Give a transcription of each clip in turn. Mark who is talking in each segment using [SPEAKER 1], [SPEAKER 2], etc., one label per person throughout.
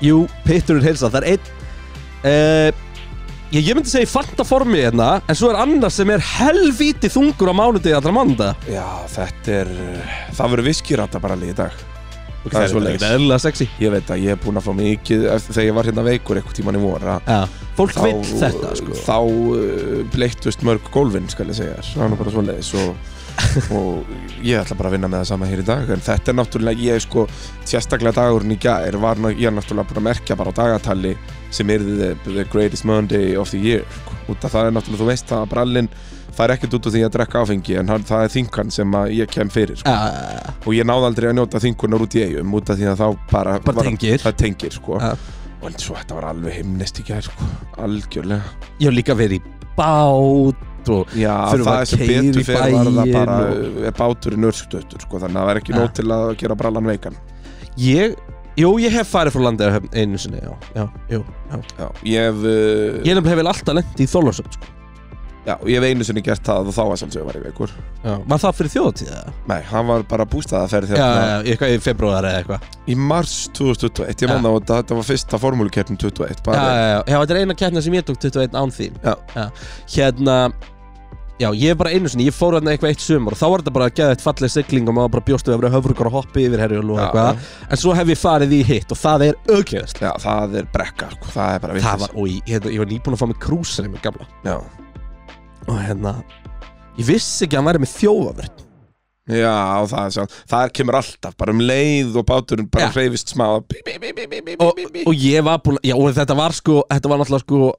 [SPEAKER 1] Jú, pitturinn heilsa, það er einn uh, ég, ég myndi segja í fantaformi hérna En svo er annar sem er helvíti þungur á mánudegi allra mánda
[SPEAKER 2] Já, þetta er... Það verður viskirata bara alveg í dag.
[SPEAKER 1] okay,
[SPEAKER 2] Það
[SPEAKER 1] Það
[SPEAKER 2] er
[SPEAKER 1] er svolítið
[SPEAKER 2] svoleiðis.
[SPEAKER 1] ekkert eðlilega sexy
[SPEAKER 2] Ég veit að ég er búinn að fá mikið eftir þegar ég var hérna veikur eitthvað tíman í voru að
[SPEAKER 1] Já, fólk
[SPEAKER 2] þá-
[SPEAKER 1] vill þetta sko
[SPEAKER 2] Þá uh, bleittust mörg gólfin, skal ég segja. þér. Það er nú bara svoleiðis og... og ég ætla bara að vinna með það sama hér í dag en þetta er náttúrulega, ég sko sérstaklega dagurinn í gær var ná- ég er náttúrulega búinn að merkja bara á dagatali sem er the, the greatest Monday of the year sko. út af það er náttúrulega, þú veist það að brallinn fær ekkert út úr því að drekka áfengi en hann, það er þingan sem að ég kem fyrir sko.
[SPEAKER 1] Já,
[SPEAKER 2] og ég náði aldrei að njóta þingunar út í eigum út af því að þá bara,
[SPEAKER 1] Bara tengir.
[SPEAKER 2] það tengir sko.
[SPEAKER 1] Já.
[SPEAKER 2] og en svo þetta var alveg himnest í gær sko. algjörlega
[SPEAKER 1] Ég hef líka verið í bát og
[SPEAKER 2] já,
[SPEAKER 1] Þurfum
[SPEAKER 2] það
[SPEAKER 1] að
[SPEAKER 2] er sem
[SPEAKER 1] keyra í
[SPEAKER 2] betur fyrir var það
[SPEAKER 1] bæinn
[SPEAKER 2] bara
[SPEAKER 1] og-
[SPEAKER 2] og... báturinn örskutöttur sko. þannig að það var ekki
[SPEAKER 1] Já.
[SPEAKER 2] nót til að gera brallan veikan
[SPEAKER 1] Ég, jú, ég hef farið frá landið einu sinni, já, já, jú, já.
[SPEAKER 2] já, ég hef uh,
[SPEAKER 1] Ég nefnilega hef vel alltaf lent í Þólarsöld, sko.
[SPEAKER 2] já, ég hef einu sinni gert það og þá var sem sem var í veikur
[SPEAKER 1] Já. Var það fyrir þjóðatíð, eða?
[SPEAKER 2] nei, hann var bara bústaðaferð
[SPEAKER 1] Já,
[SPEAKER 2] hérna
[SPEAKER 1] já, já, eitthvað í februar eða eitthvað.
[SPEAKER 2] í mars 2021 ég
[SPEAKER 1] Já.
[SPEAKER 2] man það og þetta var fyrsta formúlukertin 21
[SPEAKER 1] Já,
[SPEAKER 2] bara,
[SPEAKER 1] já, já, já, þetta er eina keppna sem ég tók 21 án þín.
[SPEAKER 2] Já.
[SPEAKER 1] Hérna, já, ég bara einu sinni, ég fór hérna eitthvað eitt sumar og þá var þetta bara að geða eitt falleg sigling og maður bara bjóstu að vera höfrugur og hoppi yfir herjul og
[SPEAKER 2] Já,
[SPEAKER 1] eitthvað. En svo hef ég farið í hitt og það er auðvitað.
[SPEAKER 2] já, það er brekka sko. það er bara
[SPEAKER 1] Það
[SPEAKER 2] vitleys.
[SPEAKER 1] var, og ég, hérna, ég var nýbúin að fá mig krúsar í mig gamla
[SPEAKER 2] já,
[SPEAKER 1] og hérna, ég vissi ekki að hann væri með þjóðavörn.
[SPEAKER 2] Já, það, er sjálf, það kemur alltaf, bara um leið og báturinn bara
[SPEAKER 1] Já.
[SPEAKER 2] hreyfist smá bí, bí, bí, bí, bí, bí,
[SPEAKER 1] og,
[SPEAKER 2] bí, bí.
[SPEAKER 1] og ég var búinn að- já, og þetta var sko, þetta var náttúrulega sko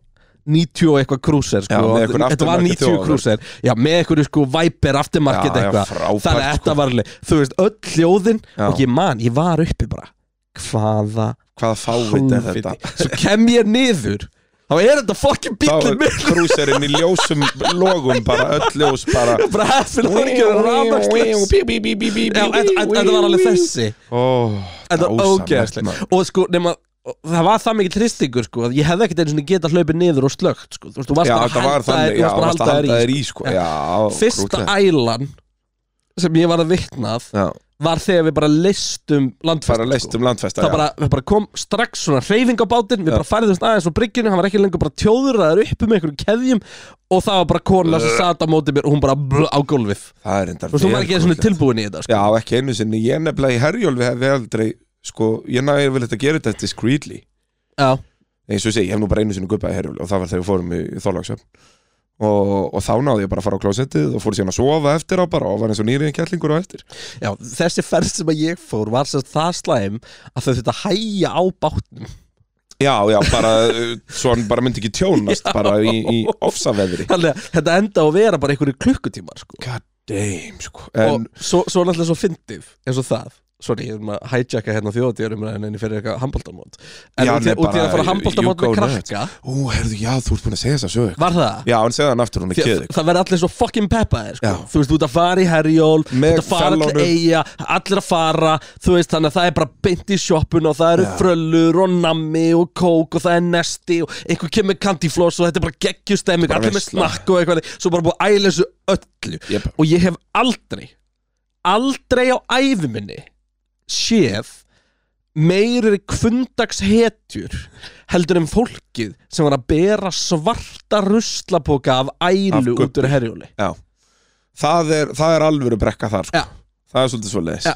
[SPEAKER 1] 90 og eitthvað krúser sko,
[SPEAKER 2] Já, með einhver
[SPEAKER 1] þetta var
[SPEAKER 2] aftermarket
[SPEAKER 1] 90
[SPEAKER 2] þjóðavél.
[SPEAKER 1] krúser já, með einhverju sko Viper aftermarket
[SPEAKER 2] Já, já,
[SPEAKER 1] eitthvað,
[SPEAKER 2] frábært,
[SPEAKER 1] þannig að
[SPEAKER 2] sko.
[SPEAKER 1] þetta var alveg þú veist, öll hljóðin
[SPEAKER 2] Já.
[SPEAKER 1] og ég man, ég var uppi bara hvaða
[SPEAKER 2] Hvaða fávit er þetta?
[SPEAKER 1] helviti? svo kem ég niður þá er þetta fucking bílinn
[SPEAKER 2] Þá
[SPEAKER 1] minn
[SPEAKER 2] er krúserinn í ljósum logum bara, öll ljós bara
[SPEAKER 1] bara heffin að það er ekki að rafnagslis
[SPEAKER 2] Bí, bí, bí, bí, bí,
[SPEAKER 1] já, en,
[SPEAKER 2] bí,
[SPEAKER 1] en, en það var alveg þessi
[SPEAKER 2] Ó,
[SPEAKER 1] Þetta var
[SPEAKER 2] dásamlegt,
[SPEAKER 1] ógeðslega
[SPEAKER 2] maður.
[SPEAKER 1] Og sko, nema og Það var það mikið tristingur sko að Ég hefði ekkert einu svona geta hlaupið niður og slögt sko Þú veist, þú varst
[SPEAKER 2] Já,
[SPEAKER 1] bara
[SPEAKER 2] þetta
[SPEAKER 1] að
[SPEAKER 2] var
[SPEAKER 1] halda þér-
[SPEAKER 2] þannig,
[SPEAKER 1] þú
[SPEAKER 2] já,
[SPEAKER 1] varst bara að
[SPEAKER 2] varst að halda
[SPEAKER 1] þér
[SPEAKER 2] þér
[SPEAKER 1] í
[SPEAKER 2] í sko Já,
[SPEAKER 1] sko. Fyrsta
[SPEAKER 2] krútlegt.
[SPEAKER 1] ælan sem ég var að vitnað
[SPEAKER 2] Já,
[SPEAKER 1] var þegar við bara leistum landfest
[SPEAKER 2] bara leist um landfesta,
[SPEAKER 1] Það
[SPEAKER 2] já
[SPEAKER 1] bara, við bara kom strax svona hreyfing á bátinn Við
[SPEAKER 2] Já.
[SPEAKER 1] bara færðumst aðeins á bryggjunni Hann var ekki lengur bara tjóðraður upp um einhverjum keðjum Og það var bara kona sem sat á móti mér Og hún bara bl- á gólfið Þú
[SPEAKER 2] Það er enda
[SPEAKER 1] veist, hún var ekki svona
[SPEAKER 2] krútlegt.
[SPEAKER 1] tilbúin í þetta sko.
[SPEAKER 2] Já, ekki einu sinni, ég nefnilega í herjólfi hefði aldrei Sko, ég nægir vel þetta að gera þetta discreetly
[SPEAKER 1] Já,
[SPEAKER 2] eins og ég segi, ég hef nú bara einu sinni guppaði herjúli og það var þegar við fórum í Þorláksöfn og, og þá náði ég bara að fara á klósettið og fór síðan að sofa eftir á bara og var eins og nýriðin kjallingur á eftir
[SPEAKER 1] Já, þessi ferð sem að ég fór var sem sagt það slæm að þau þetta hæja á bátnum
[SPEAKER 2] Já, já, bara uh, svo hann bara myndi ekki tjónast bara í, í ofsaveðri
[SPEAKER 1] Þannig að þetta enda á að vera bara einhverju klukkutímar sko.
[SPEAKER 2] God damn, sko en,
[SPEAKER 1] Og svo, svo náttúrulega svo fyndið eins og það Sorry, ég er maður að hijacka hérna þjóðatíðurum en enni fyrir eitthvað handbóltamót En
[SPEAKER 2] Já,
[SPEAKER 1] út í
[SPEAKER 2] nei,
[SPEAKER 1] út í að
[SPEAKER 2] bara,
[SPEAKER 1] fara handbóltamót
[SPEAKER 2] you
[SPEAKER 1] með
[SPEAKER 2] go nuts.
[SPEAKER 1] krakka
[SPEAKER 2] Ú, herðu, já, þú ert búin að segja þess að sög
[SPEAKER 1] Var það?
[SPEAKER 2] Já, hann segði hann aftur, hún er
[SPEAKER 1] Því að
[SPEAKER 2] keðið
[SPEAKER 1] það verði allir svo fucking peppaðir sko.
[SPEAKER 2] Já.
[SPEAKER 1] Þú veist, þú ert að fara í herjól Þú
[SPEAKER 2] Með
[SPEAKER 1] ert að fara til
[SPEAKER 2] fellónum.
[SPEAKER 1] eiga Allir að fara Þú veist, þannig að það er bara beint í sjoppun Og það eru
[SPEAKER 2] Já.
[SPEAKER 1] fröllur og nammi og kók Og það er nesti og einhver kemur kandifloss Og þetta er bara geggjustemming
[SPEAKER 2] Bara
[SPEAKER 1] Allir með
[SPEAKER 2] veisla.
[SPEAKER 1] snakk og eitthvað Svo bara búið að æla þessu öllu
[SPEAKER 2] Jep.
[SPEAKER 1] Og ég hef aldrei Aldrei á æfiminni Séð meiri kvindagshetjur heldur en fólkið sem var að bera svarta ruslapoka af ælu
[SPEAKER 2] Af gubbu.
[SPEAKER 1] út úr herjóli
[SPEAKER 2] Já, það er, það er alvöru brekka þar, sko
[SPEAKER 1] Já.
[SPEAKER 2] Það er svolítið svolítið
[SPEAKER 1] Já.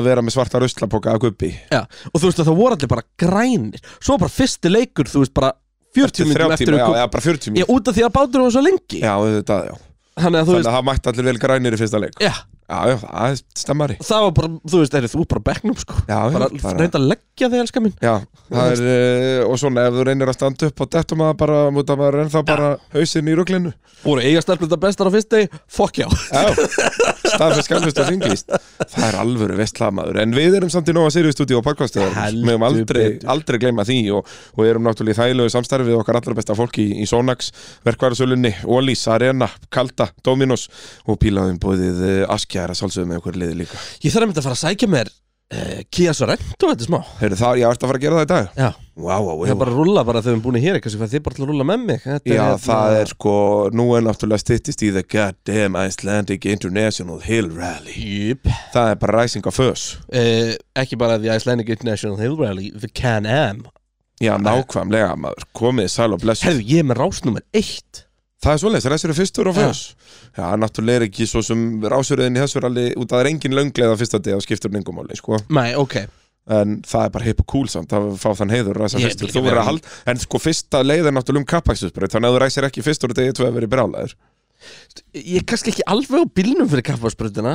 [SPEAKER 2] Að vera með svarta ruslapoka að guppi
[SPEAKER 1] Já, og þú veist að það voru allir bara grænir Svo bara fyrsti leikur, þú veist bara 40 minnum eftir
[SPEAKER 2] tíma, já,
[SPEAKER 1] ykkur
[SPEAKER 2] já, bara
[SPEAKER 1] Já,
[SPEAKER 2] 40 mínútur
[SPEAKER 1] út af því að bátur var svo lengi
[SPEAKER 2] Já, þetta, já
[SPEAKER 1] Þannig að þú
[SPEAKER 2] Þannig
[SPEAKER 1] veist,
[SPEAKER 2] að það mætti allir vel grænir í fyrsta leik
[SPEAKER 1] já,
[SPEAKER 2] Já, já, það er stemmari
[SPEAKER 1] það var bara, þú veist, er þú ert bara á bekknum sko
[SPEAKER 2] Já, já,
[SPEAKER 1] Bara
[SPEAKER 2] bara-
[SPEAKER 1] reynda að leggja þig, elska mín
[SPEAKER 2] Já, það er, eh, og svona ef þú reynir að standa upp og dettum maður bara, múta maður er ennþá bara hausinn í ruglinu
[SPEAKER 1] Voru eiga stelplita bestar á fyrst degi, fokk já
[SPEAKER 2] Já, staðfest, skalfest og þinglist Það er alvöru vestla maður En við erum samt í Nóa Sirius stúdíu og podcastöður
[SPEAKER 1] Heldur
[SPEAKER 2] Við erum aldrei,
[SPEAKER 1] betur.
[SPEAKER 2] aldrei gleyma því og, og erum náttúrulega í þægilegu samstarfi við okkar allra besta fólki í, í Sonax, Verkvarðarsölunni, Ólís, Arena, Kalda, Dominos og pílaðum bóðið Askja er að sjálfsögum með okkur liði líka
[SPEAKER 1] Ég þarf einmitt að fara að sækja mér uh, eh, Kia Sorento, þetta er smá
[SPEAKER 2] Heyrðu, það, ég ætti að fara að gera það í dag Hérna,
[SPEAKER 1] Já,
[SPEAKER 2] Vá, vá,
[SPEAKER 1] Það
[SPEAKER 2] vá.
[SPEAKER 1] er bara að rúlla bara þegar við erum búin hér eitthvað sem þið bara til að rúlla með mig Þetta
[SPEAKER 2] Já,
[SPEAKER 1] hérna-
[SPEAKER 2] það er sko, nú er náttúrulega styttist í The Goddamn Icelandic International Hill Rally
[SPEAKER 1] Júp
[SPEAKER 2] Það er bara ræsing af fös
[SPEAKER 1] uh, Ekki bara The Icelandic International Hill Rally The Can-Am
[SPEAKER 2] Já, nákvæmlega, maður komið sæl og blessu
[SPEAKER 1] Herðu, ég er með rás nummer eitt
[SPEAKER 2] Það er svoleiðis, ræsir eru fyrstur og
[SPEAKER 1] Já.
[SPEAKER 2] fös Já, náttúrulega er ekki svo sem rásuriðin í þessu rally út að það er engin löngleið á fyrsta degi og skiptur nengumáli, sko
[SPEAKER 1] Nei, ok
[SPEAKER 2] en það er bara hip og cool samt að fá þann heiður að ræsa
[SPEAKER 1] Ég vil
[SPEAKER 2] fyrstur
[SPEAKER 1] ekki
[SPEAKER 2] Þú verður
[SPEAKER 1] vera-
[SPEAKER 2] að halda, en sko fyrsta leið er náttúrulega um kappakstusbreyt þannig að ef þú ræsir ekki fyrstur degi tvö að verið brálaður
[SPEAKER 1] Ég er kannski ekki alveg á bílnum fyrir kappaspröndina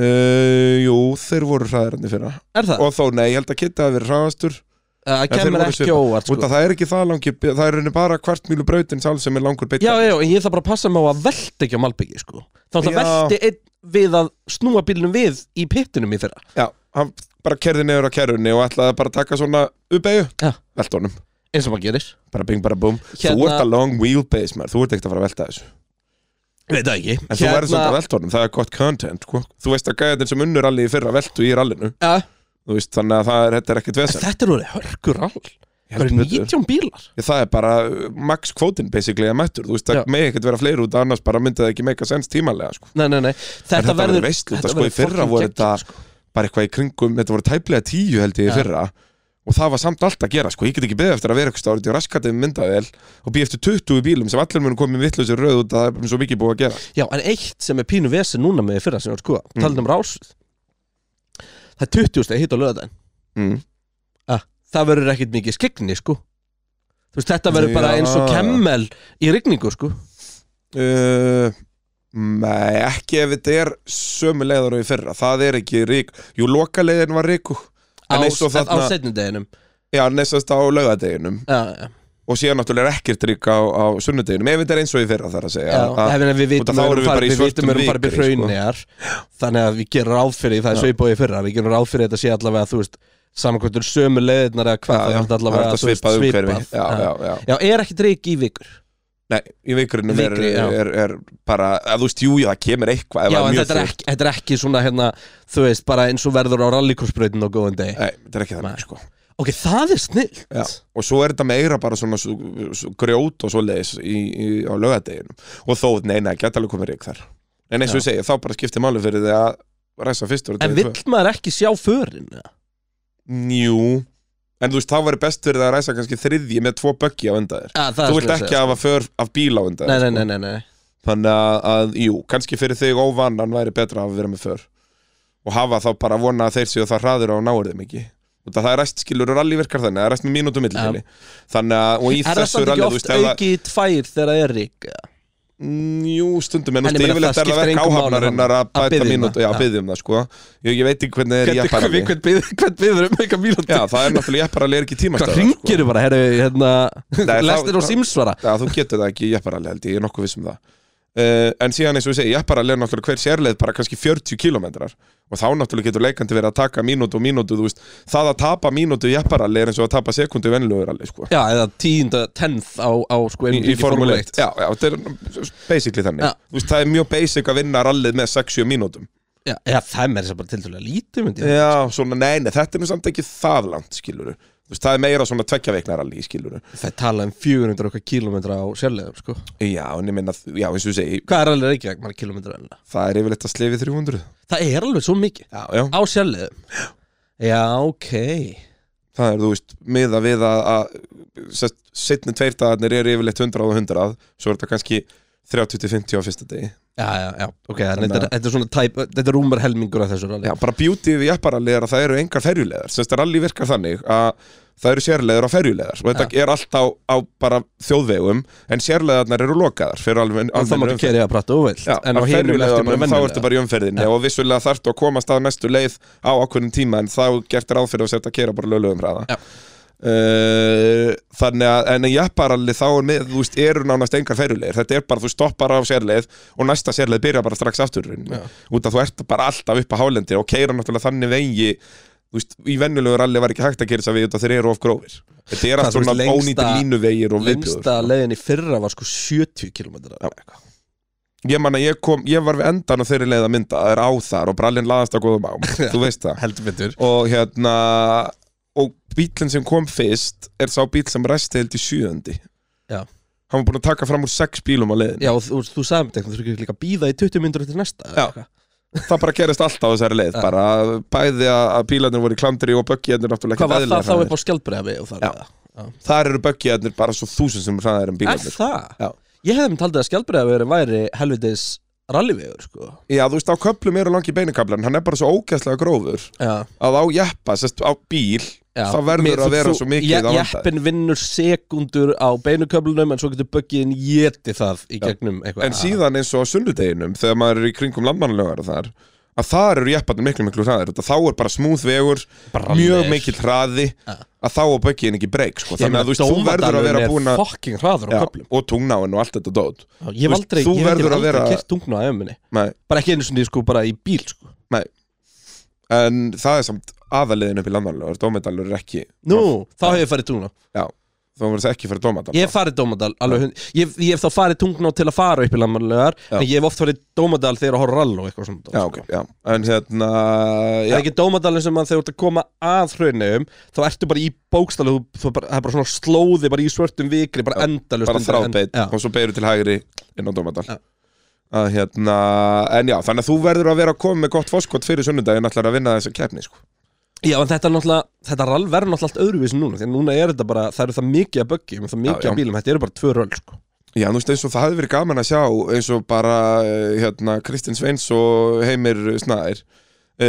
[SPEAKER 2] uh, Jú, þeir voru hræðarandi fyrra
[SPEAKER 1] Er það?
[SPEAKER 2] og þó nei, ég held að Kitta hafi verið hraðastur
[SPEAKER 1] Það
[SPEAKER 2] þeir
[SPEAKER 1] kemur
[SPEAKER 2] voru
[SPEAKER 1] ekki
[SPEAKER 2] svipað.
[SPEAKER 1] óvart sko.
[SPEAKER 2] út að það er ekki það langi það er henni bara hvert mýlu brautin sál sem er langur beitt
[SPEAKER 1] Já, já, en ég ætla bara að passa mig á að velta ekki á malbyggi sko. Þá ætla
[SPEAKER 2] Já.
[SPEAKER 1] velti einn við að snúa bílnum við í pittinum í fyrra
[SPEAKER 2] já, hann bara kerði niður á kerrunni og ætlaði bara að taka svona uppeyju
[SPEAKER 1] Já.
[SPEAKER 2] velta honum,
[SPEAKER 1] Eins og maður gerir
[SPEAKER 2] bara bing bara búm þú
[SPEAKER 1] Hérna-
[SPEAKER 2] ert að long wheelbase maður, þú ert ekkert að fara að velta þessu
[SPEAKER 1] Veit það ekki Hérna-
[SPEAKER 2] en þú verður svona að velta honum, það er gott content sko. þú veist að gæðin sem unnur allir í fyrra veltu í rallinu,
[SPEAKER 1] Já.
[SPEAKER 2] þú veist þannig að það er, þetta er ekkert
[SPEAKER 1] En
[SPEAKER 2] vesen
[SPEAKER 1] þetta eru orðið hörkur all
[SPEAKER 2] Ég
[SPEAKER 1] Það
[SPEAKER 2] held
[SPEAKER 1] eru
[SPEAKER 2] betur.
[SPEAKER 1] 19 bílar
[SPEAKER 2] Ég, það er bara uh, max kvótin basically að mættur, þú veist
[SPEAKER 1] Já.
[SPEAKER 2] það megi ekkert vera fleiri út annars bara myndi það ekki meika sens tímalega sko.
[SPEAKER 1] Nei, nei, nei Þetta,
[SPEAKER 2] þetta verður veislu, þetta sko í
[SPEAKER 1] verður
[SPEAKER 2] fyrra
[SPEAKER 1] fucking
[SPEAKER 2] voru
[SPEAKER 1] geggjað, sko.
[SPEAKER 2] þetta- bara eitthvað í kringum, þetta voru tæplega tíu held ég í
[SPEAKER 1] Já.
[SPEAKER 2] fyrra og það var samt allt að gera sko, ég get ekki beðið eftir að vera eitthvað stárið í raskatið myndavel og býð eftir 20 bílum sem allir munum komið vittlausir röð út að það er svo mikið búið að gera
[SPEAKER 1] Já, en eitt sem er pínu vesi núna með í fyrra sem ég var sko mm. talað um rásið Það er 20 stegi hitt á löðan
[SPEAKER 2] mm.
[SPEAKER 1] Ah, Það verður ekkit mikið skegni sko Þú veist, þetta verður bara
[SPEAKER 2] Já.
[SPEAKER 1] eins og kemmel í rigningu sko
[SPEAKER 2] uh, Nei, ekki ef þetta er sömu leiðar og í fyrra, það er ekki rík Jú, lokaleiðin var ríku
[SPEAKER 1] Á,
[SPEAKER 2] En eins og
[SPEAKER 1] á
[SPEAKER 2] þarna-
[SPEAKER 1] setni deginum
[SPEAKER 2] Já, neistast á laugadeginum
[SPEAKER 1] Já, já,
[SPEAKER 2] og síðan náttúrulega er ekkert rík á, á sunnudeginum ef þetta er eins og í fyrra þar að
[SPEAKER 1] já,
[SPEAKER 2] segja að-
[SPEAKER 1] já. Við
[SPEAKER 2] út af
[SPEAKER 1] vitum
[SPEAKER 2] þá
[SPEAKER 1] að
[SPEAKER 2] erum við bara í
[SPEAKER 1] við vitum
[SPEAKER 2] svörtum
[SPEAKER 1] að við farið við
[SPEAKER 2] vikri, sko.
[SPEAKER 1] hraunjar Þannig að við gerum ráð fyrir það er
[SPEAKER 2] Já.
[SPEAKER 1] sveipað í fyrra Við gerum ráð fyrir þetta sé allavega, þú veist Samankvæmtur sömu leiðirnar eða hvað Það
[SPEAKER 2] Já, já,
[SPEAKER 1] er
[SPEAKER 2] það er
[SPEAKER 1] allavega
[SPEAKER 2] þetta
[SPEAKER 1] þú veist,
[SPEAKER 2] svipað umhverfi Já,
[SPEAKER 1] Já.
[SPEAKER 2] já, já
[SPEAKER 1] Já, er ekki dreik í vikur
[SPEAKER 2] Nei, í vikrinum er,
[SPEAKER 1] Vikri, já.
[SPEAKER 2] er, er bara, að þú veist, jú, já, það kemur eitthvað ef
[SPEAKER 1] Já,
[SPEAKER 2] það
[SPEAKER 1] en
[SPEAKER 2] mjög
[SPEAKER 1] þetta er,
[SPEAKER 2] þurrt.
[SPEAKER 1] ekki, þetta er ekki svona hérna, þú veist, bara eins og verður á rallycrossbrautin á góðan deg.
[SPEAKER 2] Nei, þetta er ekki
[SPEAKER 1] Nei.
[SPEAKER 2] þannig, sko
[SPEAKER 1] Ok, það er snill.
[SPEAKER 2] já. Og svo er þetta meira bara svona svo, svo, grjót og svoleiðis í, í, á laugadeginum Og þó, nei, nei, geta alveg um komið rík þar En eins og
[SPEAKER 1] Já.
[SPEAKER 2] ég segi, þá bara skiptir máli fyrir því að ræsa fyrstur og
[SPEAKER 1] En
[SPEAKER 2] degi
[SPEAKER 1] vill maður ekki sjá förin? eða?
[SPEAKER 2] tvö. Jú, en þú veist, þá verður best fyrir það að ræsa kannski þriðji með tvo böggi á undan þér
[SPEAKER 1] Ja, það er
[SPEAKER 2] Þú vilt
[SPEAKER 1] svoleiðis,
[SPEAKER 2] ekki
[SPEAKER 1] ja.
[SPEAKER 2] hafa för af bíl á undan
[SPEAKER 1] sko. Nei,
[SPEAKER 2] þér,
[SPEAKER 1] nei, nei,
[SPEAKER 2] sko.
[SPEAKER 1] nei, nei.
[SPEAKER 2] Þannig að, að, jú, kannski fyrir þig óvannan væri betra að vera með för og hafa þá bara að vona að þeir séu það hraður á náir þeim ekki og það er rest skilur og rally virkar þannig, það er rest með mínútu millibili þannig að, og í
[SPEAKER 1] Er það
[SPEAKER 2] þessu
[SPEAKER 1] samt
[SPEAKER 2] rally,
[SPEAKER 1] ekki
[SPEAKER 2] þú
[SPEAKER 1] oft
[SPEAKER 2] veist, ef það
[SPEAKER 1] auki í tvær þegar það er rík?
[SPEAKER 2] Mm, jú, stundum, en,
[SPEAKER 1] En
[SPEAKER 2] en
[SPEAKER 1] ég meina,
[SPEAKER 2] yfirleitt
[SPEAKER 1] það
[SPEAKER 2] er það
[SPEAKER 1] skiptir
[SPEAKER 2] verk
[SPEAKER 1] engu máli
[SPEAKER 2] áhafnarinnar að
[SPEAKER 1] að biðja
[SPEAKER 2] bæta
[SPEAKER 1] um
[SPEAKER 2] mínútu,
[SPEAKER 1] það.
[SPEAKER 2] já,
[SPEAKER 1] Já.
[SPEAKER 2] biðum það, sko ég, ég veit ekki hvernig það er í
[SPEAKER 1] Hvern
[SPEAKER 2] jepparali
[SPEAKER 1] byður um eitthvað mínúti?
[SPEAKER 2] Já, það er náttúrulega jepparali er ekki
[SPEAKER 1] Hvað
[SPEAKER 2] tímastöðar
[SPEAKER 1] ringir bara, herru, hérna,
[SPEAKER 2] Nei, þá-
[SPEAKER 1] lestir á
[SPEAKER 2] þá-
[SPEAKER 1] símsvara?
[SPEAKER 2] Já, þú getur það ekki í jepparali held ég, ég er nokkuð viss um það uh, En síðan eins og ég segi, jepparali er náttúrulega hver sérleið bara kannski 40 kilometrar Og þá náttúrulega getur leikandi verið að taka mínútu og mínútu, þú veist Það að tapa mínútu í jepparali er eins og að tapa sekundu venlugur alveg, sko
[SPEAKER 1] Já, eða tíunda, tenth á, á sko,
[SPEAKER 2] Í,
[SPEAKER 1] einum
[SPEAKER 2] í
[SPEAKER 1] ríki
[SPEAKER 2] Formule 1,
[SPEAKER 1] Já.
[SPEAKER 2] já, já, þetta er basically þannig
[SPEAKER 1] Já.
[SPEAKER 2] Þú veist, það er mjög basic að vinna rallið með 60 mínútum
[SPEAKER 1] Já, já, það er mér sem bara tildulega lítið, myndi ég.
[SPEAKER 2] Já, svona, nei, nei, þetta er nú samt ekki það langt, skilur Þú veist, það er meira svona tveggjaveikna rally, skilur
[SPEAKER 1] Það er talað um 400 okkar kílómetra á sérleðum, sko.
[SPEAKER 2] Já, en ég minna, já, eins og ég segi,
[SPEAKER 1] Hvað er alveg Reykjavík margir kilómetrar enna?
[SPEAKER 2] það er yfirleitt að slefi 300
[SPEAKER 1] Það er alveg svo mikið
[SPEAKER 2] Já, já
[SPEAKER 1] Á sjálfliðum Já, ok
[SPEAKER 2] það er, þú veist, miða við að, að setni tveir dagarnir eru yfirleitt 100 og 100 svo er þetta kannski 30-50 á fyrsta degi
[SPEAKER 1] Já, já, já, ok Þannig
[SPEAKER 2] Þannig
[SPEAKER 1] þetta,
[SPEAKER 2] að-
[SPEAKER 1] er- þetta er svona tæp, þetta er rúmar helmingur af þessu rally
[SPEAKER 2] Já, bara beauty við jepparalli er að það eru engar ferjuleðar semst að rally virkar þannig að það eru sérleðar á ferjuleðar og þetta er allt á, á bara þjóðvegum en sérleðarnar eru lokaðar fyrir
[SPEAKER 1] Og
[SPEAKER 2] alveg,
[SPEAKER 1] það
[SPEAKER 2] alveg
[SPEAKER 1] maður ekki kerið að prata óvilt
[SPEAKER 2] Já,
[SPEAKER 1] En á hinum
[SPEAKER 2] á
[SPEAKER 1] eftir bara
[SPEAKER 2] ferjuleiðunum þá ertu
[SPEAKER 1] vennilega
[SPEAKER 2] bara í umferðinni og vissulega þarftu að komast að næstu leið á ákveðnum tíma en þá gert ráð fyrir að setja að kera bara löglegum hraða
[SPEAKER 1] Já.
[SPEAKER 2] Uh, þannig að en jafnbaralli þá er með, þú veist, eru nánast engar ferjulegir, þetta er bara þú stoppar á sérleið og næsta sérleið byrja bara strax aftur í rauninni. út að þú ert bara alltaf upp á hálendi og keira náttúrulega þannig vegi þú veist, í venjulegu ralli var ekki hægt að kera þess að við út að þeir eru of grófir þetta er
[SPEAKER 1] Hvað,
[SPEAKER 2] allt
[SPEAKER 1] þú veist,
[SPEAKER 2] svona ónýtir
[SPEAKER 1] lengsta-
[SPEAKER 2] línuvegir og viðbjóður
[SPEAKER 1] Lengsta leiðin í fyrra var sko 70 kilómetrar
[SPEAKER 2] Já. Ég man að ég kom, ég var við endan á þeirri leið að mynda, það er á þar og brallin laðast á góðum ám, þú veist það
[SPEAKER 1] Heldur betur
[SPEAKER 2] Og hérna, og bílinn sem kom fyrst er sá bíl sem resti held í sjöðandi
[SPEAKER 1] Já.
[SPEAKER 2] hann var búin að taka fram úr sex bílum á leiðin
[SPEAKER 1] Já, og þú, þú sagði mér þetta, þú þurfum ekki líka að býða í 20 myndur eftir næsta eða
[SPEAKER 2] Já.
[SPEAKER 1] eitthvað.
[SPEAKER 2] það bara gerist alltaf á þessari leið
[SPEAKER 1] Já.
[SPEAKER 2] bara bæði að að bílarnir voru í klandri og böggiðarnir náttúrulega
[SPEAKER 1] Hvað var
[SPEAKER 2] eðlilega
[SPEAKER 1] það þá
[SPEAKER 2] hraðir.
[SPEAKER 1] upp á skjaldbreiði og þar?
[SPEAKER 2] Já. þar eru böggiðarnir bara svo þúsund sem hraðar en
[SPEAKER 1] Er
[SPEAKER 2] bílarnir
[SPEAKER 1] það?
[SPEAKER 2] Já.
[SPEAKER 1] Ég hefði mér taldið að skjaldbreiði væri helvitis rallyvegur, sko
[SPEAKER 2] Já, þú veist, á köplum eru langi beinakablar en hann er bara svo ógæslega grófur
[SPEAKER 1] Já,
[SPEAKER 2] að á jeppa, sérst, á bíl
[SPEAKER 1] já.
[SPEAKER 2] Það verður
[SPEAKER 1] Mér-
[SPEAKER 2] að
[SPEAKER 1] þú-
[SPEAKER 2] vera
[SPEAKER 1] þú-
[SPEAKER 2] svo mikið
[SPEAKER 1] je-
[SPEAKER 2] á vandaði.
[SPEAKER 1] Jeppin vinnur sekundur á beinuköflunum en svo getur böggiðin éti það í
[SPEAKER 2] Já.
[SPEAKER 1] gegnum eitthvað
[SPEAKER 2] en síðan eins og á sunnudeginum þegar maður er í kringum landmannlögar og þar að þar eru jepparnir miklu miklu hraðir Þetta- þá er bara smúð vegur,
[SPEAKER 1] Brannir.
[SPEAKER 2] mjög mikill hraði
[SPEAKER 1] Ja.
[SPEAKER 2] að þá á böggiðin ekki breyk sko. þannig að þú, veist, þú verður að vera búin að
[SPEAKER 1] Fucking hraður á
[SPEAKER 2] Já,
[SPEAKER 1] köflum
[SPEAKER 2] og tungnáin og allt þetta dót
[SPEAKER 1] Já, Ég hef
[SPEAKER 2] Þú veist,
[SPEAKER 1] aldrei,
[SPEAKER 2] þú
[SPEAKER 1] ég hef
[SPEAKER 2] verður að
[SPEAKER 1] aldrei
[SPEAKER 2] vera-
[SPEAKER 1] kert tungna á ömminni
[SPEAKER 2] Nei.
[SPEAKER 1] Bara ekki einu sinni sko, bara í bíl sko
[SPEAKER 2] en það er samt aðaliðin upp í landmannlögar dómedalur er ekki
[SPEAKER 1] Nú, þá hef ég farið tungna
[SPEAKER 2] þá verður það ekki fyrir dómadal
[SPEAKER 1] Ég hef farið Dómadal alveg, hund- ég, hef- ég hef þá farið tungná til að fara upp í landmannlegar
[SPEAKER 2] Já.
[SPEAKER 1] En ég hef oft farið Dómadal þegar að horfa á rall og eitthvað svona sko.
[SPEAKER 2] já, ok, já. en hérna
[SPEAKER 1] Það
[SPEAKER 2] já,
[SPEAKER 1] er ekki dómadalinn sem að þegar þú ert að koma að hraunum Þá ertu bara í bókstælu þú, þú bara, Það er bara svona slóði bara í svörtum vikri Bara
[SPEAKER 2] Já,
[SPEAKER 1] endalust
[SPEAKER 2] bara þráðbeitt og svo beigur til hægri inn á dómadal
[SPEAKER 1] Já.
[SPEAKER 2] að hérna, en já, þannig að þú verður að vera að koma með gott foskot fyrir sunnudaginn ætlar að vinna þessa keppni, sko
[SPEAKER 1] Já, en þetta er náttúrulega, þetta rall verður náttúrulega allt öðruvísin núna Því að núna er þetta bara, það eru það mikið að böggi Það er mikið
[SPEAKER 2] Já, já.
[SPEAKER 1] að bílum, þetta eru bara tvö röll sko.
[SPEAKER 2] Já, þú veist eins og það hefði verið gaman að sjá eins og bara eh, hérna, Kristinn Sveins og Heimir Snæðir e,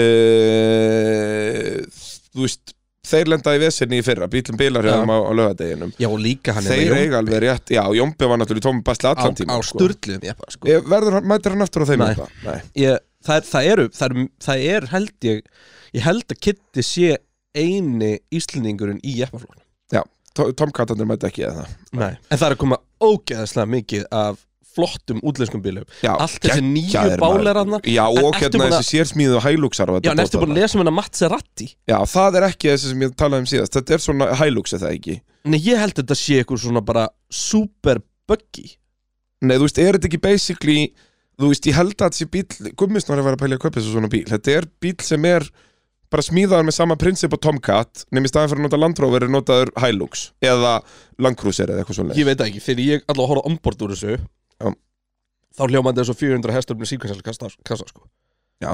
[SPEAKER 2] Þú veist þeir lenda í vesinni í fyrra, bílum bilar
[SPEAKER 1] Já.
[SPEAKER 2] hefðum á, á lögadeginum
[SPEAKER 1] Já, og líka hann
[SPEAKER 2] Þeir eiga alveg rétt, já, Jómbi var náttúrulega í tómi
[SPEAKER 1] á,
[SPEAKER 2] basli allan
[SPEAKER 1] á
[SPEAKER 2] tíma sko.
[SPEAKER 1] sturliðum ég, bara, sko.
[SPEAKER 2] Eh, Verður, hann- mætir hann aftur á þeim
[SPEAKER 1] Nei.
[SPEAKER 2] eitthvað? Nei.
[SPEAKER 1] ég, það, er, það, eru, það, er, það er held ég Ég held að Kitty sé eini Íslendingurinn í jeppaflóknum
[SPEAKER 2] Tom- Tomkatarnir mæti ekki eða það
[SPEAKER 1] En það er að koma ógeðaslega mikið af flottum útlenskum bílum
[SPEAKER 2] já,
[SPEAKER 1] Allt þessi nýju
[SPEAKER 2] geggjaðir, maður.
[SPEAKER 1] bálar þarna.
[SPEAKER 2] Já,
[SPEAKER 1] En
[SPEAKER 2] og
[SPEAKER 1] ertu
[SPEAKER 2] hérna
[SPEAKER 1] búin að-
[SPEAKER 2] þessi sérsmíðu hæluxar
[SPEAKER 1] Já, en ertu búin að lesa um hennar Mazzerati?
[SPEAKER 2] Já, það er ekki þessi sem ég talaði um síðast Þetta er svona hælux er það ekki
[SPEAKER 1] Nei, ég held að þetta sé eitthvað svona bara super buggy
[SPEAKER 2] Nei, þú veist, er þetta ekki basically Þú veist, ég held að þessi bíl Gummisnari var að pælja að kaupa þessu svona bíl Þetta er bíl sem er bara smíðaður með sama prinsip og Tomcat nema í staðan fyrir að nota Land Rover er notaður Hilux eða Land Cruiser eða eitthvað svona
[SPEAKER 1] Ég veit það ekki, þegar ég allavega horfði ombord úr þessu
[SPEAKER 2] Já.
[SPEAKER 1] Þá hljómaði þessu 400 hestur með síkvæmselkassa sko.
[SPEAKER 2] Já,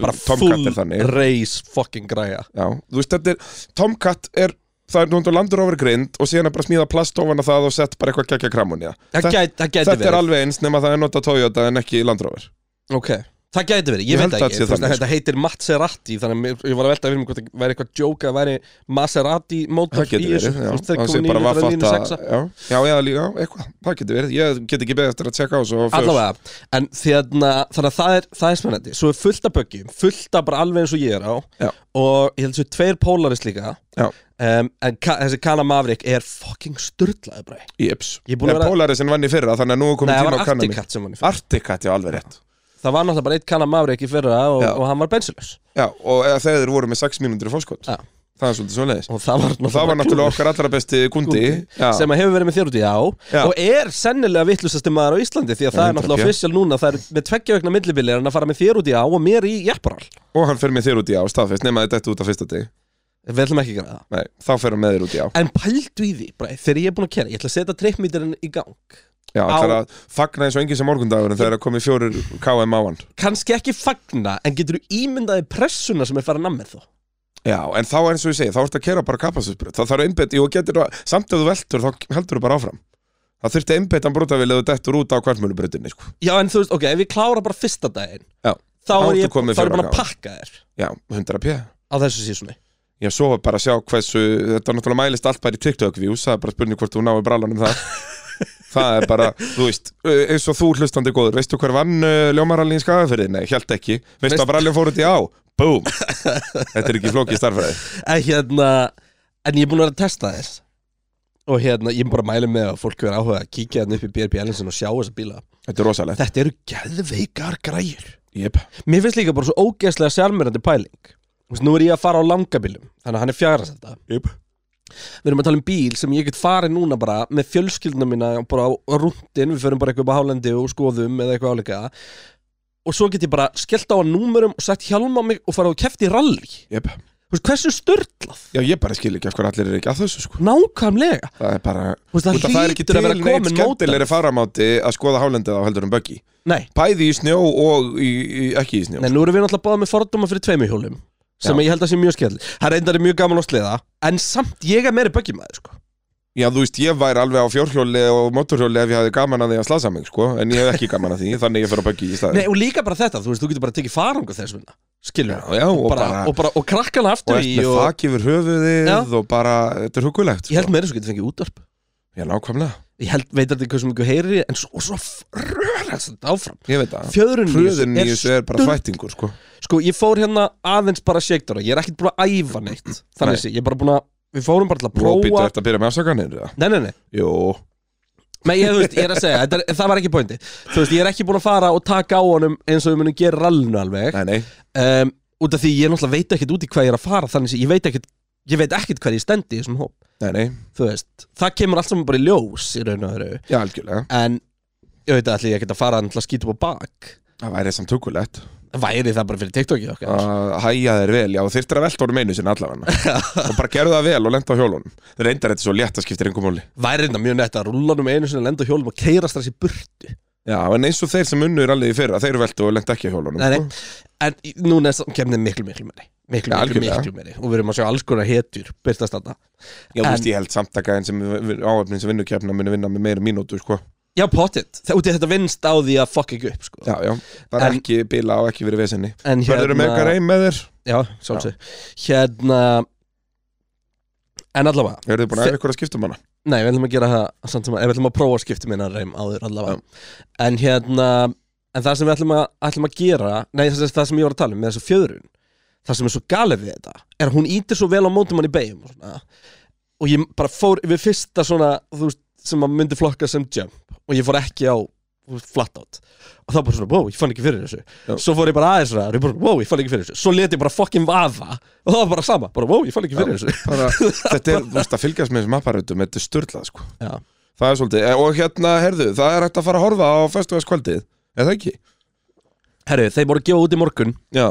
[SPEAKER 1] Bara
[SPEAKER 2] Tomcat er þannig
[SPEAKER 1] full race fucking græja
[SPEAKER 2] Já, þú veist, þetta er Tomcat er, það er náttúrulega Land Rover grind og síðan er bara smíða plast ofan að það og sett bara eitthvað geggja kramun í það
[SPEAKER 1] Það
[SPEAKER 2] Þetta-
[SPEAKER 1] gæti, það gæti
[SPEAKER 2] Þetta er
[SPEAKER 1] verið
[SPEAKER 2] alveg eins nema það er nota Toyota en ekki Land Rover
[SPEAKER 1] Ok, það gæti verið, ég,
[SPEAKER 2] Ég held
[SPEAKER 1] veit
[SPEAKER 2] að
[SPEAKER 1] það
[SPEAKER 2] þetta
[SPEAKER 1] ekki
[SPEAKER 2] sé
[SPEAKER 1] Þú veist,
[SPEAKER 2] þannig, sko.
[SPEAKER 1] Þetta heitir Mazzerati, þannig að mér- ég var að velta fyrir mig hvort það væri eitthvað joke að væri Maserati mótor
[SPEAKER 2] Það
[SPEAKER 1] í
[SPEAKER 2] getur
[SPEAKER 1] þessu Þú veist,
[SPEAKER 2] verið, já
[SPEAKER 1] þeir
[SPEAKER 2] Það sé
[SPEAKER 1] komu
[SPEAKER 2] bara
[SPEAKER 1] 900 línu
[SPEAKER 2] vaffatta-
[SPEAKER 1] sexa.
[SPEAKER 2] Já, já, eða líka, já, eitthvað Það getur verið, ég get ekki beðið eftir að tjekka á þessu og fyrst-
[SPEAKER 1] Allavega, en þérna, þannig að það er, það er spennandi Svo er fullt af böggjum, fullt af bara alveg eins og ég er á
[SPEAKER 2] Já.
[SPEAKER 1] Og ég held svo tveir pólarist líka
[SPEAKER 2] Já.
[SPEAKER 1] um, En ka, þessi Kana Maverick er fucking sturlaði bræ
[SPEAKER 2] Jeps
[SPEAKER 1] Ég er búin að
[SPEAKER 2] En
[SPEAKER 1] vera-
[SPEAKER 2] Polarisin vann í fyrra, þannig að nú er
[SPEAKER 1] Nei,
[SPEAKER 2] komið
[SPEAKER 1] það var
[SPEAKER 2] tíma á kannami
[SPEAKER 1] Articat sem hann í fyrra
[SPEAKER 2] Artikat, já, alveg rétt
[SPEAKER 1] Það var náttúrulega bara eitt Kana Maverick í fyrra og,
[SPEAKER 2] Já.
[SPEAKER 1] og hann var bensinlaus
[SPEAKER 2] Já, og eða þeir voru með 6 mínútur í fórskot
[SPEAKER 1] Já.
[SPEAKER 2] Það er svolítið svoleiðis
[SPEAKER 1] Og það var
[SPEAKER 2] Og það var náttúrulega okkar allra besti kundi
[SPEAKER 1] Gúndi,
[SPEAKER 2] Já,
[SPEAKER 1] sem að hefur verið með þér út í á
[SPEAKER 2] Já.
[SPEAKER 1] og er sennilega vittlusasti maður á Íslandi því að
[SPEAKER 2] Já,
[SPEAKER 1] það er
[SPEAKER 2] 100%.
[SPEAKER 1] náttúrulega official núna það er með tveggja vegna millibilir en að fara með þér út í á og mér í jepparall
[SPEAKER 2] og hann fer með þér út í á staðfest nema þið dættu út á fyrsta dig
[SPEAKER 1] við ætlum ekki að gera það
[SPEAKER 2] Nei, þá fer hann með þér út í á
[SPEAKER 1] En pældu í því, bara, þegar ég er búin að kera Ég ætla að setja trippmítirinn í gang
[SPEAKER 2] Já,
[SPEAKER 1] Á-
[SPEAKER 2] það er að fagna eins og engin sem morgundagur en það er að komið fjórir KM á hann
[SPEAKER 1] Kanski ekki fagna, en getur þú ímyndaði pressuna sem er farin að með þó
[SPEAKER 2] Já, en þá eins og ég segi, þá ertu að kera bara kapasinsbrut þá þarf einbett, jú, getur að, samt ef þú veltur þá heldur þú bara áfram það þurfti einbettan brotavil eða dettur út á hverfmjölubrötinni sko.
[SPEAKER 1] Já, en þú veist, ok, ef ég klára bara fyrsta daginn
[SPEAKER 2] Já.
[SPEAKER 1] Þá
[SPEAKER 2] Þá
[SPEAKER 1] er
[SPEAKER 2] ertu
[SPEAKER 1] ég þá
[SPEAKER 2] komin
[SPEAKER 1] er ég
[SPEAKER 2] fjóra
[SPEAKER 1] búin að
[SPEAKER 2] gáfa.
[SPEAKER 1] pakka þér
[SPEAKER 2] Já, 100 p
[SPEAKER 1] á þessu sísunni
[SPEAKER 2] Já, svo var bara að sjá hversu þetta er náttúrulega mælist allt bara í TikTok views það er bara spurning hvort þú náir brallanum það það er bara, þú veist eins og þú hlustandi góður, veistu hver vann uh, ljómarallin í skagaferði? Nei, hjælt ekki veistu
[SPEAKER 1] Veist-
[SPEAKER 2] að brallin fór út í á? Búm! Þetta er ekki flókið starfræði
[SPEAKER 1] En hérna, en ég er búin að vera að testa þess Og hérna, ég er bara að mæla með að fólk vera áhuga að kíkja hérna upp í BRPL-insin og sjá þessa bíla
[SPEAKER 2] Þetta er rosalegt
[SPEAKER 1] Þetta eru geðveikar græjur
[SPEAKER 2] yep.
[SPEAKER 1] Mér finnst líka bara svo ógeðslega sjálfmyrandi pæling Þú veist, Nú er ég að fara á langabílum Þannig að hann er fjara þetta
[SPEAKER 2] Yep.
[SPEAKER 1] við erum að tala um bíl sem ég get farið núna bara með fjölskyldna mína bara á rúndin, við förum bara eitthvað upp á hálendi og skoðum eða eitthvað áleika og svo get ég bara skellt á að númurum og sett hjálma mig og farið og kefti í rally
[SPEAKER 2] Yep.
[SPEAKER 1] Þú veist, hversu störtlað?
[SPEAKER 2] Já, ég bara skil ekki af hverju allir eru ekki að þessu sko
[SPEAKER 1] Nákvæmlega
[SPEAKER 2] Það er bara
[SPEAKER 1] Þú veist,
[SPEAKER 2] Út af
[SPEAKER 1] það
[SPEAKER 2] það er ekki
[SPEAKER 1] hlýtur
[SPEAKER 2] til
[SPEAKER 1] að vera
[SPEAKER 2] neitt
[SPEAKER 1] komin
[SPEAKER 2] skemmtilegri
[SPEAKER 1] mótar
[SPEAKER 2] faramáti að skoða hálendið á heldur um böggi
[SPEAKER 1] Nei,
[SPEAKER 2] Bæði í snjó og í, í, ekki í snjó
[SPEAKER 1] Nei, nú erum við náttúrulega báða með fordóma fyrir tveimuhjólum sem
[SPEAKER 2] Já.
[SPEAKER 1] ég held að sé mjög skell Það reyndar er mjög gaman að sleða en samt ég er meiri böggimæður sko.
[SPEAKER 2] Já, þú veist, ég væri alveg á fjórhjóli og mótorhjóli ef ég hafði gaman að því að slasa mig, sko En ég hef ekki gaman að því, þannig ég fer á böggi í staði
[SPEAKER 1] Nei, og líka bara þetta, þú veist, þú getur bara tekið farunga þess vegna skilur
[SPEAKER 2] Já, já, og
[SPEAKER 1] og, bara,
[SPEAKER 2] bara-
[SPEAKER 1] og, bara, og krakkana
[SPEAKER 2] Og
[SPEAKER 1] aftur
[SPEAKER 2] ert
[SPEAKER 1] í
[SPEAKER 2] með
[SPEAKER 1] og,
[SPEAKER 2] þak yfir höfuðið
[SPEAKER 1] Já.
[SPEAKER 2] og bara, þetta er hugulegt
[SPEAKER 1] Ég held meira svo getur fengið útvarp
[SPEAKER 2] Já, nákvæmlega,
[SPEAKER 1] Ég held, veit að þetta hversu mikið heyri en svo, og svo röðar þetta áfram
[SPEAKER 2] ég veit það
[SPEAKER 1] Fjöðrun
[SPEAKER 2] Hröðun í þessu er bara
[SPEAKER 1] stund-
[SPEAKER 2] þvættingur, sko
[SPEAKER 1] Sko, ég fór hérna aðeins bara shakedara Ég er ekkert búin að æfa neitt Þannig
[SPEAKER 2] Nei.
[SPEAKER 1] sé, ég er bara búin að Við fórum bara til að
[SPEAKER 2] Próa... Róbítu
[SPEAKER 1] prófa
[SPEAKER 2] eftir að byrja með afsakanir, eða?
[SPEAKER 1] Nei, nei, nei
[SPEAKER 2] Jó,
[SPEAKER 1] Nei, ég, þú veist, ég er að segja, þetta er, það var ekki pointi Þú veist, ég er ekki búin að fara og taka á honum eins og við munum gera rallinu alveg
[SPEAKER 2] nei, nei
[SPEAKER 1] um, Út af því ég náttúrulega veit ekkert út í hvað ég er að fara Þannig að ég veit ekkert, ég veit ekkert hvað ég stendi í þessum hóp
[SPEAKER 2] Nei, nei,
[SPEAKER 1] Þú veist, það kemur allt saman bara í ljós í raun og öðru
[SPEAKER 2] já, algjörlega
[SPEAKER 1] En, ég veit að allir ég ekkert að fara að skýta upp á bak
[SPEAKER 2] Það væri samt hugulegt
[SPEAKER 1] Væri það bara fyrir TikTokið okkar
[SPEAKER 2] að hæja þér vel, já, þyrftir að velta honum einu sinni allavega og bara gerðu það vel og lenda á hjólunum reyndar þetta svo létt að skiptir engum máli
[SPEAKER 1] Væri þetta mjög nett að rúla um einu sinni að lenda á hjólum og keira strax í burtu
[SPEAKER 2] Já, en eins og þeir sem unnur allir í fyrra, þeir veltu og lenda ekki á hjólunum
[SPEAKER 1] Nei,
[SPEAKER 2] sko.
[SPEAKER 1] nei, en í- núna er kemnið miklu, miklu meiri Miklu,
[SPEAKER 2] Ja,
[SPEAKER 1] miklu,
[SPEAKER 2] algjörlega.
[SPEAKER 1] miklu meiri Og við erum að sjá alls konar hetjur byrtast þarna
[SPEAKER 2] Já, þú
[SPEAKER 1] en-
[SPEAKER 2] veist, ég held samt að gæðin sem áöfnin sem vinnukjöfna muni vinna með meira mínútu, sko
[SPEAKER 1] Já, pottit, það úti þetta vinst á því að fuck ekki upp sko.
[SPEAKER 2] Já, já, það
[SPEAKER 1] En-
[SPEAKER 2] er
[SPEAKER 1] Hérna-
[SPEAKER 2] ekki bila og ekki verið vesenni
[SPEAKER 1] En
[SPEAKER 2] Verður um með eitthvað reym með þér?
[SPEAKER 1] Já, sjálfsög Hérna En allavega,
[SPEAKER 2] Eru þið búin að
[SPEAKER 1] Þe-
[SPEAKER 2] hafa ykkur að skipta um hana?
[SPEAKER 1] nei, við ætlum að gera það samt sem að, ef við ætlum að prófa að skipta minna reym áður allavega En hérna, en það sem við ætlum að, ætlum að gera Nei, það, það sem ég var að tala um, með þessu fjöðrun Það sem er svo galið við þetta Er að hún ítir svo vel á mótum hann í beigum og, svona. og ég bara fór yfir fyrsta svona, þú veist, sem að myndi flokka sem jump Og ég fór ekki á þú veist, flat out og það var bara svona, wow, ég fann ekki fyrir þessu
[SPEAKER 2] Já.
[SPEAKER 1] svo fór ég bara aðeins ræðar, ég bara, wow, ég fann ekki fyrir þessu svo let ég bara fucking vaða og það var bara sama, bara, wow, ég fann ekki fyrir þessu
[SPEAKER 2] Bara, þetta er, þú veist, að fylgjast með þessum apparöndum, þetta er störlað, sko
[SPEAKER 1] já,
[SPEAKER 2] Það er svolítið, Eh, og hérna, herðu, það er hægt að fara að horfa á festuðaskvöldið, er það ekki?
[SPEAKER 1] herru, þeir voru að gefa út í morgun
[SPEAKER 2] Já,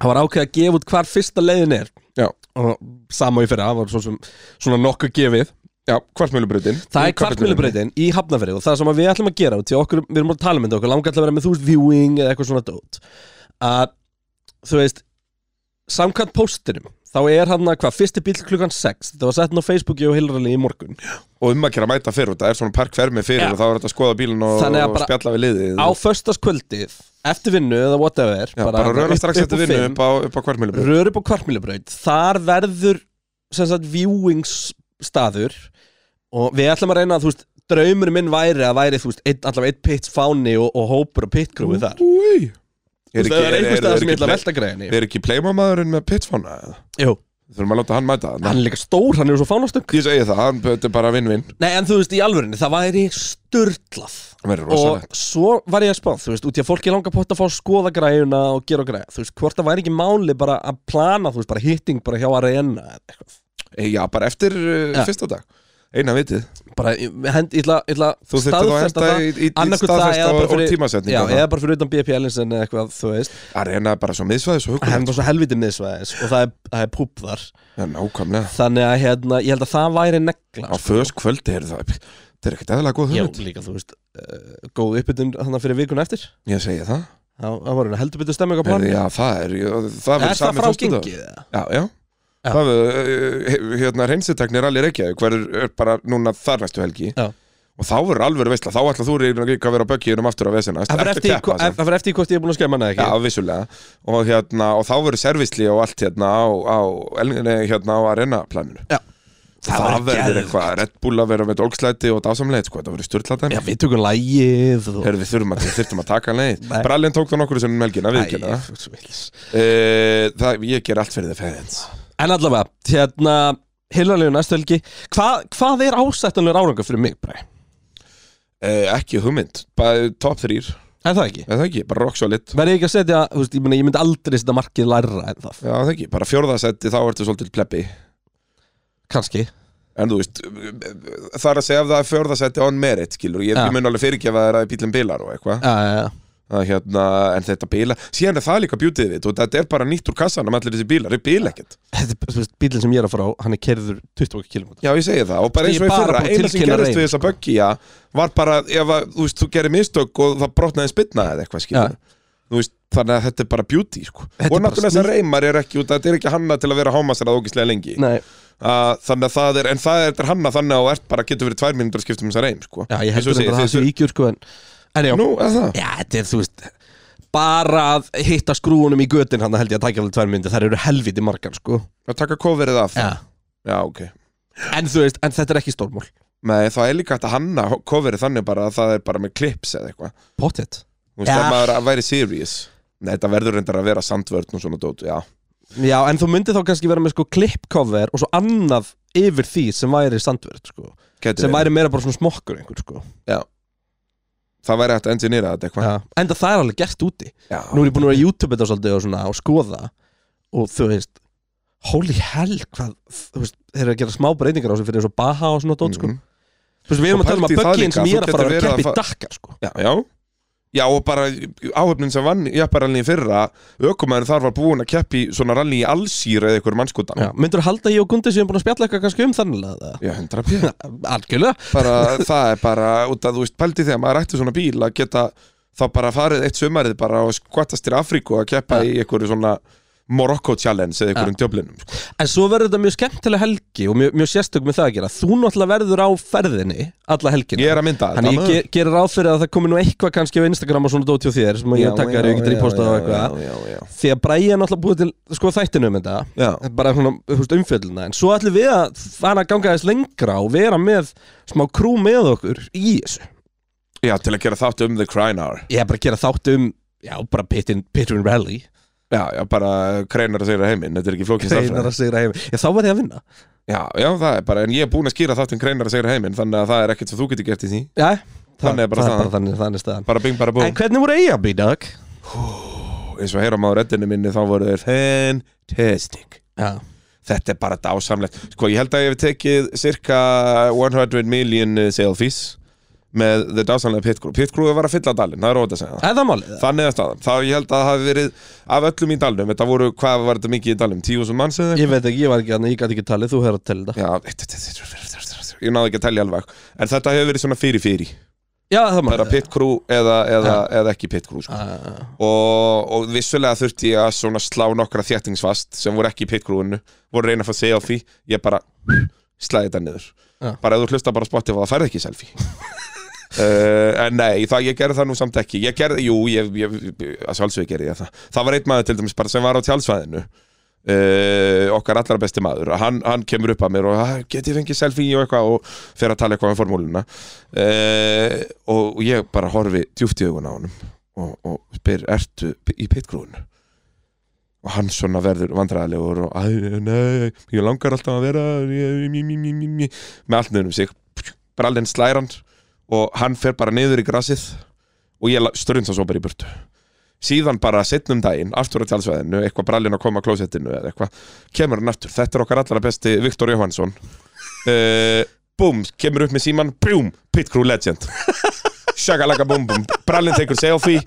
[SPEAKER 1] það var ákveð að gefa út hvar fyrsta leiðin er
[SPEAKER 2] Já.
[SPEAKER 1] og sama og í fyrra, það var svo sem svona nokkuð gefið,
[SPEAKER 2] Já, kvartmjölubrautin
[SPEAKER 1] það er kvartmjölubreytin í Hafnafrið og það sem að við ætlum að gera til okkur, við erum að tala með þetta okkur, langar til að vera með þú veist viewing eða eitthvað svona dót að, þú veist samkvæmt póstinum, þá er hann að hvað, fyrsti bíl klukkan 6, þetta var sett inn á Facebooki og Hilrali í morgun
[SPEAKER 2] Og um að gera mæta fyrir, og það er svona parkvermi fyrir
[SPEAKER 1] Já.
[SPEAKER 2] Og þá er þetta að skoða bílinn og,
[SPEAKER 1] Þannig að
[SPEAKER 2] og
[SPEAKER 1] bara-
[SPEAKER 2] spjalla við liðið
[SPEAKER 1] á föstaskvöldið eftir vinnu eða whatever
[SPEAKER 2] Já, bara röra strax þetta vinnu upp á, upp á kvartmjölubrautin
[SPEAKER 1] rör upp á kvartmýlubraut þar verður sem sagt viewings staður og við ætlum að reyna að þú veist draumur minn væri að væri þú veist einn, allavega einn pits fáni og, og hópur og pitgrúi þar þú
[SPEAKER 2] Úi
[SPEAKER 1] veist það Mm. er einhver staðar sem ég ætla að velta greiðinni
[SPEAKER 2] Er ekki pleymamaðurinn með pitfána eða?
[SPEAKER 1] jú,
[SPEAKER 2] Þurfum að láta hann mæta
[SPEAKER 1] hann
[SPEAKER 2] hann
[SPEAKER 1] er líka stór, hann er svo fánastökk
[SPEAKER 2] Ég segi það, hann þetta er bara vinn-vinn
[SPEAKER 1] nei en þú veist í alvörinni það væri sturglað
[SPEAKER 2] Það verður
[SPEAKER 1] og
[SPEAKER 2] rosalegt
[SPEAKER 1] svo var ég að spá þú veist, út í að fólki langar pott að fá að skoða græjuna og gera og græja, þú veist, hvort það væri ekki máli bara að plana, þú veist, bara hitting bara hjá arena eða eitthvað,
[SPEAKER 2] e, Já, bara eftir uh,
[SPEAKER 1] Já.
[SPEAKER 2] fyrsta dag Eina vitið
[SPEAKER 1] bara, ég hend, ég ætla, ég ætla
[SPEAKER 2] Þú þurftir þá að
[SPEAKER 1] staðfesta
[SPEAKER 2] henda í, í, í
[SPEAKER 1] Annaðhvort það
[SPEAKER 2] staðfesta
[SPEAKER 1] eða bara
[SPEAKER 2] og, og
[SPEAKER 1] fyrir- já,
[SPEAKER 2] tímasetninga
[SPEAKER 1] eða bara fyrir utan BPL en eitthvað, þú veist,
[SPEAKER 2] Arena er bara svo miðsvæðis og
[SPEAKER 1] hann
[SPEAKER 2] hugulegt
[SPEAKER 1] var svo helviti miðsvæðis og það er, það er púp þar,
[SPEAKER 2] Já, nákvæmlega
[SPEAKER 1] þannig að hérna, ég held að það væri negla,
[SPEAKER 2] Á föðs kvöldi er það Það er ekkert eðalega góð
[SPEAKER 1] já,
[SPEAKER 2] hugmynd
[SPEAKER 1] líka, þú veist uh, góð uppbytun þannig fyrir vikun eftir
[SPEAKER 2] Ég segi það
[SPEAKER 1] það það var hérna heldur betur stemming á plan
[SPEAKER 2] Herði, já, það er, já, það
[SPEAKER 1] er
[SPEAKER 2] verður
[SPEAKER 1] það
[SPEAKER 2] sami
[SPEAKER 1] frá
[SPEAKER 2] föstudag.
[SPEAKER 1] gengið? eða?
[SPEAKER 2] Já, já.
[SPEAKER 1] Já.
[SPEAKER 2] Það verður, eh, hérna, hreinsitaknir allir ekki, hver er bara núna þar næstu helgi.
[SPEAKER 1] Já.
[SPEAKER 2] Og þá verður alveg veistla, þá ætla þú reyna líka að vera á böggiðunum aftur á vesenast.
[SPEAKER 1] Það fyrir eftir, eftir,
[SPEAKER 2] sem.
[SPEAKER 1] eftir, eftir, eftir í hvort ég er búin að skemma hana eða
[SPEAKER 2] sko. Já,
[SPEAKER 1] ekki
[SPEAKER 2] vissulega. Og hérna, og þá verður servisli og allt hérna á, á, el- nei, hérna á arenaplaninu.
[SPEAKER 1] Já.
[SPEAKER 2] Það,
[SPEAKER 1] Það verður
[SPEAKER 2] verður
[SPEAKER 1] geðveikt.
[SPEAKER 2] eitthvað, Red Bull að vera með dólkslæti og dásamleit, sko, það verður styrlata.
[SPEAKER 1] Já, við tökum lægið og...
[SPEAKER 2] Herðu, við þurfum að, þurfum að taka leið.
[SPEAKER 1] Nei.
[SPEAKER 2] Brallin tók það nokkur sem melgina, við ekki
[SPEAKER 1] Æ,
[SPEAKER 2] það.
[SPEAKER 1] svo vitlaus.
[SPEAKER 2] Eh, það- Ég ger allt fyrir þið fæðins.
[SPEAKER 1] En allavega, hérna Hilalegu næstu helgi Hva, Hvað er ásættanlegur árangur fyrir mig, Bræ?
[SPEAKER 2] Eh, ekki hugmynd, bara top 3
[SPEAKER 1] Er það ekki?
[SPEAKER 2] eða það ekki, bara rock solid
[SPEAKER 1] Verði ég ekki að setja, þú veist, ég, meni, ég myndi aldrei setja markið lærra en það
[SPEAKER 2] Já, það ekki, bara fjórðasetti þá ertu svolítið plebbi
[SPEAKER 1] Kanski
[SPEAKER 2] En þú veist, það er að segja ef það er fjórðasetti on merit, skilur Ég,
[SPEAKER 1] Já.
[SPEAKER 2] ég mun alveg fyrirgefa þér að bílum bilar og eitthvað
[SPEAKER 1] uh,
[SPEAKER 2] að, hérna, en þetta bila síðan er það líka bjútið við og þetta er bara nýtt úr kassanum allir þessi bílar, þeir bila ekkert
[SPEAKER 1] Þetta, þú veist, bílinn sem ég er að fara á, hann er kerður 20 km
[SPEAKER 2] Já, ég segi það, og bara eins
[SPEAKER 1] Ég
[SPEAKER 2] og í
[SPEAKER 1] bara
[SPEAKER 2] fyrra
[SPEAKER 1] búin að
[SPEAKER 2] eina sem
[SPEAKER 1] tilkynna
[SPEAKER 2] gerist
[SPEAKER 1] reyn.
[SPEAKER 2] við þessa böggja var bara, ef að, þú veist, þú gerir mistök og það brotnaði spilna eða eitthvað skilur þú veist, þannig að þetta er bara beauty sko.
[SPEAKER 1] Þetta er
[SPEAKER 2] og
[SPEAKER 1] bara
[SPEAKER 2] náttúrulega
[SPEAKER 1] snill-
[SPEAKER 2] þessar reymar er ekki út þetta er ekki hanna til að vera hámasrað ógislega lengi
[SPEAKER 1] Nei,
[SPEAKER 2] uh, þannig að það er, en það er, þetta er hanna þannig að þú ert bara, getur verið tvær mínútur að skipta um þessa reym sko.
[SPEAKER 1] já, ég
[SPEAKER 2] Eins og
[SPEAKER 1] heldur
[SPEAKER 2] segir,
[SPEAKER 1] bara að það
[SPEAKER 2] þið-
[SPEAKER 1] sé ígjur sko en, en já,
[SPEAKER 2] Nú, er það?
[SPEAKER 1] já, þetta er, þú veist bara að hitta skrúunum í götin hann held ég að tækja alveg tvær myndi, þær eru helviti margar sko
[SPEAKER 2] Að taka coverið af það? Já, ok
[SPEAKER 1] En þú veist, en þetta er ekki stórmól
[SPEAKER 2] Nei, það er líka hægt að hanna coverið þannig bara að það er bara með klips eða eitthvað
[SPEAKER 1] Pottet
[SPEAKER 2] Þú veist,
[SPEAKER 1] Já.
[SPEAKER 2] ef maður væri serious Nei, þetta verður reyndar að vera sandvörn og svona dót, já
[SPEAKER 1] Já, en þú myndir þá kannski vera með sko klippcover og svo annað yfir því sem væri standverð sko
[SPEAKER 2] Gæti
[SPEAKER 1] sem
[SPEAKER 2] verið.
[SPEAKER 1] væri meira bara svona smokkur einhver sko
[SPEAKER 2] það væri hægt að engineera þetta eitthvað
[SPEAKER 1] ja. Enda það er alveg gert úti
[SPEAKER 2] Já.
[SPEAKER 1] Nú er ég búin að vera að YouTube þetta svolítið og svona og skoða og þú veist holy hell, hvað þú veist, þeir eru að gera smá breytingar á sig fyrir eins og Baha og svona dót sko
[SPEAKER 2] Mhm.
[SPEAKER 1] Þú veist, við erum að
[SPEAKER 2] Og
[SPEAKER 1] tala um
[SPEAKER 2] pældu
[SPEAKER 1] að
[SPEAKER 2] í það
[SPEAKER 1] böggin
[SPEAKER 2] líka,
[SPEAKER 1] sem ég er
[SPEAKER 2] þú
[SPEAKER 1] að
[SPEAKER 2] getur
[SPEAKER 1] fara að
[SPEAKER 2] verið að
[SPEAKER 1] keppi í
[SPEAKER 2] fa-
[SPEAKER 1] Dakar sko
[SPEAKER 2] já, já Já og bara áhöfnin sem vann jafnbaralni í fyrra aukumæður þar var búin að keppi svona ralli í allsýr eða einhverjum mannskotan
[SPEAKER 1] Já, myndur þú halda að ég og Gundi séum búin að spjalla eitthvað kannski um þannig að
[SPEAKER 2] já 100 pjö
[SPEAKER 1] það Algjörlega
[SPEAKER 2] bara, það er bara út að þú veist pældi þegar maður ætti svona bíl að geta þá bara farið eitt sömarið bara og skvattast til Afríku að keppa í einhverju svona Morocco Challenge eða einhverjum djöflinum sko.
[SPEAKER 1] En svo verður þetta mjög skemmtilega helgi og mjög, mjög sérstök með það að gera Þú náttúrulega verður á ferðinni alla helgina
[SPEAKER 2] ég er að mynda þetta,
[SPEAKER 1] Þannig ég
[SPEAKER 2] maður.
[SPEAKER 1] ge- gerir ráð fyrir að það komi nú eitthvað kannski á Instagram og svona dóti á þér sem ég
[SPEAKER 2] Já,
[SPEAKER 1] taka þér
[SPEAKER 2] já,
[SPEAKER 1] og ég getur
[SPEAKER 2] já,
[SPEAKER 1] ípostað og
[SPEAKER 2] já,
[SPEAKER 1] eitthvað
[SPEAKER 2] já, já, já.
[SPEAKER 1] Því að Bræja er náttúrulega búið til sko, þættinu um þetta
[SPEAKER 2] Já.
[SPEAKER 1] bara svona þú veist, umfjölluna en svo ætlum við að fara að ganga þess lengra og vera með smá krú með okkur í þessu
[SPEAKER 2] já, til að gera þátt um The Crying Hour
[SPEAKER 1] Ég er bara að gera þátt um já, bara Pitin, Pitin Rally
[SPEAKER 2] Já, já, bara kreinar að segja heiminn, þetta er ekki flókið stærðfræði.
[SPEAKER 1] Einar að segja heim Já, þá var ég að vinna
[SPEAKER 2] Já, já, það er bara, en ég er búin að skýra þáttum kreinar að segra heiminn, þannig að það er ekkert sem þú getur gert í því.
[SPEAKER 1] Já,
[SPEAKER 2] Þannig er bara
[SPEAKER 1] það
[SPEAKER 2] staðan.
[SPEAKER 1] bara þannig, þannig staðan
[SPEAKER 2] Bara bing, bara bú.
[SPEAKER 1] En hvernig voru eiga býð, Dag?
[SPEAKER 2] Eins og heyra maður reddinu minni, þá voru þeir fantastic.
[SPEAKER 1] Já,
[SPEAKER 2] Þetta er bara dásamlegt. Sko, ég held að ég hef tekið cirka 100 million selfies með the dásamlega pit crew. Pit crew var að fylla dalinn, það er óta að segja það.
[SPEAKER 1] eða málið það?
[SPEAKER 2] Þannig að staðan. Þá ég held að það hafi verið af öllum í dalnum, þetta voru, hvað var þetta mikið í dalnum? 10.000 manns eða eitthvað?
[SPEAKER 1] Ég veit ekki, ég var ekki hann, ég gæti ekki talið, þú hefur að telja þetta
[SPEAKER 2] Já, ég náði ekki að telja alveg En þetta hefur verið svona fyrir fyrir
[SPEAKER 1] Já, það
[SPEAKER 2] bara
[SPEAKER 1] málið
[SPEAKER 2] pit crew eða, eða, eða ekki pit crew sko.
[SPEAKER 1] Ah,
[SPEAKER 2] og, og vissulega þurfti ég að svona slá nokkra þjættingsfast sem voru ekki í pit crewinu voru að reyna að fá selfie ég bara slæði þetta niður
[SPEAKER 1] Já.
[SPEAKER 2] bara ef þú hlusta bara á Spotify það færði ekki selfie uh, en nei, það, ég gerði það nú samt ekki ég gerði, jú, ég, ég, að sjálfsög gerði ég það það var einn maður til dæmis bara sem var á tjálsvæðinu uh, okkar allra besti maður hann, hann kemur upp að mér og "Ah, get ég fengið selfie og eitthvað og fer að tala eitthvað um formúluna uh, og ég bara horfi djúpt í augun á honum og, og spyr, ertu í pitgrúinu? og hann svona verður vandræðilegur og "Æ, nei, ég langar alltaf að vera ég- mí, mí, mí, mí, mí," með allt nefnum sig bara alveg slæra hann og hann fer bara niður í grasið og ég störðum það svo bara í burtu síðan bara setnum daginn aftur á tjálsvæðinu, eitthvað brallin að koma á klósettinu eða eitthvað, kemur hann aftur þetta er okkar allra besti Viktor Jóhansson uh, búm, kemur upp með síman búm, pit crew legend shakalaka búm búm, brallin tekur selfie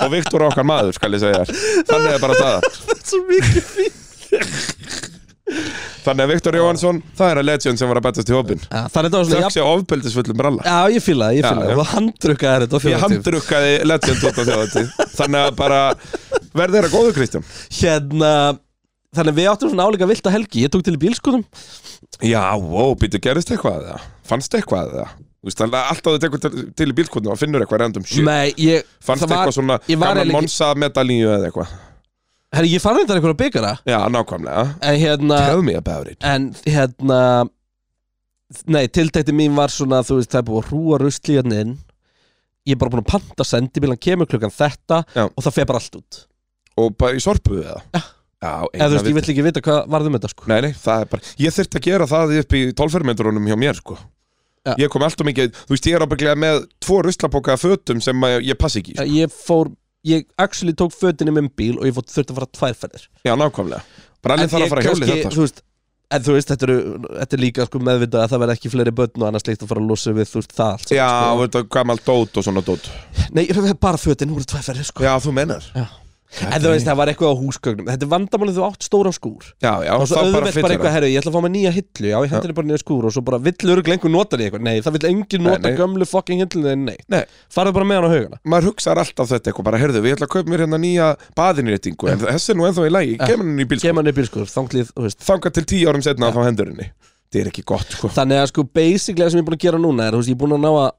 [SPEAKER 2] og Viktor er okkar maður skal ég segja þér, þannig er bara staðan
[SPEAKER 1] Það er svo mikið fín
[SPEAKER 2] þannig að Viktor Jóhansson, það er að legend sem var að betast í hópin
[SPEAKER 1] Það er þetta var svona,
[SPEAKER 2] þökk sé ofbeldisfullum bralla
[SPEAKER 1] Já, ég fíla það, ég
[SPEAKER 2] Já,
[SPEAKER 1] fíla
[SPEAKER 2] já.
[SPEAKER 1] það. Og handdrukkaði þetta á
[SPEAKER 2] ég
[SPEAKER 1] fjóðatíf.
[SPEAKER 2] handrukkaði legend út á þjóðatíð þannig að bara, verður þeirra góðu Kristján
[SPEAKER 1] Hérna, þannig að við áttum svona álíka vilt að helgi. Ég tók til í bílskotum.
[SPEAKER 2] Já, ó, býttu, gerist eitthvað eða? Fannst eitthvað eða? Þú veist, þannig að alltaf þú tekur til, til í bílkotinu og finnur eitthvað random shit
[SPEAKER 1] Nei, ég...
[SPEAKER 2] Fannst
[SPEAKER 1] það var-
[SPEAKER 2] eitthvað svona
[SPEAKER 1] ég var
[SPEAKER 2] gamla
[SPEAKER 1] eiginlega ekki-
[SPEAKER 2] Monsa medalíu eða eitthvað
[SPEAKER 1] Herri, ég fann þetta einhverja byggara.
[SPEAKER 2] Já, nákvæmlega
[SPEAKER 1] En hérna...
[SPEAKER 2] Tell me about it
[SPEAKER 1] En hérna... Nei, tiltækti mín var svona, þú veist, það er búið að rúa rusli hérna inn. Ég er bara búin að panta sendibílan, kemur klukkan þetta
[SPEAKER 2] Já.
[SPEAKER 1] og það fer bara allt út.
[SPEAKER 2] Og bara í sorpu eða? Já,
[SPEAKER 1] Eða
[SPEAKER 2] eina
[SPEAKER 1] þú veist, ég
[SPEAKER 2] viti.
[SPEAKER 1] vill ekki vita hvað varðum þetta, sko.
[SPEAKER 2] Nei, nei, það er bara Ég þyrfti að gera það upp í tólfermyndurunum hjá mér, sko
[SPEAKER 1] Já.
[SPEAKER 2] Ég kom alltaf mikið, þú veist, ég er ábygglega með tvo ruslapóka af fötum sem að ég passi ekki í, sko.
[SPEAKER 1] Ég fór... Ég actually tók fötin í minn bíl og ég fór þurfti að fara tværferðir.
[SPEAKER 2] Já, nákvæmlega Bara alveg þarf að fara að hjóli þetta sko.
[SPEAKER 1] þú veist, en þú veist, þetta, eru, þetta er líka sko, meðvitað að það verði ekki fleiri börn og annars líkt að fara að losa við þú veist það allt saman,
[SPEAKER 2] Já, þetta er gammal dót og svona dót
[SPEAKER 1] sko. Nei, bara fötin úr tværferði sko.
[SPEAKER 2] Já, þú menar
[SPEAKER 1] Já. En þú veist, það var eitthvað á húsgögnum Þetta er vandamálið þú átt stóran skúr
[SPEAKER 2] Já, já,
[SPEAKER 1] og svo
[SPEAKER 2] bara
[SPEAKER 1] auðvelt bara
[SPEAKER 2] fyllera.
[SPEAKER 1] eitthvað, herru, ég ætla að fá mig nýja hillu Já, ég hendur bara nýja skúr og svo bara vill örgulega einhver nota því eitthvað Nei, það vill engin
[SPEAKER 2] Nei,
[SPEAKER 1] nota
[SPEAKER 2] nei.
[SPEAKER 1] gömlu fucking hillu þinni, nei
[SPEAKER 2] Nei,
[SPEAKER 1] Farðu bara með hann á haugana
[SPEAKER 2] maður hugsar alltaf þetta eitthvað bara, heyrðu, við ætla að kaupa mér hérna nýja baðinréttingu en þessi er nú ennþá í lagi,
[SPEAKER 1] Já.
[SPEAKER 2] kemur henni í bílskúr
[SPEAKER 1] Kem hann upp í sko, þanglið, þú veist
[SPEAKER 2] Þangað til tíu árum setna þá hendur henni Það er ekki gott, sko
[SPEAKER 1] Þannig að sko, basically það sem ég er búin að gera núna er, þú veist, ég er búin að ná að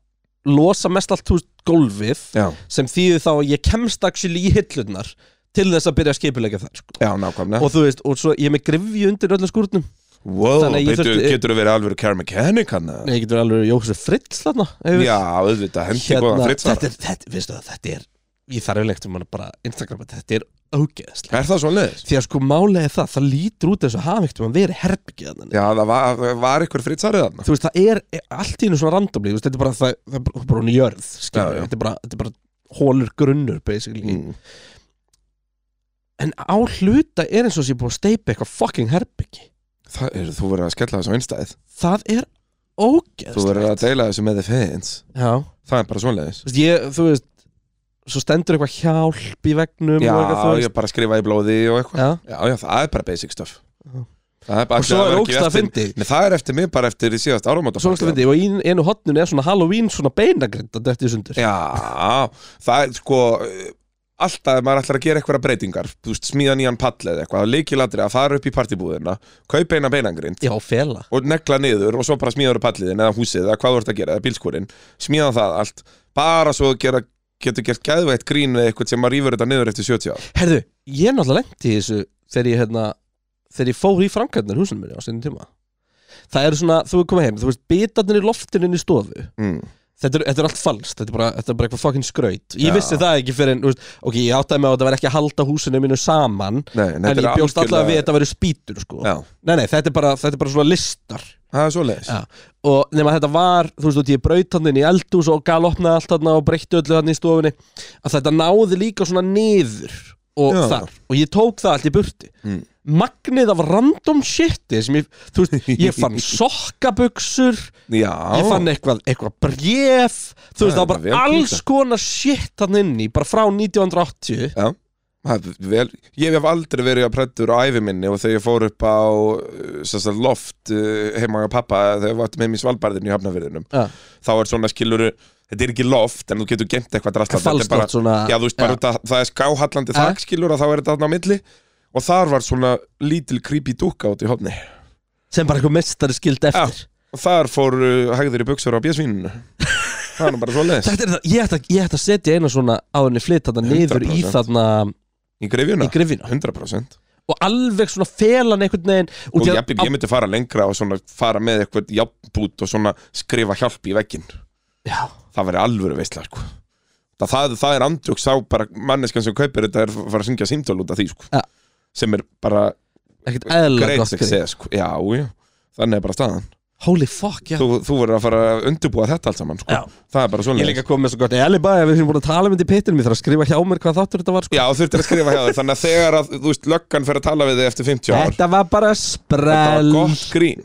[SPEAKER 1] losa mest allt, þú veist, gólfið
[SPEAKER 2] Já,
[SPEAKER 1] sem þýðir þá að ég kemst actually í hillunar til þess að byrja að skipulega það sko.
[SPEAKER 2] já, nákvæmlega
[SPEAKER 1] og þú veist, og svo ég er með grifju undir öllum skúrnum
[SPEAKER 2] Wow,
[SPEAKER 1] Þannig að ég
[SPEAKER 2] byrju,
[SPEAKER 1] þurfti-
[SPEAKER 2] getur þú verið alveg care mechanic hann eða?
[SPEAKER 1] Nei, ég getur alveg Jóhusur Fritz þarna ef við-
[SPEAKER 2] Já, auðvitað, hendi hérna, góðan frittsar
[SPEAKER 1] þetta, er, þetta, veistu það, þetta er ég þarf eilegt um hana bara Instagram þetta er ógeðslega
[SPEAKER 2] Er það svo leiðis?
[SPEAKER 1] því að sko málega er það, það lítur út þess að hafa ekkert um að vera herbyggið þannig
[SPEAKER 2] Já, það var, var ykkur frittsarið þarna
[SPEAKER 1] þú veist, það er allt í einu svona randomli þetta er bara, það, það er bara- bara hún í jörð skilur,
[SPEAKER 2] Já, já.
[SPEAKER 1] Þetta, er bara, þetta er bara hólur grunnur basically
[SPEAKER 2] Mm.
[SPEAKER 1] en á hluta er eins og sé búið að steipa eitthvað fucking herbyggi
[SPEAKER 2] Það er, þú verður að skella þessu á einstæð
[SPEAKER 1] það er
[SPEAKER 2] Þú verður
[SPEAKER 1] ógeðslega
[SPEAKER 2] að deila þessu með þið fans
[SPEAKER 1] Já,
[SPEAKER 2] Það er bara svoleiðis
[SPEAKER 1] þú veist, ég, þú veist svo stendur eitthvað hjálp í vegnum
[SPEAKER 2] Já,
[SPEAKER 1] og eitthvað, þú veist
[SPEAKER 2] ég bara skrifa í blóði og eitthvað
[SPEAKER 1] Já,
[SPEAKER 2] já, já, það er bara basic stuff
[SPEAKER 1] Já.
[SPEAKER 2] Það er bara
[SPEAKER 1] og svo
[SPEAKER 2] það
[SPEAKER 1] er
[SPEAKER 2] var ekki
[SPEAKER 1] ógst að
[SPEAKER 2] eftir-
[SPEAKER 1] fyndi
[SPEAKER 2] Nei, það er eftir mig bara eftir í síðast áramóta
[SPEAKER 1] Svo ógst að fyndi, og í einu hotnun er svona Halloween svona beinagrinda dætti sundur
[SPEAKER 2] Já, það er sko eh, Alltaf ef maður ætlar að gera eitthvað breytingar Þú veist, smíða nýjan pall eða eitthvað Líkilatri að fara upp í partibúðina Kaupa eina beinangrind
[SPEAKER 1] Já, fela
[SPEAKER 2] og negla niður og svo bara smíðaður palliðin eða húsið eða hvað þú ert að gera, eða bílskúrin smíða það allt, bara svo gera, getur gert gæðvægt grín við eitthvað sem að rýfur þetta niður eftir 70 ár
[SPEAKER 1] Herðu, ég náttúrulega lendi í þessu þegar ég, hérna, þegar ég fór í framkvæmdnar húsinu minni á sinni tíma Það eru svona, þú er komið heim, þú veist, bitarnir í loftinu inn í stofu
[SPEAKER 2] mm.
[SPEAKER 1] Þetta er, þetta er allt falskt, þetta er bara, þetta er bara eitthvað fucking skraut Ég
[SPEAKER 2] Já.
[SPEAKER 1] vissi það ekki fyrir en, veist, ok, ég áttaði mig á að þetta var ekki að halda húsinu mínu saman
[SPEAKER 2] Nei, en
[SPEAKER 1] En
[SPEAKER 2] þetta
[SPEAKER 1] ég
[SPEAKER 2] er
[SPEAKER 1] bjóst allavega við að þetta verið spýtur, sko
[SPEAKER 2] Já,
[SPEAKER 1] Nei, nei, þetta er bara, þetta er bara svona listar
[SPEAKER 2] það er svo leiðis
[SPEAKER 1] Já. og nema þetta var, þú veist, og ég braut hann inn í eldhús og galopnaði allt hann og breytti öllu hann í stofunni að þetta náði líka svona niður og
[SPEAKER 2] Já.
[SPEAKER 1] þar, og ég tók það allt í burti
[SPEAKER 2] Mm.
[SPEAKER 1] magnið af random shiti sem ég, þú veist, ég fann sokkabuxur,
[SPEAKER 2] Já,
[SPEAKER 1] ég fann e- eitthvað, eitthvað bref, þú
[SPEAKER 2] Það
[SPEAKER 1] veist, það
[SPEAKER 2] er
[SPEAKER 1] var
[SPEAKER 2] vel
[SPEAKER 1] bara alls
[SPEAKER 2] píntað.
[SPEAKER 1] konar shit hann inn í, bara frá 1980
[SPEAKER 2] Það er Vel, ég hef aldrei verið að prættur á ævi minni og þegar ég fór upp á uh, sem sagt, loft uh, heima á pappa þegar við vartum heim í Svalbardinu í Hafnafyrðinum
[SPEAKER 1] Já.
[SPEAKER 2] þá er svona skiluru, þetta er ekki loft en þú getur gemt eitthvað drastlega
[SPEAKER 1] falskt oft svona
[SPEAKER 2] Já, þú veist, bara út að það er skáhallandi
[SPEAKER 1] Ja.
[SPEAKER 2] þakskilur og þá er þetta þarna á milli og þar var svona lítil creepy dúkka út í hotni
[SPEAKER 1] sem bara eitthvað mestari skildi
[SPEAKER 2] Já.
[SPEAKER 1] eftir
[SPEAKER 2] og þar fór uh, hægður í buksur á bjössvíninu Það er nú bara svo leis
[SPEAKER 1] Þetta er það, ég ætti að, ég ætti að setja eina svona á henni flytt þarna niður í
[SPEAKER 2] 100%.
[SPEAKER 1] þarna
[SPEAKER 2] Í greifjuna,
[SPEAKER 1] í grifina
[SPEAKER 2] 100%
[SPEAKER 1] og alveg svona felan einhvern veginn
[SPEAKER 2] Og
[SPEAKER 1] út í að-
[SPEAKER 2] jafnir, ég myndi fara lengra og svona fara með eitthvað jafnbút og svona skrifa hjálp í vegginn
[SPEAKER 1] Já,
[SPEAKER 2] Það væri alvöru veistla, sko Það, það, það er andjóks á bara manneskan sem kaupir þetta er að fara að syngja símtól út af því, sko
[SPEAKER 1] Ja.
[SPEAKER 2] Sem er bara
[SPEAKER 1] ekkert eðla
[SPEAKER 2] great
[SPEAKER 1] gott skrif
[SPEAKER 2] success, sko Já, já, þannig er bara staðan
[SPEAKER 1] Holy fuck, já
[SPEAKER 2] þú, þú verður að fara að undirbúa þetta allt saman sko.
[SPEAKER 1] Já.
[SPEAKER 2] það er bara
[SPEAKER 1] Ég er
[SPEAKER 2] svona
[SPEAKER 1] líka komið með svo gott Eliba, ef við sem búin að tala mynd í pittinu Mér þarf að skrifa hjá mér hvað þáttur þetta var sko.
[SPEAKER 2] Já, þú þurftir að skrifa hjá þér þannig að þegar að, þú veist, löggan fer að tala við þig eftir 50 ár
[SPEAKER 1] Þetta var bara
[SPEAKER 2] þetta var
[SPEAKER 1] sprell
[SPEAKER 2] gott grín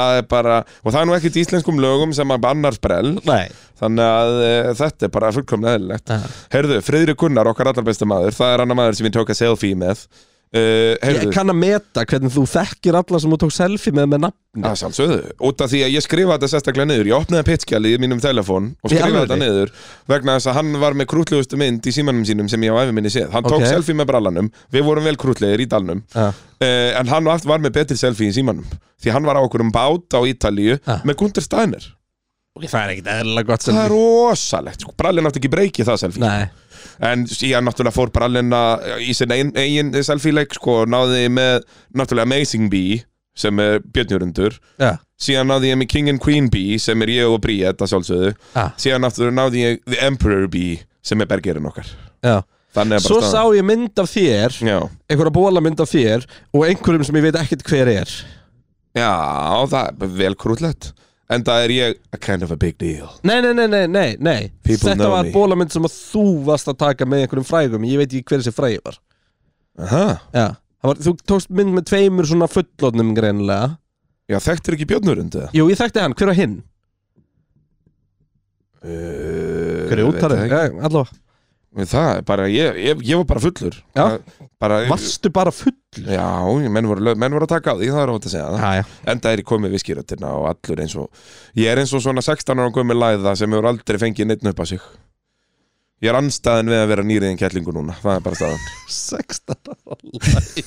[SPEAKER 2] það er bara, og það er nú ekkert í íslenskum lögum sem að annar sprell
[SPEAKER 1] Nei
[SPEAKER 2] þannig að e, þetta er bara fullkomlega eðlilegt
[SPEAKER 1] Já.
[SPEAKER 2] Herðu, Friðri Gunnar, okkar allar besta maður það er annar maður sem ég tók að selfie með uh,
[SPEAKER 1] Ég
[SPEAKER 2] Herðu,
[SPEAKER 1] kann að meta hvernig þú þekkir alla sem þú tók selfie með með nafni
[SPEAKER 2] Það sjálfsögðu, út af því að ég skrifaði þetta sérstaklega niður Ég opnaði pitskjalið í mínum telefón og
[SPEAKER 1] Í
[SPEAKER 2] skrifaði
[SPEAKER 1] alvöru?
[SPEAKER 2] þetta niður vegna þess að hann var með krútlegustu mynd í símanum sínum sem ég á æfi minni séð Hann tók
[SPEAKER 1] Ok.
[SPEAKER 2] selfie með brallanum, við vorum vel krútlegir í dalnum uh,
[SPEAKER 1] Já.
[SPEAKER 2] En hann var- var með betri selfie í símanum Því hann var á okkur um bát á Ítalíu
[SPEAKER 1] Ah.
[SPEAKER 2] með Gunther Steiner
[SPEAKER 1] Ok, Það er ekkert eðla gott
[SPEAKER 2] Það
[SPEAKER 1] selfie
[SPEAKER 2] er rosalegt, sko, brallin átti ekki breykið það selfie
[SPEAKER 1] Nei
[SPEAKER 2] En síðan náttúrulega fór brallin að- í sinn eigin, eigin selfie-leik sko, og Náði með náttúrulega Amazing Bee sem er björnjörundur
[SPEAKER 1] Já
[SPEAKER 2] síðan náði ég með King and Queen Bee sem er ég og Bríett að sjálfsögðu
[SPEAKER 1] Ah.
[SPEAKER 2] síðan aftur náði ég The Emperor Bee sem er bergerinn okkar
[SPEAKER 1] Já.
[SPEAKER 2] þannig er
[SPEAKER 1] Svo
[SPEAKER 2] bara
[SPEAKER 1] sá
[SPEAKER 2] staðan.
[SPEAKER 1] ég mynd af þér
[SPEAKER 2] Já.
[SPEAKER 1] einhverja bólamynd af þér og einhverjum sem ég veit ekkert hver er
[SPEAKER 2] Já, það er vel krúllett en það er ég a kind of a big deal
[SPEAKER 1] Nei, nei, nei, nei, nei, nei.
[SPEAKER 2] People
[SPEAKER 1] Þetta
[SPEAKER 2] know
[SPEAKER 1] var
[SPEAKER 2] me.
[SPEAKER 1] bólamynd sem að þú varst að taka með einhverjum frægum ég veit ekki hver þessi frægi var
[SPEAKER 2] Aha.
[SPEAKER 1] Já, Það var, þú tókst mynd með tveimur svona fullotnum greinilega
[SPEAKER 2] Já, þekktir ekki Björnurund eða?
[SPEAKER 1] Jú, ég þekkti hann, hver var hinn?
[SPEAKER 2] Uh,
[SPEAKER 1] Hver er útarið?
[SPEAKER 2] Það,
[SPEAKER 1] Já, allavega
[SPEAKER 2] ekki. það er bara, ég, ég, ég var bara fullur
[SPEAKER 1] Já.
[SPEAKER 2] Það- bara,
[SPEAKER 1] Varstu bara full?
[SPEAKER 2] Já, menn voru, lög- menn voru að taka á því, það er ótt að segja það
[SPEAKER 1] Já, já
[SPEAKER 2] Enda er ég komið viskiröttina og allur eins og Ég er eins og svona 16 ára komið læða sem hefur aldrei fengið neitt upp á sig Ég er anstæðin við að vera nýriðin kettlingu núna, það er bara staðan
[SPEAKER 1] 16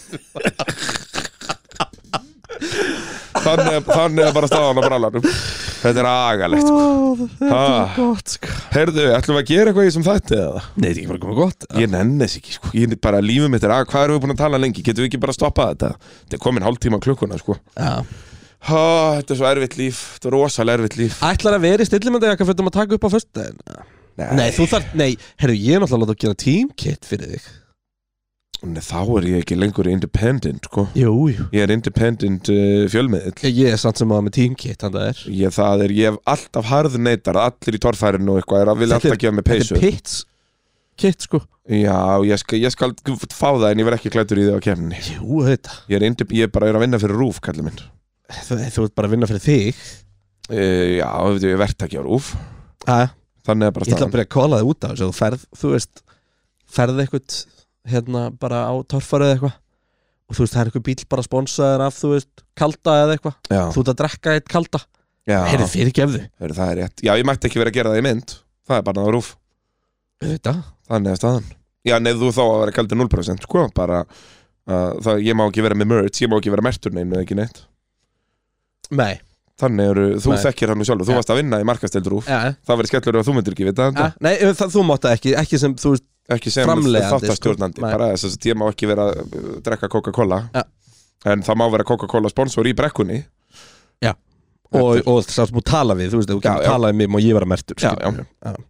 [SPEAKER 2] Þannig er, þannig er bara staðan á brallanum Þetta er agalegt
[SPEAKER 1] Þetta
[SPEAKER 2] Ah.
[SPEAKER 1] gott sko
[SPEAKER 2] Herðu, ætlum við að gera eitthvað í sem þetta eða?
[SPEAKER 1] Nei, þetta er ekki bara komið gott
[SPEAKER 2] Ég nenni þess ekki, sko. Ég bara lífið mitt er að hvað erum við búin að tala lengi? Getum við ekki bara að stoppa þetta? Þetta er komin hálftíma á klukkuna, sko.
[SPEAKER 1] Já.
[SPEAKER 2] Há, þetta er svo erfitt líf. Þetta er rosalega erfitt líf.
[SPEAKER 1] Ætlar að vera í stillimendajaka fyrir að taka upp á föstudaginn?
[SPEAKER 2] Nei,
[SPEAKER 1] Nei, þú þarf, nei, herru, ég er náttúrulega að láta að gera teamkit fyrir þig
[SPEAKER 2] Nei, þá er ég ekki lengur independent, sko.
[SPEAKER 1] Jú, jú
[SPEAKER 2] Ég er independent uh, fjölmiðill.
[SPEAKER 1] Ég er samt sem að með teamkit, hann það er
[SPEAKER 2] Ég, það er, ég hef alltaf harðneitar, allir í torfærinu og eitthvað, er að vilja
[SPEAKER 1] Þetta er-
[SPEAKER 2] alltaf gefa mig
[SPEAKER 1] Þetta
[SPEAKER 2] peysu.
[SPEAKER 1] er pits kit, sko
[SPEAKER 2] Já, ég skal, ég skal fá það en ég verð ekki klættur í þau á kemni.
[SPEAKER 1] Jú, þetta
[SPEAKER 2] Ég er, indep- ég bara er að vinna fyrir rúf, kallið minn.
[SPEAKER 1] Þú, þú ert bara að vinna fyrir þig
[SPEAKER 2] Uh, já, veitum, ég verð ekki á rúf.
[SPEAKER 1] Æ,
[SPEAKER 2] Þannig er bara
[SPEAKER 1] Ég ætla að
[SPEAKER 2] staðan.
[SPEAKER 1] byrja að kóla þig út af þessu Þú ferð, þú veist, ferð eitthvað hérna bara á torfarið eitthvað og þú veist, það er eitthvað bíl bara sponsaður af, þú veist, kalda eða eitthvað
[SPEAKER 2] Já,
[SPEAKER 1] þú ert að drekka eitt kalda
[SPEAKER 2] já.
[SPEAKER 1] Heyrðu, fyrirgefðu
[SPEAKER 2] Hörru, það er rétt. Já, ég mætti ekki vera að gera það í mynd. Það er bara náður rúf.
[SPEAKER 1] Þetta?
[SPEAKER 2] Þannig er staðan. Já, neðu þú þá að vera kaldur 0%, sko, bara... Uh, það, ég má ekki vera með merch, ég má ekki vera mertur neinu eða ekki neitt
[SPEAKER 1] Nei,
[SPEAKER 2] Þannig eru, þú
[SPEAKER 1] Nei.
[SPEAKER 2] þekkir hann nú sjálfur, þú
[SPEAKER 1] Ja.
[SPEAKER 2] varst að vinna í markasteld rúf
[SPEAKER 1] ja,
[SPEAKER 2] Það verið skellur að þú myndir ekki vita
[SPEAKER 1] ja,
[SPEAKER 2] þetta
[SPEAKER 1] nei það, þú mátt það ekki, ekki sem, þú veist
[SPEAKER 2] Ekki sem
[SPEAKER 1] Framleiðandi,
[SPEAKER 2] þáttastjórnandi,
[SPEAKER 1] sko. Nei.
[SPEAKER 2] bara þess að ég má ekki vera að uh, drekka Coca-Cola
[SPEAKER 1] Ja.
[SPEAKER 2] En það má vera Coca-Cola sponsor í brekkunni
[SPEAKER 1] og,
[SPEAKER 2] Þetta
[SPEAKER 1] og sátt múið tala við, þú veist, ef þú kemur
[SPEAKER 2] já.
[SPEAKER 1] að tala við mig og ég vera mertur
[SPEAKER 2] Já,
[SPEAKER 1] skilurðu.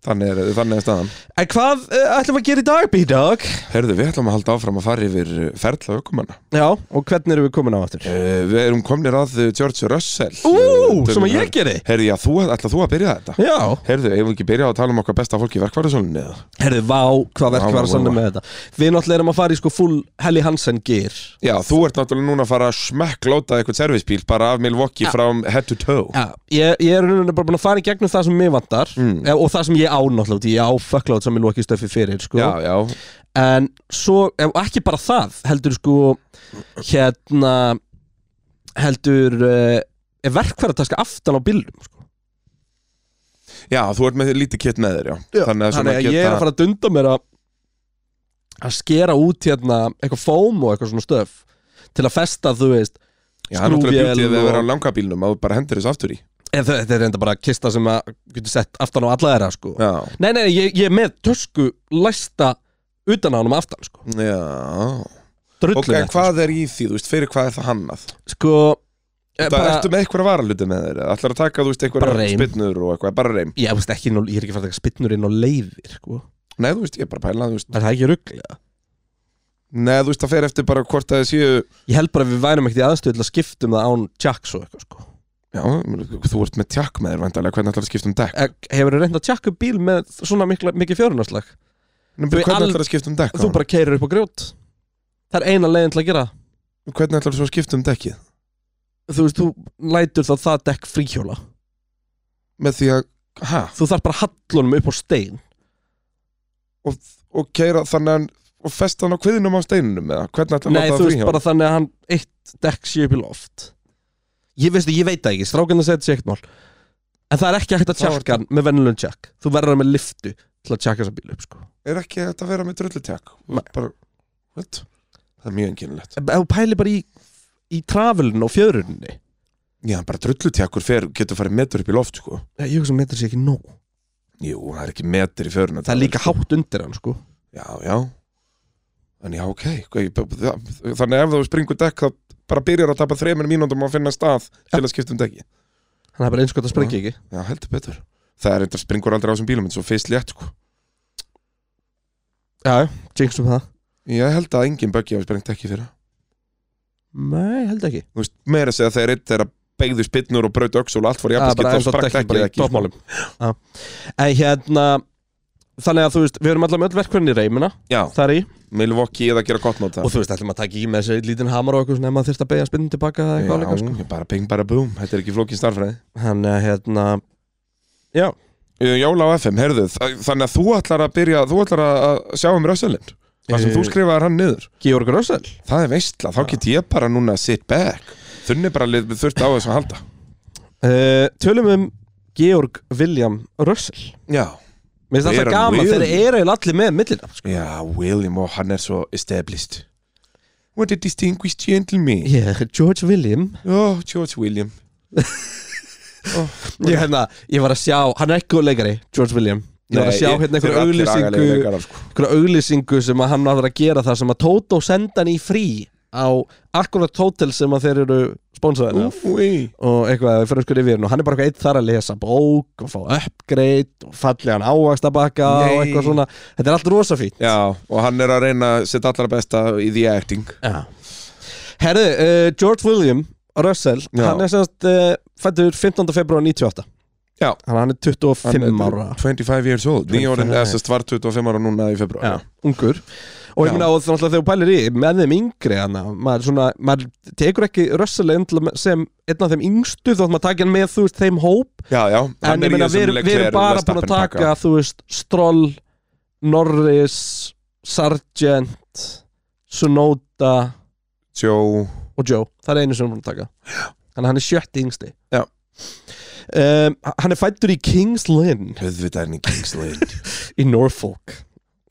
[SPEAKER 2] Þannig er, þannig er staðan
[SPEAKER 1] En hvað uh, ætlum við að gera í dag, B-Dog?
[SPEAKER 2] Herðu, við ætlum að halda áfram að fara yfir uh, ferla ökumanna
[SPEAKER 1] Já, og hvernig erum við komin á aftur?
[SPEAKER 2] Uh, við erum komnir að uh, George Russell
[SPEAKER 1] Ú, sem að ég gerði
[SPEAKER 2] Herði, já, þú, ætla þú að byrja þetta?
[SPEAKER 1] Já,
[SPEAKER 2] Herðu, eigum við ekki byrja á að tala um okkar besta fólk í verkvarðarsólunni eða?
[SPEAKER 1] herðu, vá, hvað verk var
[SPEAKER 2] Vá, vá,
[SPEAKER 1] að sanna
[SPEAKER 2] vá.
[SPEAKER 1] með þetta Við náttúrulega erum að fara í sko full Helly Hansen gear
[SPEAKER 2] Já, þú ert náttúrulega núna að fara að smekklóta eitthvað servisbíl bara af Milwaukee
[SPEAKER 1] Já.
[SPEAKER 2] frá head to toe
[SPEAKER 1] Já, ég, ég er rauninni bara búin að fara í gegnum það sem mér vantar
[SPEAKER 2] Mm.
[SPEAKER 1] eh, og það sem ég á náttúrulega, því ég á fuckload sem ég nú ekki stöfi fyrir, sko
[SPEAKER 2] Já, já,
[SPEAKER 1] en svo, ef ekki bara það heldur sko hérna heldur uh, er verkfærataska aftan á bílnum sko.
[SPEAKER 2] já, þú ert með lítið kett með þér, já, Þannig að,
[SPEAKER 1] þannig
[SPEAKER 2] svona
[SPEAKER 1] að ég er að fara að dunda mér að að skera út hérna eitthvað fóm og eitthvað svona stöf til að festa þú veist
[SPEAKER 2] Já, það er náttúrulega
[SPEAKER 1] skrúfvél
[SPEAKER 2] bjútið við
[SPEAKER 1] og-
[SPEAKER 2] að vera á langa bílnum að þú bara hendur þessu aftur í
[SPEAKER 1] en þe- þetta er reynda bara kista sem að getur sett aftan á alla þeirra sko
[SPEAKER 2] Já,
[SPEAKER 1] nei nei, ég, ég er með tösku læsta utan á hann um aftan sko
[SPEAKER 2] já
[SPEAKER 1] drullu
[SPEAKER 2] Ok, hvað er í því, þú veist, fyrir hvað er það hannað?
[SPEAKER 1] sko eh,
[SPEAKER 2] Það ertu með eitthvað varaluti með þér? Ætlar að taka, þú veist,
[SPEAKER 1] Bara
[SPEAKER 2] eitthvað
[SPEAKER 1] reim.
[SPEAKER 2] spinnur og eitthvað, bara reym
[SPEAKER 1] ég, veist, ekki, inn á- ég er ekki farið að taka spinnur inn á leiðir sko.
[SPEAKER 2] Nei, þú veist, ég er bara að pæla, þú veist
[SPEAKER 1] er það ekki rugglega
[SPEAKER 2] Nei, þú veist, það fer eftir bara hvort að það séu
[SPEAKER 1] Ég held bara að við værum ekkert í aðstöðu til að skiptum það án tjaks og eitthvað sko.
[SPEAKER 2] Já, þú ert með tjakk með þér vandalega, hvernig ætlar að skipta um dekk?
[SPEAKER 1] Eh, Hefur þú reynd að tjakka upp bíl með svona mikla, mikið fjörunarslag?
[SPEAKER 2] Nei,
[SPEAKER 1] Þú
[SPEAKER 2] hvernig
[SPEAKER 1] al-
[SPEAKER 2] ætlar að skipta um dekk?
[SPEAKER 1] Þú bara keirir upp á grjót Það er eina leiðin til að gera það.
[SPEAKER 2] Hvernig ætlar þú að skipta um dekkið?
[SPEAKER 1] Þú veist, þú lætur þá það dekk fríhjóla
[SPEAKER 2] Með því að, hæ,
[SPEAKER 1] Þú þarf bara hallunum upp á stein
[SPEAKER 2] og keira þannig að, og festa hann á kviðinum á steininum eða, hvernig ætlar
[SPEAKER 1] Nei, þú veist bara þannig að hann eitt dekk sé upp í loft Ég veist, ég veit það ekki, strákan það segja þetta sé ekkert mál En það er ekki hægt að
[SPEAKER 2] Þá er
[SPEAKER 1] tjakka hann með venjulegum tjakk Þú verður með liftu til að tjakka þessa bíl upp sko.
[SPEAKER 2] Er ekki þetta að vera með drullutekk?
[SPEAKER 1] Nei.
[SPEAKER 2] Bara, veit, það er mjög einkennilegt.
[SPEAKER 1] Ef ef þú pæli bara í, í travelinu og fjörunni
[SPEAKER 2] Já, bara drullutekkur fer, getur farið metur upp í loft, sko.
[SPEAKER 1] Ég hugsa um að metra sé ekki nóg
[SPEAKER 2] Jú, það er ekki metur í fjöruna.
[SPEAKER 1] Það er líka hátt undir hann sko
[SPEAKER 2] Já, já. Þannig, já, ok. hvað ég- það- Þannig ef þú springur dekk, þá bara byrjar að tapa þreimur mínúndum að finna stað til að skipta um dekki.
[SPEAKER 1] Hann er bara eins gott að sprengja ekki
[SPEAKER 2] Já, heldur betur Það er eitthvað springur aldrei á þessum bílum en svo fyrst létt sko
[SPEAKER 1] Já, jinxum um það
[SPEAKER 2] Ég held að engin böggi hafi sprengt ekki fyrir það.
[SPEAKER 1] Nei, held ekki
[SPEAKER 2] Þú veist, meira að segja þegar einn þeirra beigðu spinnur og braut öxul og allt fór í
[SPEAKER 1] Já, bara eins
[SPEAKER 2] jafnskitt þá
[SPEAKER 1] og
[SPEAKER 2] sprakk
[SPEAKER 1] dekkin
[SPEAKER 2] ekki
[SPEAKER 1] bara í
[SPEAKER 2] ekki
[SPEAKER 1] toppmálum En hérna þannig að þú veist, við erum allavega með öll verkefni í reymina
[SPEAKER 2] Já,
[SPEAKER 1] þar í
[SPEAKER 2] Milwaukee eða gera gott nót
[SPEAKER 1] og þú veist, ætlum að taka í með þessi lítinn hamar og eitthvað svona ef maður þyrst að beigja spinnum tilbaka eða eitthvað
[SPEAKER 2] Já,
[SPEAKER 1] líka sko.
[SPEAKER 2] bara ping, bara boom, þetta er ekki flókin starfræði
[SPEAKER 1] þannig að hérna já,
[SPEAKER 2] Uh, Jóla á FM, heyrðu, þa- þannig að þú ætlar að byrja, þú ætlar að að sjá um Rössalinn Það sem
[SPEAKER 1] Eh.
[SPEAKER 2] þú skrifaðar hann niður
[SPEAKER 1] Georg Rössel
[SPEAKER 2] Það er veistla, þá get ég bara núna að sit back Þunni bara lið- þurfti á þess að halda
[SPEAKER 1] uh, tölum um Georg William Rössel
[SPEAKER 2] Já,
[SPEAKER 1] mér finnst alltaf
[SPEAKER 2] Vera
[SPEAKER 1] gaman,
[SPEAKER 2] William.
[SPEAKER 1] þeir eru eiginlega allir með millina sko.
[SPEAKER 2] já, William og hann er svo established What a distinguished gentleman
[SPEAKER 1] yeah, George William
[SPEAKER 2] Oh, George William
[SPEAKER 1] ég, hérna, ég var að sjá, hann er ekki góð leikari George William ég var að
[SPEAKER 2] Nei,
[SPEAKER 1] sjá
[SPEAKER 2] ég-
[SPEAKER 1] hérna
[SPEAKER 2] þeir eru
[SPEAKER 1] einhverja
[SPEAKER 2] allir
[SPEAKER 1] auglýsingu
[SPEAKER 2] agalegir leikarar, sko.
[SPEAKER 1] einhverja auglýsingu sem að hann var að gera það sem að Toto senda hann í frí á akkurat hótel sem að þeir eru sponsaðið af
[SPEAKER 2] Úi.
[SPEAKER 1] og eitthvað fyrir sko yfir og hann er bara eitthvað eitt þar að lesa bók og fá upgrade og fallegan ávaxtabakka og
[SPEAKER 2] Nei.
[SPEAKER 1] eitthvað svona þetta er allt rosa fínt
[SPEAKER 2] Já, og hann er að reyna að setja allra besta í the acting
[SPEAKER 1] Já. Herðu, uh, George William Russell,
[SPEAKER 2] Já.
[SPEAKER 1] hann er semst uh, fættur 15. februar 98
[SPEAKER 2] Já.
[SPEAKER 1] Þannig að hann er 25
[SPEAKER 2] Hann er
[SPEAKER 1] ára
[SPEAKER 2] 25 years old, nýjórin
[SPEAKER 1] 25.
[SPEAKER 2] SS var 25 ára núna í februar
[SPEAKER 1] Já, ungur og
[SPEAKER 2] Já.
[SPEAKER 1] ég meina og þannig að þegar þú pælir í með þeim yngri hana, maður, svona, maður tekur ekki Russell endilega sem einn af þeim yngstu þótt maður takja hann með þú veist þeim hóp
[SPEAKER 2] Já, já,
[SPEAKER 1] en ég meina við erum- við erum bara búin að taka þú veist Stroll, Norris Sargent Sunoda
[SPEAKER 2] Sjó,
[SPEAKER 1] og Joe, það er einu sem við erum búin að taka þannig að hann er sjötti yngsti
[SPEAKER 2] Já.
[SPEAKER 1] Um, hann er fættur í Kings Lynn
[SPEAKER 2] höfðvitaðin í Kings Lane
[SPEAKER 1] í Norfolk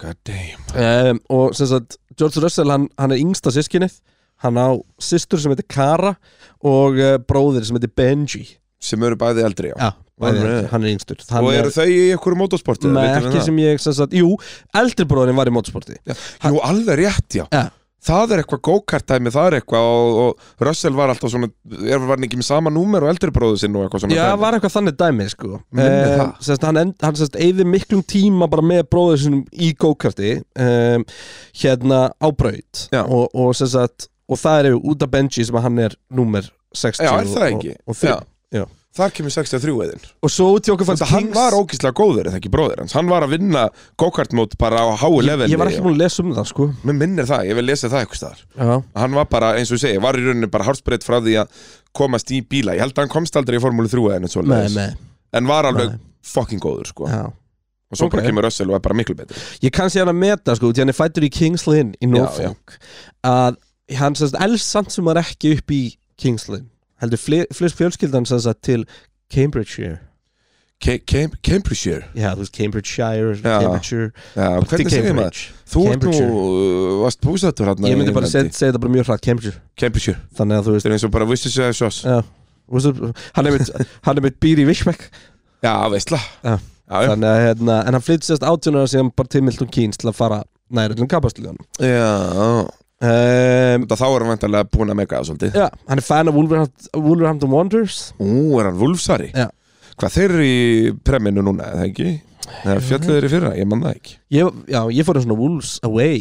[SPEAKER 2] God damn
[SPEAKER 1] um, og sem sagt George Russell hann, hann er yngsta sískinnið hann á systur sem heitir Kara og uh, bróðir sem heitir Benji
[SPEAKER 2] Sem eru bæði eldri, já,
[SPEAKER 1] já, bæði,
[SPEAKER 2] Alright.
[SPEAKER 1] hann er yngstur
[SPEAKER 2] Og
[SPEAKER 1] hann
[SPEAKER 2] eru
[SPEAKER 1] er,
[SPEAKER 2] þau í einhverju motorsporti?
[SPEAKER 1] með ekki sem ég sem sagt, jú, eldri bróðurinn var í motorsporti
[SPEAKER 2] Jú, alveg rétt, já
[SPEAKER 1] Já.
[SPEAKER 2] Það er eitthvað go-kart-dæmi, það er eitthvað og, og Russell var alltaf svona er, var hann ekki með sama númer og eldri bróðu sinn og eitthvað svona
[SPEAKER 1] Já,
[SPEAKER 2] dæmi?
[SPEAKER 1] var eitthvað þannig dæmi sko
[SPEAKER 2] Minnir
[SPEAKER 1] um,
[SPEAKER 2] það.
[SPEAKER 1] sérst, Hann, end, hann sérst, eyði miklum tíma bara með bróður sinum í go-karti um, hérna á braut
[SPEAKER 2] Já.
[SPEAKER 1] og, og, sérst, að, og það er yfir út af Benji sem að hann er númer 60
[SPEAKER 2] Já, er það
[SPEAKER 1] og,
[SPEAKER 2] ekki?
[SPEAKER 1] og, og, þrjú. Já.
[SPEAKER 2] Þar kemur 63 eðin
[SPEAKER 1] og svo út í okkur fannst
[SPEAKER 2] Þannig að hann var ógíslega góður, eða ekki bróðir hans Hann var að vinna go-kart-mót bara á háu leveli
[SPEAKER 1] Ég var ekki
[SPEAKER 2] og-
[SPEAKER 1] múin að lesa um það sko
[SPEAKER 2] Mér minnir það, ég vil lesa það eitthvað staðar
[SPEAKER 1] Já,
[SPEAKER 2] hann var bara, eins og ég segi, var í rauninni bara hálsbreytt frá því að komast í bíla ég held að hann komst aldrei í Formúlu 3 eða neitt
[SPEAKER 1] með,
[SPEAKER 2] svoleiðis.
[SPEAKER 1] með
[SPEAKER 2] en var alveg
[SPEAKER 1] Nei.
[SPEAKER 2] fucking góður sko.
[SPEAKER 1] Já.
[SPEAKER 2] og svo
[SPEAKER 1] Ok.
[SPEAKER 2] bara kemur Russell og er bara miklu betri
[SPEAKER 1] Ég kann sér hann að meta sko, því hann er fættur í Kings Lynn í Norfolk að hann sérst elsamt sem var ekki upp í Kings Lynn heldur fle- flest fjölskyldan sérst að til Cambridgeshire
[SPEAKER 2] Ke- Cam- Cambridgeshire
[SPEAKER 1] Já, þú veist Cambridgeshire,
[SPEAKER 2] Já.
[SPEAKER 1] Cambridgeshire
[SPEAKER 2] Já,
[SPEAKER 1] til
[SPEAKER 2] hvernig segir maður? Þú ert nú, uh, varst bústættur hann
[SPEAKER 1] Ég myndi bara segja segja þetta bara mjög hratt Cambridgeshire
[SPEAKER 2] Cambridgeshire,
[SPEAKER 1] þannig að þú veist
[SPEAKER 2] þetta er eins og bara vissið sér sjós
[SPEAKER 1] Já Þú veist, Hann er mitt, hann er mitt býr í Vishbeck
[SPEAKER 2] Já, veistla
[SPEAKER 1] Já.
[SPEAKER 2] Já, já.
[SPEAKER 1] Þannig að hérna, en hann flytti sérst átjónara síðan bara til Milton Keynes til að fara næri öllum kapastlíðanum
[SPEAKER 2] já
[SPEAKER 1] um,
[SPEAKER 2] Þetta Þá er hann vantarlega búin að mega það svolítið
[SPEAKER 1] Já, hann er fan af Wolverhampton, Wolverhampton Wanderers
[SPEAKER 2] Ú, er hann Wolfsari?
[SPEAKER 1] Já.
[SPEAKER 2] Hvað þeir eru í preminu núna, eða ekki? Eða fjallu þeir í fyrra, ég man það ekki
[SPEAKER 1] ég, Já, ég fór í svona Wolves Away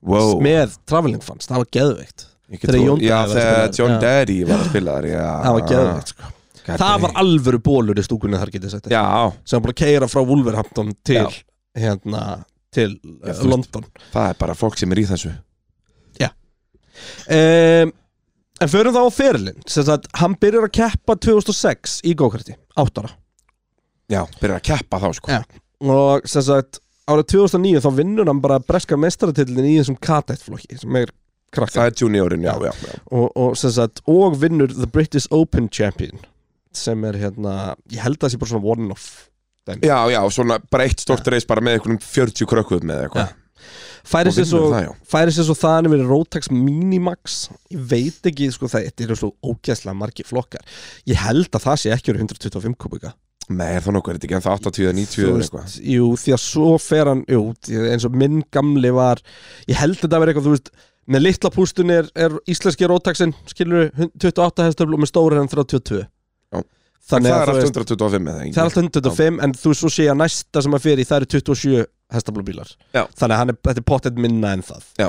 [SPEAKER 2] Wow
[SPEAKER 1] með Traveling Fans, það var geðveikt
[SPEAKER 2] Ekki
[SPEAKER 1] Þegar
[SPEAKER 2] trú-
[SPEAKER 1] Jón
[SPEAKER 2] já,
[SPEAKER 1] Daði var að spila
[SPEAKER 2] þegar
[SPEAKER 1] þar.
[SPEAKER 2] John
[SPEAKER 1] Já.
[SPEAKER 2] Daddy var að spila þar já.
[SPEAKER 1] Það var geðveikt sko.
[SPEAKER 2] God
[SPEAKER 1] Það var
[SPEAKER 2] damn.
[SPEAKER 1] alvöru bólur í stúkunni þar getið sett
[SPEAKER 2] Já,
[SPEAKER 1] sem var bara að keira frá Wolverhampton til
[SPEAKER 2] Já.
[SPEAKER 1] hérna, til
[SPEAKER 2] Já,
[SPEAKER 1] já,
[SPEAKER 2] þú veist.
[SPEAKER 1] London
[SPEAKER 2] það er bara fólk sem er í þessu
[SPEAKER 1] um, En förum þá á ferilinn sem sagt, hann byrjar að keppa 2006 í go-karti, áttara
[SPEAKER 2] Já, byrjar að keppa þá sko
[SPEAKER 1] Já. og sem sagt, árið 2009 þá vinnur hann bara breska mestaratillin í þessum katettflokki sem er krakkar
[SPEAKER 2] Það er juniorin, já, já, já.
[SPEAKER 1] og, og, sem sagt, og vinnur The British Open Champion sem er hérna, ég held að það sé bara svona one-off
[SPEAKER 2] Já, já, svona bara eitt stort reis bara með einhvernum 40 krökkum með eitthvað
[SPEAKER 1] færi
[SPEAKER 2] Og
[SPEAKER 1] sér svo,
[SPEAKER 2] vinnur það, já.
[SPEAKER 1] færi sér svo þannig verið Rotax Minimax ég veit ekki, sko, það þetta eru svo ógæslega margi flokkar, ég held að það sé ekki verið 125 kubika
[SPEAKER 2] Nei, er það nokkuð, er þetta ekki en það 80 eða 90
[SPEAKER 1] Þú
[SPEAKER 2] eða
[SPEAKER 1] veist,
[SPEAKER 2] eitthvað
[SPEAKER 1] jú, því að svo fer hann jú, því að eins og minn gamli var ég held að það verið eitthvað, þú veist með litla pústun er, er íslenski Rotaxin skilur 28 hestöfl og með stóri er hann 32
[SPEAKER 2] Já.
[SPEAKER 1] þannig
[SPEAKER 2] Það
[SPEAKER 1] að
[SPEAKER 2] er
[SPEAKER 1] þú
[SPEAKER 2] allt
[SPEAKER 1] veist
[SPEAKER 2] 125 eða
[SPEAKER 1] það er
[SPEAKER 2] ekki
[SPEAKER 1] alltaf 125 en þú svo sé að næsta sem að fyrir það eru 27 hestablóbílar
[SPEAKER 2] Já.
[SPEAKER 1] þannig að hann er, þetta er pottet minna en það
[SPEAKER 2] Já.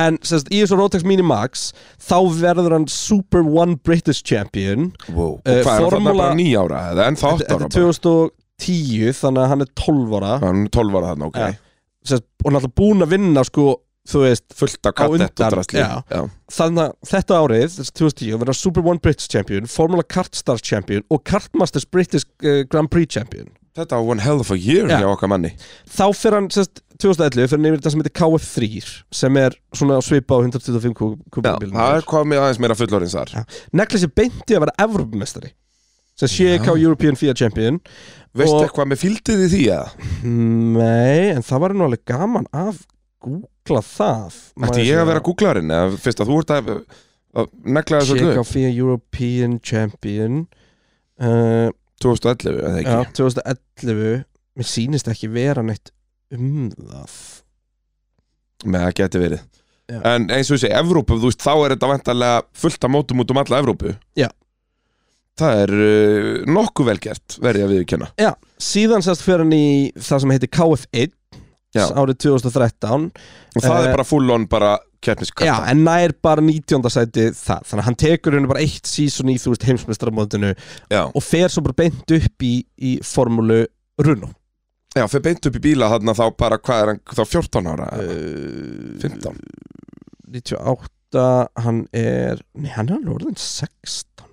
[SPEAKER 1] en sérst, í þessu Rotex Minimax þá verður hann Super One British Champion
[SPEAKER 2] Wow. Og
[SPEAKER 1] Eh,
[SPEAKER 2] hvað er það
[SPEAKER 1] formúla-
[SPEAKER 2] bara 9 ára eða en það 8
[SPEAKER 1] þetta
[SPEAKER 2] ára
[SPEAKER 1] er
[SPEAKER 2] bara?
[SPEAKER 1] 2010 10 þannig að hann er 12 ára
[SPEAKER 2] Já, hún er 12 ára þarna, ok
[SPEAKER 1] Já. Sest, og náttúrulega búin að vinna sko, þú veist,
[SPEAKER 2] Fullt af
[SPEAKER 1] Á
[SPEAKER 2] kattett og
[SPEAKER 1] undan,
[SPEAKER 2] drastli
[SPEAKER 1] já. þannig að þetta árið þessi 2010 verða Super One British Champion Formula Kartstars Champion og Kartmasters British uh, Grand Prix Champion
[SPEAKER 2] Þetta var one hell of a year
[SPEAKER 1] Já.
[SPEAKER 2] hjá okkar manni
[SPEAKER 1] þá fyrir hann, sérst, 2011 fyrir hann yfir þetta sem heitir KF3 sem er svona að svipa á 125
[SPEAKER 2] Já, það er
[SPEAKER 1] kubílum
[SPEAKER 2] komið aðeins meira fullorins þar
[SPEAKER 1] negli sér beinti að vera Evropamestari sem CK European FIA Champion
[SPEAKER 2] Veistu
[SPEAKER 1] Og-
[SPEAKER 2] eitthvað með fylgdið í því að? Hmm.
[SPEAKER 1] nei, en það var nú alveg gaman að googla það
[SPEAKER 2] Ætti ég að vera googlarinn eða fyrst að þú ert að, að negla þessu
[SPEAKER 1] CK
[SPEAKER 2] öllu upp?
[SPEAKER 1] FIA European Champion uh,
[SPEAKER 2] 2011 eða
[SPEAKER 1] já,
[SPEAKER 2] ekki
[SPEAKER 1] 2011 mér sýnist ekki vera neitt um það
[SPEAKER 2] Með það geti verið
[SPEAKER 1] Já.
[SPEAKER 2] En eins og þessi Evrópu, þú veist, þá er þetta vantarlega fullt af mótum út um alla Evrópu
[SPEAKER 1] Já.
[SPEAKER 2] Það er uh, nokkuð velgert, verði að viðurkenna
[SPEAKER 1] já, síðan sérst fyrir hann í það sem heitir KF1
[SPEAKER 2] Já.
[SPEAKER 1] árið 2013
[SPEAKER 2] Og það
[SPEAKER 1] Eh,
[SPEAKER 2] er bara full on bara keppniskata
[SPEAKER 1] Já, en nær bara 19. sæti það Þannig að hann tekur henni bara eitt sísun í þú veist heimsmeistaramótinu
[SPEAKER 2] Já,
[SPEAKER 1] og fer svo bara beint upp í, í formúlu Runo
[SPEAKER 2] já fyrir beint upp í bíla þarna þá bara, hvað er hann, þá 14 ára
[SPEAKER 1] uh,
[SPEAKER 2] uh, 15
[SPEAKER 1] 98 hann er, nei hann er alveg orðin 16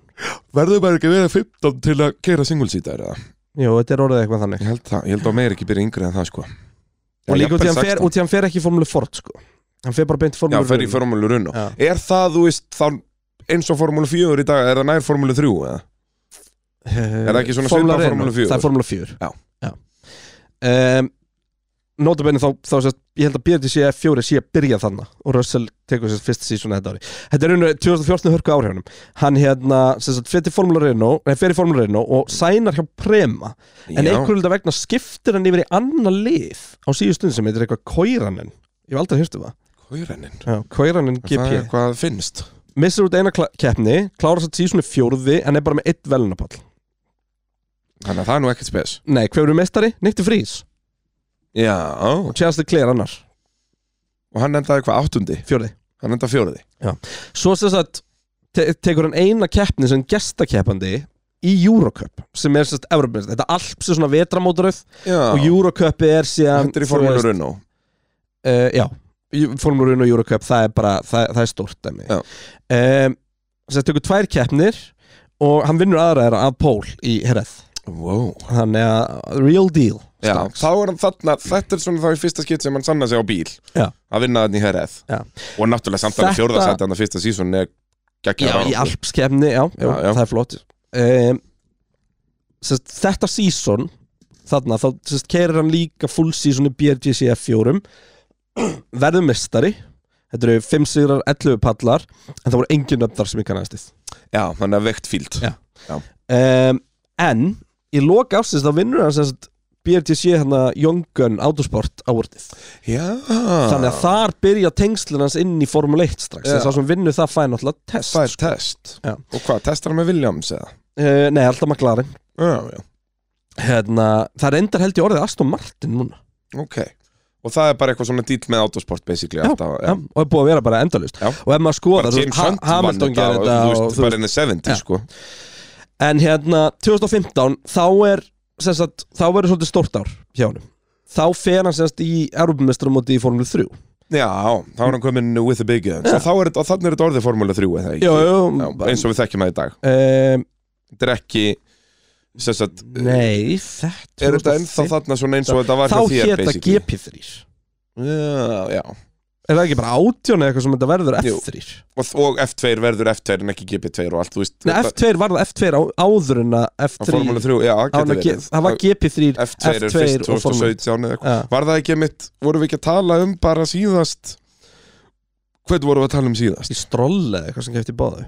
[SPEAKER 2] Verður bara ekki að vera 15 til að keira singulsítar eða?
[SPEAKER 1] Jú, þetta er orðið eitthvað þannig
[SPEAKER 2] Ég held það, ég held að meir ekki byrja yngri en það sko
[SPEAKER 1] Og
[SPEAKER 2] Já,
[SPEAKER 1] líka út í
[SPEAKER 2] jafnvel
[SPEAKER 1] hann fer,
[SPEAKER 2] 16.
[SPEAKER 1] út í hann fer ekki í formúlu Ford sko Hann fer bara beint í
[SPEAKER 2] Já,
[SPEAKER 1] formúlu
[SPEAKER 2] fer í formúlu runn
[SPEAKER 1] Já.
[SPEAKER 2] Er það, þú veist, þá eins og formúlu 4 í dag, er það nær formúlu 3 eða?
[SPEAKER 1] Er
[SPEAKER 2] það ekki svona svipað Formúlu 4?
[SPEAKER 1] Eh, Það er formúlu 4
[SPEAKER 2] Já.
[SPEAKER 1] Já. Um, Nótabenni þá, þá sérst, ég held að BRT sé fjóri sé að byrja þannig og Russell tekur sérst fyrst síðan þetta ári Þetta er rauninu 2014 hörku ári hannum Hann hérna, sérst, fer til Formúlu Reino nei, fer í Formúlu Reino og sænar hjá Prema en
[SPEAKER 2] Já.
[SPEAKER 1] einhverjum þetta vegna skiptir hann yfir í annan lið á síðu stund sem heitir eitthvað Kóiranin Ég hef aldrei hýrstu það
[SPEAKER 2] Kórennin
[SPEAKER 1] Já, Kóiranin
[SPEAKER 2] Það
[SPEAKER 1] GP
[SPEAKER 2] er hvað finnst
[SPEAKER 1] Missir út eina kla- keppni, klárar sér tísunni fjórði en er bara með eitt velunapall
[SPEAKER 2] Þannig að það er nú ekkert spes
[SPEAKER 1] Nei, hver er mestari? Nikti Frís
[SPEAKER 2] Já, og
[SPEAKER 1] og Charles Leclerc annar,
[SPEAKER 2] hann endaði hvað áttundi
[SPEAKER 1] fjórði
[SPEAKER 2] Hann endaði fjóruði
[SPEAKER 1] Svo sem sagt, te tekur hann eina keppni sem gestakeppandi í Eurocup sem er sérst Evropinist, þetta alps er svona vetramótaröð
[SPEAKER 2] Já,
[SPEAKER 1] og Eurocup er síðan
[SPEAKER 2] þetta er í formúlu runn og
[SPEAKER 1] uh, Já, Formúlu Run og Eurocup það er bara, það, það er stórt dæmi
[SPEAKER 2] Já.
[SPEAKER 1] um, Sérst tekur tvær keppnir og hann vinnur aðra þeirra af Pól í Herreð
[SPEAKER 2] Wow
[SPEAKER 1] þannig að real deal
[SPEAKER 2] Já,
[SPEAKER 1] stráks.
[SPEAKER 2] þá er hann þarna, þetta er svona þá í fyrsta skitt sem hann sanna sig á bíl
[SPEAKER 1] Já.
[SPEAKER 2] að vinna þannig í HRF
[SPEAKER 1] Já.
[SPEAKER 2] og náttúrulega samt alveg
[SPEAKER 1] Þetta-
[SPEAKER 2] fjórðasætt þannig að fyrsta sísón er geggjað
[SPEAKER 1] Já, í
[SPEAKER 2] árangur.
[SPEAKER 1] alpskefni, já, já,
[SPEAKER 2] Já, já.
[SPEAKER 1] það er flott um, sest, Þetta season þarna, þá sest, keirir hann líka full season í BRGC F4 verður mestari þetta eru 5 sigrar, 11 pallar en það voru engin nöfndar sem ég kannast þið
[SPEAKER 2] Já, hann er veikt fíld
[SPEAKER 1] Já. um, En í loka ásins þá vinnur hann sest, BRGC hérna Young Gun Autosport ávortið
[SPEAKER 2] Já
[SPEAKER 1] Þannig að þar byrja tengslun hans inn í Formule 1 strax
[SPEAKER 2] Já.
[SPEAKER 1] þess að sem vinnur það fæ náttúrulega test
[SPEAKER 2] það er test
[SPEAKER 1] Já.
[SPEAKER 2] Og hvað, testar hann með Williams eða?
[SPEAKER 1] uh, Nei, alltaf maklarinn
[SPEAKER 2] Já, já,
[SPEAKER 1] hérna, það er endar held í orðið Aston Martin núna
[SPEAKER 2] ok Og það er bara eitthvað svona dýl með autosport basically alltaf,
[SPEAKER 1] já. og er búið að vera bara endalust
[SPEAKER 2] Já.
[SPEAKER 1] og ef maður skoða,
[SPEAKER 2] Bara James Hunt vann
[SPEAKER 1] Hamilton
[SPEAKER 2] þetta
[SPEAKER 1] gerir
[SPEAKER 2] og,
[SPEAKER 1] þetta
[SPEAKER 2] þú
[SPEAKER 1] og,
[SPEAKER 2] veist,
[SPEAKER 1] þú
[SPEAKER 2] bara henni 70
[SPEAKER 1] Já.
[SPEAKER 2] sko
[SPEAKER 1] veist, en hérna 2015, þá er sem sagt, þá verður svolítið stórt ár hjá hann þá fer hann semst í Europamestramóti í Formule 3
[SPEAKER 2] Já, þá er hann komin with the big guns Og þá er þetta, þannig er þetta orðið formúlu 3 eða ekki Já, eins og við þekkjum það í dag
[SPEAKER 1] um,
[SPEAKER 2] Þetta er ekki sem sagt,
[SPEAKER 1] nei, þetta
[SPEAKER 2] Er þetta ennþá þarna svona eins og þetta var
[SPEAKER 1] þá
[SPEAKER 2] hjá þér
[SPEAKER 1] hétt það
[SPEAKER 2] basically?
[SPEAKER 1] GP3 er
[SPEAKER 2] Já, já
[SPEAKER 1] það ekki bara átjón eða eitthvað sem þetta verður
[SPEAKER 2] Jú.
[SPEAKER 1] F3
[SPEAKER 2] og, og F2 verður F2 en ekki GP2 og allt, þú veist
[SPEAKER 1] nei, F2 var það F2 á, áður en að
[SPEAKER 2] á
[SPEAKER 1] F3
[SPEAKER 2] Formule 3, já, það
[SPEAKER 1] áður en
[SPEAKER 2] getur
[SPEAKER 1] að G-
[SPEAKER 2] verið
[SPEAKER 1] það var GP3
[SPEAKER 2] F2, er
[SPEAKER 1] F2
[SPEAKER 2] fyrst
[SPEAKER 1] og Formule
[SPEAKER 2] 2017 eða eitthvað
[SPEAKER 1] Já.
[SPEAKER 2] Var það ekki mitt, vorum við ekki að tala um bara síðast Hvern vorum við að tala um síðast?
[SPEAKER 1] í stról eða eitthvað sem kefti báðu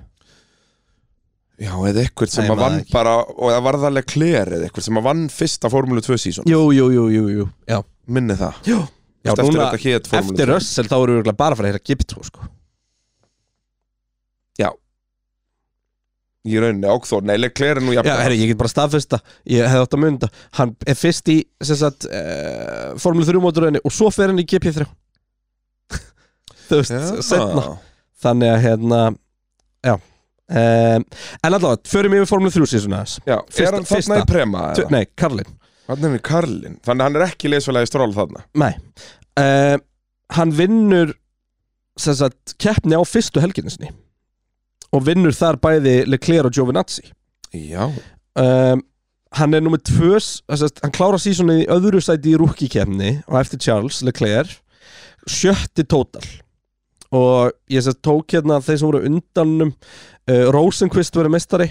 [SPEAKER 2] Já, eða eitthvað sem
[SPEAKER 1] Nei,
[SPEAKER 2] að
[SPEAKER 1] maður
[SPEAKER 2] vann
[SPEAKER 1] ekki.
[SPEAKER 2] bara og það var það alveg kler eða eitthvað sem að vann fyrsta Formule 2 sísón
[SPEAKER 1] Jú, jú, jú, jú, jú Já,
[SPEAKER 2] Minni það
[SPEAKER 1] já, já
[SPEAKER 2] eftir
[SPEAKER 1] núna,
[SPEAKER 2] þetta hét Formule
[SPEAKER 1] eftir
[SPEAKER 2] 2.
[SPEAKER 1] Russell þá eru við bara að fara að heyra Giptú sko.
[SPEAKER 2] Í rauninni ákþór, nei, kler er nú
[SPEAKER 1] Já,
[SPEAKER 2] jafn
[SPEAKER 1] herri, ég get bara staðfesta Ég hefði átt að mynda Hann er fyrst í sem sagt, uh, Formule 3 móturöðinni og svo fer hann í GP3 Þú veist,
[SPEAKER 2] Já.
[SPEAKER 1] setna Þannig að hérna Já um, En allavega, förum yfir Formule 3 síðan aðeins
[SPEAKER 2] Já,
[SPEAKER 1] Fyrsta-
[SPEAKER 2] er hann þarna
[SPEAKER 1] fyrsta.
[SPEAKER 2] í prema?
[SPEAKER 1] Tv- Nei, Karlin
[SPEAKER 2] Þannig er hann Karlin Þannig að hann er ekki leysfélagi stról þarna
[SPEAKER 1] Nei uh, Hann vinnur sem sagt, keppni á fyrstu helginnsni og vinnur þar bæði Leclerc og Giovinazzi
[SPEAKER 2] Já
[SPEAKER 1] um, Hann er nummer tvö s- sem sagt, hann klára sísoni í öðru sæti í rúkikefni og eftir Charles Leclerc sjötti tótal og ég sem sagt, tók hérna þeir sem voru undanum uh, Rosenqvist verið mestari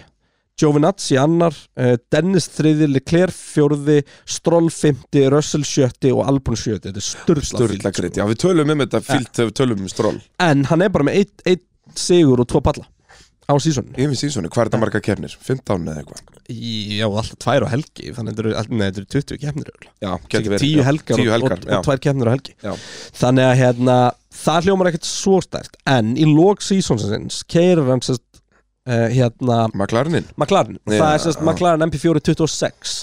[SPEAKER 1] Giovinazzi annar, uh, Dennis þriði, Leclerc fjórði, Stroll fymti, Russell sjötti og Albon sjötti. Þetta er sturla sko.
[SPEAKER 2] Sturla gritt Já, við tölum um þetta fílt þegar við tölum um stról
[SPEAKER 1] En hann er bara með eitt, eitt sigur og tvo palla á sísoninu
[SPEAKER 2] Yfir síðsvonu, hvað er þetta marga kefnir? 15 eða eitthvað
[SPEAKER 1] Já, alltaf tvær á helgi Þannig þetta eru, all- nei, þetta eru 20 kemnir
[SPEAKER 2] Já, getur verið
[SPEAKER 1] Tíu
[SPEAKER 2] já.
[SPEAKER 1] helgar, og,
[SPEAKER 2] Tíu helgar,
[SPEAKER 1] og, og tvær kemnir á helgi
[SPEAKER 2] Já.
[SPEAKER 1] Þannig að hérna, það hljómar ekkert svo stært En í lók sísonsins keirir hann sérst Uh, hérna,
[SPEAKER 2] Maklarinin,
[SPEAKER 1] McLaren
[SPEAKER 2] Já,
[SPEAKER 1] það er sérst
[SPEAKER 2] já.
[SPEAKER 1] McLaren MP4 26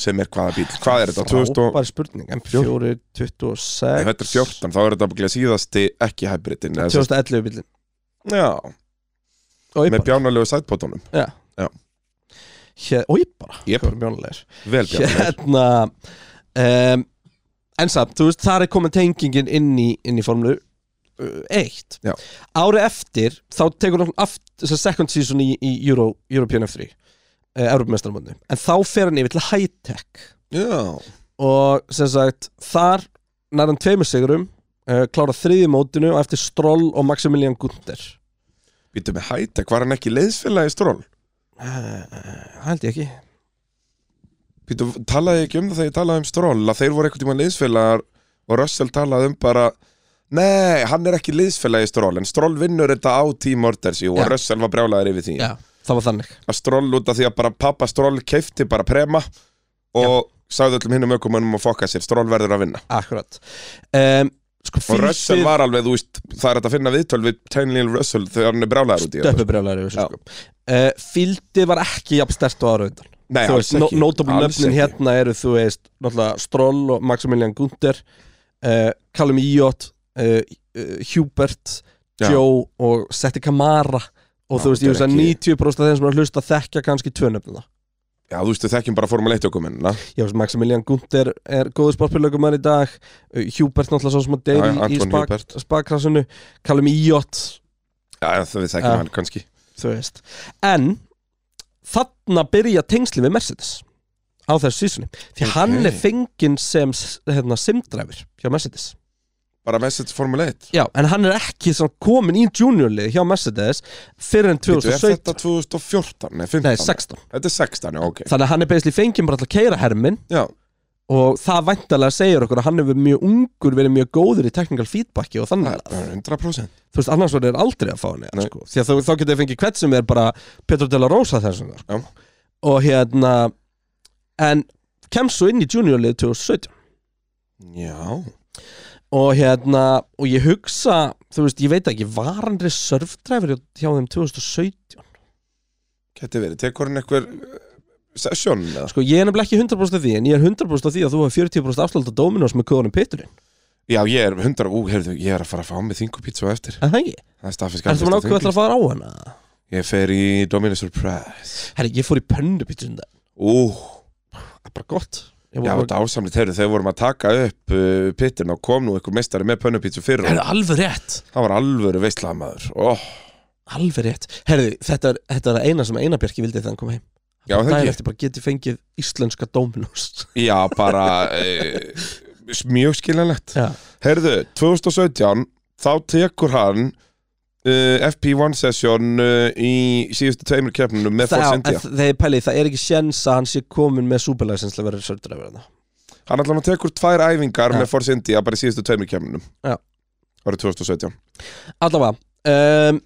[SPEAKER 2] sem er hvaða bíl Hvað er þetta? 2000 og-
[SPEAKER 1] frábæri spurning MP4 26
[SPEAKER 2] Ef þetta er 14, þá er þetta ábyggilega síðasti ekki hybridin eða sem-
[SPEAKER 1] 2011 bílinn
[SPEAKER 2] Já,
[SPEAKER 1] og ég
[SPEAKER 2] með
[SPEAKER 1] bara,
[SPEAKER 2] bjánalegu sætbótunum
[SPEAKER 1] hér, og ég bara
[SPEAKER 2] Jep.
[SPEAKER 1] hvað er bjónulegir
[SPEAKER 2] Vel bjánalegu
[SPEAKER 1] hérna um, en samt, þú veist, þar er komin tengingin inn í, inn í formlu uh, 1
[SPEAKER 2] Já.
[SPEAKER 1] ári eftir þá tekur hann aft, þess að second season í, í Euro, European F3 uh, Europamestarmöndu, en þá fer hann yfir til high-tech
[SPEAKER 2] Já,
[SPEAKER 1] og sem sagt, þar nær hann tveimur sigurum uh, klára þriði mótinu og eftir Stroll og Maximilian Gunther
[SPEAKER 2] býtum með hæta, var hann ekki leiðsfélagi stról?
[SPEAKER 1] uh, held ég ekki
[SPEAKER 2] Býtum, talaði ég ekki um það þegar ég talaði um stról að þeir voru eitthvað tíma leiðsfélagar og Russell talaði um bara Nei, hann er ekki leiðsfélagi stról en stról vinnur þetta á Team Orders jú, og
[SPEAKER 1] Já.
[SPEAKER 2] Russell var brjálaður yfir því
[SPEAKER 1] Já. það var þannig
[SPEAKER 2] að stról út af því að bara pappa stról keifti bara prema og sagði öllum hinnum ökumönnum að fokka sér stról verður að vinna
[SPEAKER 1] akkurat um, sko,
[SPEAKER 2] Og Russell var alveg, þú veist, það er hægt að finna viðtöl við Tony Neil Russell þegar hann er brálaður út í þetta.
[SPEAKER 1] Döpubrjálæri sko. uh, Fíldið var ekki jafn stert og ára undan
[SPEAKER 2] Nei,
[SPEAKER 1] Þú
[SPEAKER 2] alls
[SPEAKER 1] veist,
[SPEAKER 2] ekki.
[SPEAKER 1] Nótabli
[SPEAKER 2] alls
[SPEAKER 1] nöfnin
[SPEAKER 2] ekki.
[SPEAKER 1] hérna eru þú veist Náttúrulega Stroll og Maximilian Gunther uh, Callum Íot uh, uh, Hubert
[SPEAKER 2] Já.
[SPEAKER 1] Joe og Setti Kamara Og
[SPEAKER 2] Já,
[SPEAKER 1] þú veist, ég veist
[SPEAKER 2] þetta er
[SPEAKER 1] að
[SPEAKER 2] ekki-
[SPEAKER 1] 90% af þeim sem er að hlusta þekkja kannski tvö nöfnina
[SPEAKER 2] Já, þú veist, við þekkjum bara Formule 1 okumennina.
[SPEAKER 1] Ég veist, Maximilian Gunther er góður sportpillögumar í dag uh, Hubert náttúrulega svo sem að
[SPEAKER 2] Já,
[SPEAKER 1] deyri
[SPEAKER 2] já,
[SPEAKER 1] í
[SPEAKER 2] Anton Hubert.
[SPEAKER 1] spak- spakkrassinu Callum Íot
[SPEAKER 2] Já, það við þekkjum
[SPEAKER 1] Já.
[SPEAKER 2] hann kannski.
[SPEAKER 1] þú veist en þarna byrja tengsli við Mercedes á þessu sísunni því
[SPEAKER 2] Ok.
[SPEAKER 1] hann er fenginn sem hérna, simdræfir hjá Mercedes
[SPEAKER 2] Bara message Formule 1.
[SPEAKER 1] já, en hann er ekki svona komin í juniorlið hjá Mercedes fyrir en
[SPEAKER 2] Þú er
[SPEAKER 1] 2017
[SPEAKER 2] þetta 2014, nei, 15.
[SPEAKER 1] nei, 16
[SPEAKER 2] Þetta er 16, já, ok.
[SPEAKER 1] þannig að hann er beisli fenginn bara til að keira hermin
[SPEAKER 2] Já,
[SPEAKER 1] og það væntalega segir okkur að hann hefur mjög ungur verið mjög góður í technical feedbacki og
[SPEAKER 2] það
[SPEAKER 1] þannig
[SPEAKER 2] er bara 100%.
[SPEAKER 1] þú veist, annars verður þeir aldrei að fá henni
[SPEAKER 2] Nei.
[SPEAKER 1] sko. því að þá, þá getur þeir fengið hvert sem er bara Petro Della Rosa þessum sko. og hérna en kemst svo inn í juniorlið 2017
[SPEAKER 2] Já,
[SPEAKER 1] og hérna, og ég hugsa þú veist, ég veit ekki, var hann reservedræfur hjá þeim 2017
[SPEAKER 2] geti verið. Tekur hann einhver eh, session, eða?
[SPEAKER 1] sko, ég er nefnilega ekki 100% af því en ég er 100% af því að þú hefur 40% afslátt á Dominos með kóðanum Peturinn,
[SPEAKER 2] Já, ég er 100, ú, heyrðu, ég er að fara að fá mig þingupítsu á eftir.
[SPEAKER 1] en það ekki
[SPEAKER 2] Það er staðfist
[SPEAKER 1] er þú
[SPEAKER 2] gamlist
[SPEAKER 1] mann
[SPEAKER 2] á
[SPEAKER 1] ákveð ætlar
[SPEAKER 2] Þingeyri.
[SPEAKER 1] að fara á hana?
[SPEAKER 2] Ég fer í Dominus Surprise.
[SPEAKER 1] herri, ég fór í pönnu Peturinn það
[SPEAKER 2] Úh.
[SPEAKER 1] er bara gott Ég
[SPEAKER 2] Já,
[SPEAKER 1] var-
[SPEAKER 2] þetta ásamlið, þegar þeir vorum að taka upp uh, pittin og kom nú einhver meistari með pönnupítsu fyrir
[SPEAKER 1] Herri,
[SPEAKER 2] og
[SPEAKER 1] alveg rétt
[SPEAKER 2] það var alvöru veistlaðamaður oh,
[SPEAKER 1] Alveg rétt. Herði, þetta er, þetta er að eina sem Einarbjörki vildi þegar hann kom heim.
[SPEAKER 2] Já, það
[SPEAKER 1] Dæri
[SPEAKER 2] ekki
[SPEAKER 1] eftir bara geti fengið íslenska Dominos.
[SPEAKER 2] Já, bara uh, mjög skiljanlegt
[SPEAKER 1] Já.
[SPEAKER 2] Herðu, 2017 þá tekur hann uh, FP1 session uh, í síðustu tveimur keppnunum með
[SPEAKER 1] Það,
[SPEAKER 2] Force
[SPEAKER 1] en
[SPEAKER 2] India
[SPEAKER 1] þegar ég pæli, það er ekki sjens að hann sé komin með superlæsins til að vera sördur að
[SPEAKER 2] Hann allan að tekur tvær æfingar
[SPEAKER 1] Já.
[SPEAKER 2] með Force India bara í síðustu tveimur keppnunum
[SPEAKER 1] Já.
[SPEAKER 2] Árið 2017
[SPEAKER 1] Allavega, um,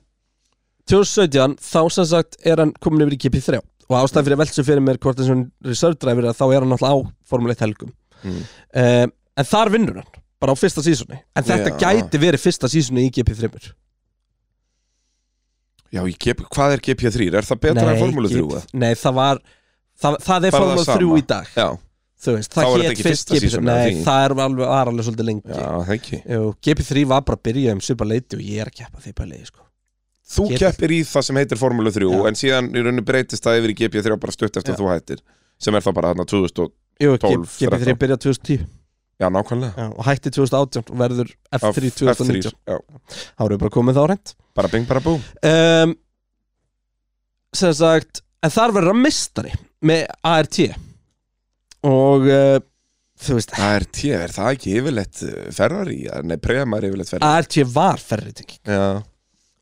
[SPEAKER 1] 2017 þá sem sagt er hann komin yfir í kipi 3 og ástæðan fyrir að velta sér fyrir mér hvort þessum reserve driver að þá er hann alltaf á Formule 1 helgum.
[SPEAKER 2] mm.
[SPEAKER 1] Um, en þar vinnur hann, bara á fyrsta sísunni. En þetta
[SPEAKER 2] Já.
[SPEAKER 1] gæti verið fyrsta sísunni í kipi 3.
[SPEAKER 2] Já, ég gep, hvað er GP3? Er það betra en Formule 3? eða?
[SPEAKER 1] Nei, það var, það, það er
[SPEAKER 2] Bara það
[SPEAKER 1] Formule 3
[SPEAKER 2] sama.
[SPEAKER 1] í dag.
[SPEAKER 2] Já,
[SPEAKER 1] þú veist,
[SPEAKER 2] Þá
[SPEAKER 1] það
[SPEAKER 2] er þetta
[SPEAKER 1] hétt
[SPEAKER 2] ekki
[SPEAKER 1] fyrst
[SPEAKER 2] fyrsta
[SPEAKER 1] GP3
[SPEAKER 2] season, eða
[SPEAKER 1] Nei,
[SPEAKER 2] því?
[SPEAKER 1] það er alveg, var alveg svolítið lengi
[SPEAKER 2] já, það ekki
[SPEAKER 1] Jú, GP3 var bara að byrja um svipa leiti og ég er að keppa því bara leiti sko.
[SPEAKER 2] Þú
[SPEAKER 1] Get-
[SPEAKER 2] keppir í það sem heitir Formule 3
[SPEAKER 1] Já.
[SPEAKER 2] en síðan í rauninu breytist það yfir í GP3 bara stutt eftir
[SPEAKER 1] Já.
[SPEAKER 2] að þú hættir sem er það bara þarna 2000 og
[SPEAKER 1] Jú,
[SPEAKER 2] 12,
[SPEAKER 1] GP3
[SPEAKER 2] 13.
[SPEAKER 1] byrja 2010
[SPEAKER 2] Já, nákvæmlega
[SPEAKER 1] já, og hætti 2018 og verður F3
[SPEAKER 2] F3,
[SPEAKER 1] 2019
[SPEAKER 2] já,
[SPEAKER 1] þá eru við bara komið þá reynd
[SPEAKER 2] bara bing, bara bú
[SPEAKER 1] um, sem sagt en þar verður hann mistari með ART og uh, þú veist
[SPEAKER 2] ART, er það ekki yfirleitt eh, Ferrari? Ja, Nei, Prema er yfirleitt Ferrari
[SPEAKER 1] ART var ferri tenging
[SPEAKER 2] Já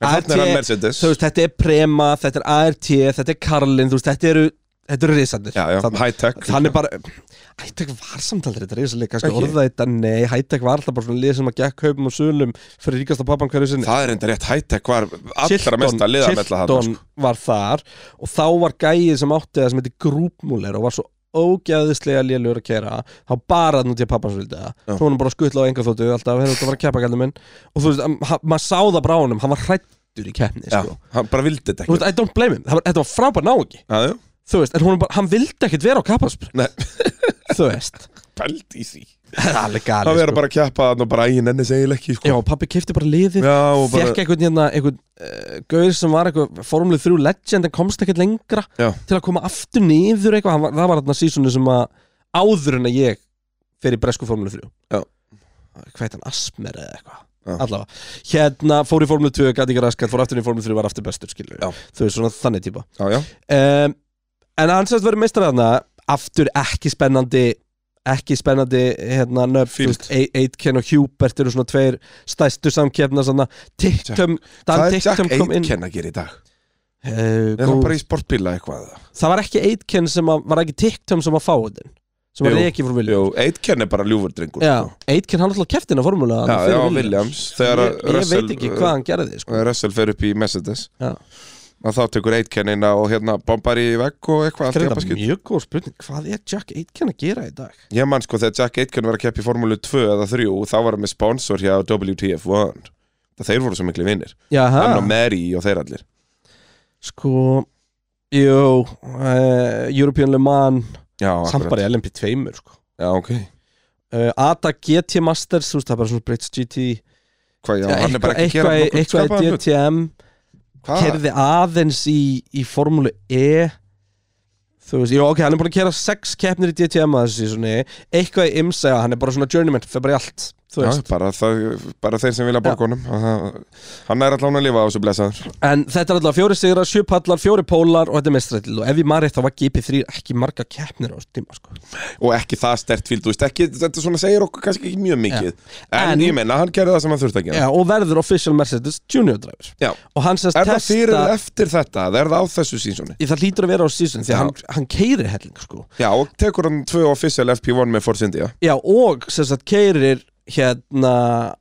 [SPEAKER 2] En
[SPEAKER 1] ART
[SPEAKER 2] þannig er hann Mercedes
[SPEAKER 1] Ah, þú veist þetta er Prema, þetta er ART þetta er Karlin, þú veist þetta eru þetta eru risandir
[SPEAKER 2] Já, já,
[SPEAKER 1] þannig,
[SPEAKER 2] high tech
[SPEAKER 1] þannig bara Hættek var samtaldir þetta risalega kannski
[SPEAKER 2] Ekki?
[SPEAKER 1] orða þetta nei, Hættek var alltaf bara svona lið sem að gekk kaupum og sölum fyrir ríkasta pappan hverju sinni
[SPEAKER 2] Það er enda rétt high tech var allra
[SPEAKER 1] Chilton-
[SPEAKER 2] mesta liðamella sko. hann
[SPEAKER 1] Chilton var þar og þá var gæið sem átti það sem heiti grúpmúler og var svo ógæðislega lélur að kæra þá bara þannig til að pappan svildi það
[SPEAKER 2] Já.
[SPEAKER 1] svo hann bara skuttla á enga þóttu alltaf, hérna þetta var að keppa gældum minn og þú veist, hann- hann- maður sá það bara á honum hann var hrættur í keppni
[SPEAKER 2] Já,
[SPEAKER 1] sko.
[SPEAKER 2] hann bara vildi þetta
[SPEAKER 1] Þú
[SPEAKER 2] ekki
[SPEAKER 1] veist, I don't blame him, Það var, þetta var frábær ná ekki
[SPEAKER 2] Já, já,
[SPEAKER 1] þú veist, en hún bara, hann vildi ekkert vera á kappaspil
[SPEAKER 2] Nei.
[SPEAKER 1] þú veist,
[SPEAKER 2] pælt í því
[SPEAKER 1] það er alveg
[SPEAKER 2] Það
[SPEAKER 1] gali
[SPEAKER 2] verður bara að keppa þarna og bara ægin enni segil ekki sko.
[SPEAKER 1] já, pappi kefti bara liðið
[SPEAKER 2] já og bara
[SPEAKER 1] fekk einhvern hérna, einhvern uh, gauður sem var eitthvað formlu 3 legend en komst ekkert lengra
[SPEAKER 2] Já.
[SPEAKER 1] til að koma aftur niður eitthvað, Hann var, það var þarna sísunni sem að áður en að ég fer í bresku formlu 3
[SPEAKER 2] Já.
[SPEAKER 1] hvað heit hann, Asmer eða eitthvað
[SPEAKER 2] Já.
[SPEAKER 1] allavega, hérna fór í formlu 2 gæti ekki raskat, fór aftur í formlu 3, var aftur bestur skilur,
[SPEAKER 2] Já.
[SPEAKER 1] þau er svona þannig típa
[SPEAKER 2] Já, já,
[SPEAKER 1] um, en hann sérst verið meistar þarna aftur ekki spennandi ekki spennandi hérna nöfn þú
[SPEAKER 2] Field.
[SPEAKER 1] veist, A- Aitken og Hubert eru svona tveir stæstu samkefna svona Tiktum, Dan
[SPEAKER 2] það er Jack
[SPEAKER 1] Tiktum kom inn
[SPEAKER 2] Aitken að gera í dag
[SPEAKER 1] uh,
[SPEAKER 2] Er hann bara í sportbíla eitthvað?
[SPEAKER 1] það var ekki Aitken sem að, var ekki Tiktum sem að fá þetta sem var
[SPEAKER 2] Jú,
[SPEAKER 1] ekki frá Williams
[SPEAKER 2] Jú, Aitken er bara ljúfurdrengur
[SPEAKER 1] Já, Aitken hann alltaf keftina formúla
[SPEAKER 2] já, já Williams Þegar
[SPEAKER 1] ég, ég
[SPEAKER 2] Russell,
[SPEAKER 1] veit ekki hvað hann gerði sko.
[SPEAKER 2] eh, Russell fer upp í Mercedes
[SPEAKER 1] Já.
[SPEAKER 2] að þá tekur Aitken inn og hérna bombar í vegg og eitthvað allt í
[SPEAKER 1] Þetta
[SPEAKER 2] japaskið.
[SPEAKER 1] er mjög góð spurning, hvað er Jack Aitken að gera í dag?
[SPEAKER 2] Ég man sko þegar Jack Aitken var að keppa í Formúlu 2 eða 3 þá var hann með sponsor hjá WTF1 það þeir voru svo miklu vinnir
[SPEAKER 1] Jaha.
[SPEAKER 2] hann og Mary og þeir allir
[SPEAKER 1] Sko Jú, uh, European Le Mans
[SPEAKER 2] Já,
[SPEAKER 1] Samt bara í LMP2 sko.
[SPEAKER 2] Já, ok
[SPEAKER 1] uh, ATA GT Masters þú veist, Það er bara svona breytst GT
[SPEAKER 2] Hvað, já, hann er
[SPEAKER 1] Eitthvað
[SPEAKER 2] bara ekki að gera
[SPEAKER 1] eitthvað-
[SPEAKER 2] nokkurn
[SPEAKER 1] eitthvað í
[SPEAKER 2] skapaðan hlut. Ah.
[SPEAKER 1] DTM
[SPEAKER 2] Hvað?
[SPEAKER 1] Kerði aðeins í, í formúlu E Þú veist, jú ok, hann er búin að kera sex keppnir í DTM að þessi svona Eitthvað í IMSA, hann er bara svona journeyman Fer bara í allt, þú
[SPEAKER 2] Já,
[SPEAKER 1] veist
[SPEAKER 2] bara, það, bara þeir sem vilja
[SPEAKER 1] Já.
[SPEAKER 2] borga honum Og það- Hann er allan að lifa á þessu blessaður
[SPEAKER 1] En þetta er alltaf fjóri sigrar, sjö pallar, fjóri pólar Og þetta er mestrættil Og ef ég marri þá var GP3 ekki marga keppnir á þessu tíma sko.
[SPEAKER 2] Og ekki það stert fíl, þú veist ekki Þetta svona segir okkur kannski ekki mjög mikið en,
[SPEAKER 1] En-
[SPEAKER 2] ég meina, hann gerði það sem hann þurfti að gera
[SPEAKER 1] Já, og verður official Mercedes junior driver
[SPEAKER 2] Já.
[SPEAKER 1] og hann sérst
[SPEAKER 2] Er það fyrir
[SPEAKER 1] testar
[SPEAKER 2] eða eftir þetta? Það er það á þessu sínsóni
[SPEAKER 1] í það hlýtur að vera á season því
[SPEAKER 2] Já.
[SPEAKER 1] að hann, hann keirir helling sko
[SPEAKER 2] Já, og tekur hann tvö official FP1 með Force India
[SPEAKER 1] já og sérst keirir hérna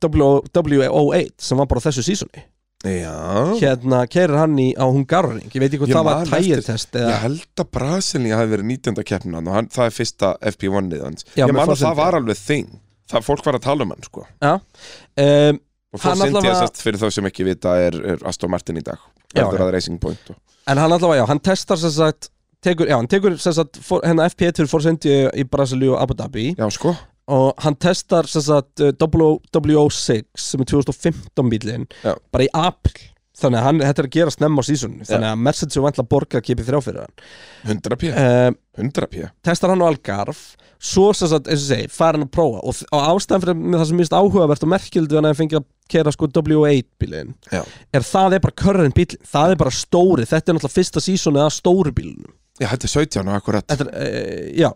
[SPEAKER 1] uh, W08 sem var bara á þessu seasoni
[SPEAKER 2] Já
[SPEAKER 1] hérna keirir hann í, á Hungaroring ég veit ekki
[SPEAKER 2] Ég
[SPEAKER 1] hvað það var
[SPEAKER 2] man eftir-
[SPEAKER 1] tire test
[SPEAKER 2] Ég
[SPEAKER 1] eða,
[SPEAKER 2] held að Brasilíu hafi verið 19. keppnin hann og hann, það er fyrsta FP1-ið hans
[SPEAKER 1] Já,
[SPEAKER 2] Ég
[SPEAKER 1] með
[SPEAKER 2] man að
[SPEAKER 1] Force
[SPEAKER 2] það
[SPEAKER 1] India.
[SPEAKER 2] var alveg þing Það fólk var að tala um hann sko
[SPEAKER 1] um,
[SPEAKER 2] Og
[SPEAKER 1] Hann
[SPEAKER 2] Force India
[SPEAKER 1] allavega-
[SPEAKER 2] sérst fyrir þá sem ekki vita er, er Aston Martin í dag
[SPEAKER 1] Já,
[SPEAKER 2] Verður
[SPEAKER 1] já.
[SPEAKER 2] að Racing Point og...
[SPEAKER 1] en hann allavega já, hann testar sérst að tekur, já, hann tekur sérst að for, hérna FP1 fyrir Forcendi í Brasilíu og Abu Dhabi
[SPEAKER 2] Já sko,
[SPEAKER 1] og hann testar sem sagt, eh, W06 sem er 2015 bílinn
[SPEAKER 2] Já.
[SPEAKER 1] bara í apl þannig að hann, þetta er að gera snemma á sísunni
[SPEAKER 2] Já.
[SPEAKER 1] þannig að Mercedes er vantla að borga kipi þrjá fyrir hann
[SPEAKER 2] 100 p
[SPEAKER 1] uh,
[SPEAKER 2] 100 p
[SPEAKER 1] testar hann á Algarve svo sem sagt, eins og segi, fara hann að prófa og, og ástæðan fyrir með það sem mist áhugavert og merkildu hann að fengið að kera sko W8 bílinn
[SPEAKER 2] Já.
[SPEAKER 1] er það er bara körrinn bílinn það er bara stóri, þetta er náttúrulega fyrsta sísunni að stóru bílinnum
[SPEAKER 2] Já, þetta er 17 og akkurat
[SPEAKER 1] þetta er, uh, já,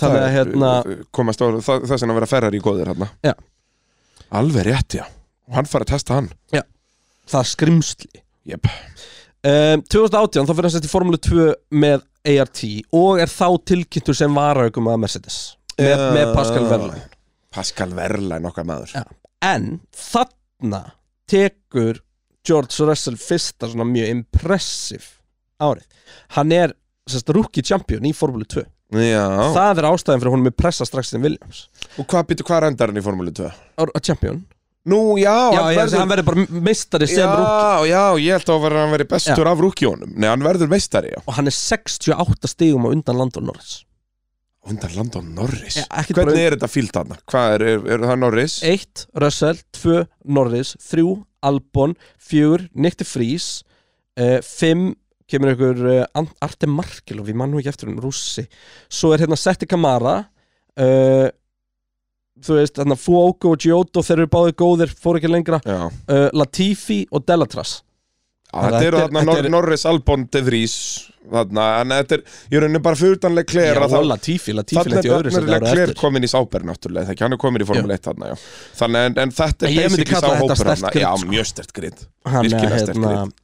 [SPEAKER 1] þannig að hérna
[SPEAKER 2] Komast á það, það sem að vera ferrar í góðir hann
[SPEAKER 1] Já.
[SPEAKER 2] Alveg rétt, já Og hann fari að testa hann
[SPEAKER 1] það er skrimsli
[SPEAKER 2] Jep
[SPEAKER 1] um, 2018 þá fyrir hann sett í Formule 2 með ART og er þá tilkynntur sem varaukum að Mercedes með,
[SPEAKER 2] Já.
[SPEAKER 1] með Pascal Verlaine
[SPEAKER 2] Pascal Verlaine okkar maður
[SPEAKER 1] Já. en þarna tekur George Russell fyrsta svona mjög impressive árið hann er sérst rookie champion í Formule 2
[SPEAKER 2] Já,
[SPEAKER 1] það er ástæðan fyrir honum er pressa strax sem Williams
[SPEAKER 2] og hvað býtu hvað rendar hann í Formúlu 2?
[SPEAKER 1] Or- a champion
[SPEAKER 2] Nú, já,
[SPEAKER 1] já, ég, verður... hann verður bara meistari sem
[SPEAKER 2] já,
[SPEAKER 1] rookie
[SPEAKER 2] já, ég held að vera- hann verið bestur af rúkjónum Nei, hann verður meistari, já
[SPEAKER 1] og hann er 68 stigum á undan Landon Norris
[SPEAKER 2] Undan Landon Norris
[SPEAKER 1] Já, ekkert bara-
[SPEAKER 2] Hvernig er þetta fílt hann? Hvað er, er, er það Norris?
[SPEAKER 1] 1, Russell, 2, Norris 3, Albon, 4, Nick de Vries 5, Eh, kemur einhver uh, Arte Markilov, ég man nú ekki eftir um rússi svo er hérna Setti Kamara uh, þú veist, hérna Fuoco og Giotto þeir eru báðir góðir, fór ekki lengra
[SPEAKER 2] Já.
[SPEAKER 1] uh, Latifi og Delatras
[SPEAKER 2] Já,
[SPEAKER 1] Þannig
[SPEAKER 2] þetta
[SPEAKER 1] að
[SPEAKER 2] eru
[SPEAKER 1] þetta er-
[SPEAKER 2] þarna
[SPEAKER 1] þetta
[SPEAKER 2] Nor
[SPEAKER 1] er-
[SPEAKER 2] Norris Albon de Vries þarna, en þetta er, ég raunin bara fjördanleg kler
[SPEAKER 1] og Latifi, Latifi lenti í öðru sem það eru
[SPEAKER 2] þarna er kler
[SPEAKER 1] eftir
[SPEAKER 2] komin í sáber náttúrulega, það ekki, hann er komin
[SPEAKER 1] Já.
[SPEAKER 2] í Formule 1 þarna, já. þannig en, en
[SPEAKER 1] En
[SPEAKER 2] þetta er
[SPEAKER 1] ég myndi
[SPEAKER 2] basically
[SPEAKER 1] kalla
[SPEAKER 2] sá
[SPEAKER 1] þetta
[SPEAKER 2] hópur
[SPEAKER 1] sterkt
[SPEAKER 2] þarna.
[SPEAKER 1] grid,
[SPEAKER 2] já,
[SPEAKER 1] sko.
[SPEAKER 2] mjög stert grinn
[SPEAKER 1] Hann,
[SPEAKER 2] virkilega
[SPEAKER 1] eh,
[SPEAKER 2] sterkt lið.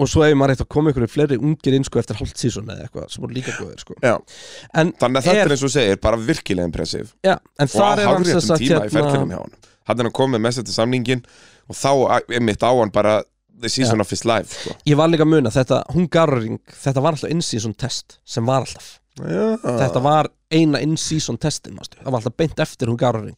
[SPEAKER 1] og svo ef maður eitthvað komið ykkur fleiri ungir inn sko eftir hálft sísón eða eitthvað sem voru líka góðir sko
[SPEAKER 2] Já.
[SPEAKER 1] en,
[SPEAKER 2] þannig að þetta
[SPEAKER 1] Er-
[SPEAKER 2] er eins og þú segir, bara virkilega impressiv
[SPEAKER 1] já, en
[SPEAKER 2] og á
[SPEAKER 1] þar er hann sem
[SPEAKER 2] hafréttum
[SPEAKER 1] sagt
[SPEAKER 2] tíma í ferðinum
[SPEAKER 1] hérna,
[SPEAKER 2] hjá hann hann er komið mest eftir samningin og þá er mitt á hann bara the season of his life sko.
[SPEAKER 1] ég var líka að muna þetta Hungaroring, þetta var alltaf in-season test sem var alltaf,
[SPEAKER 2] Ah.
[SPEAKER 1] þetta var eina in-season testin, mástu, það var alltaf beint eftir Hungaroring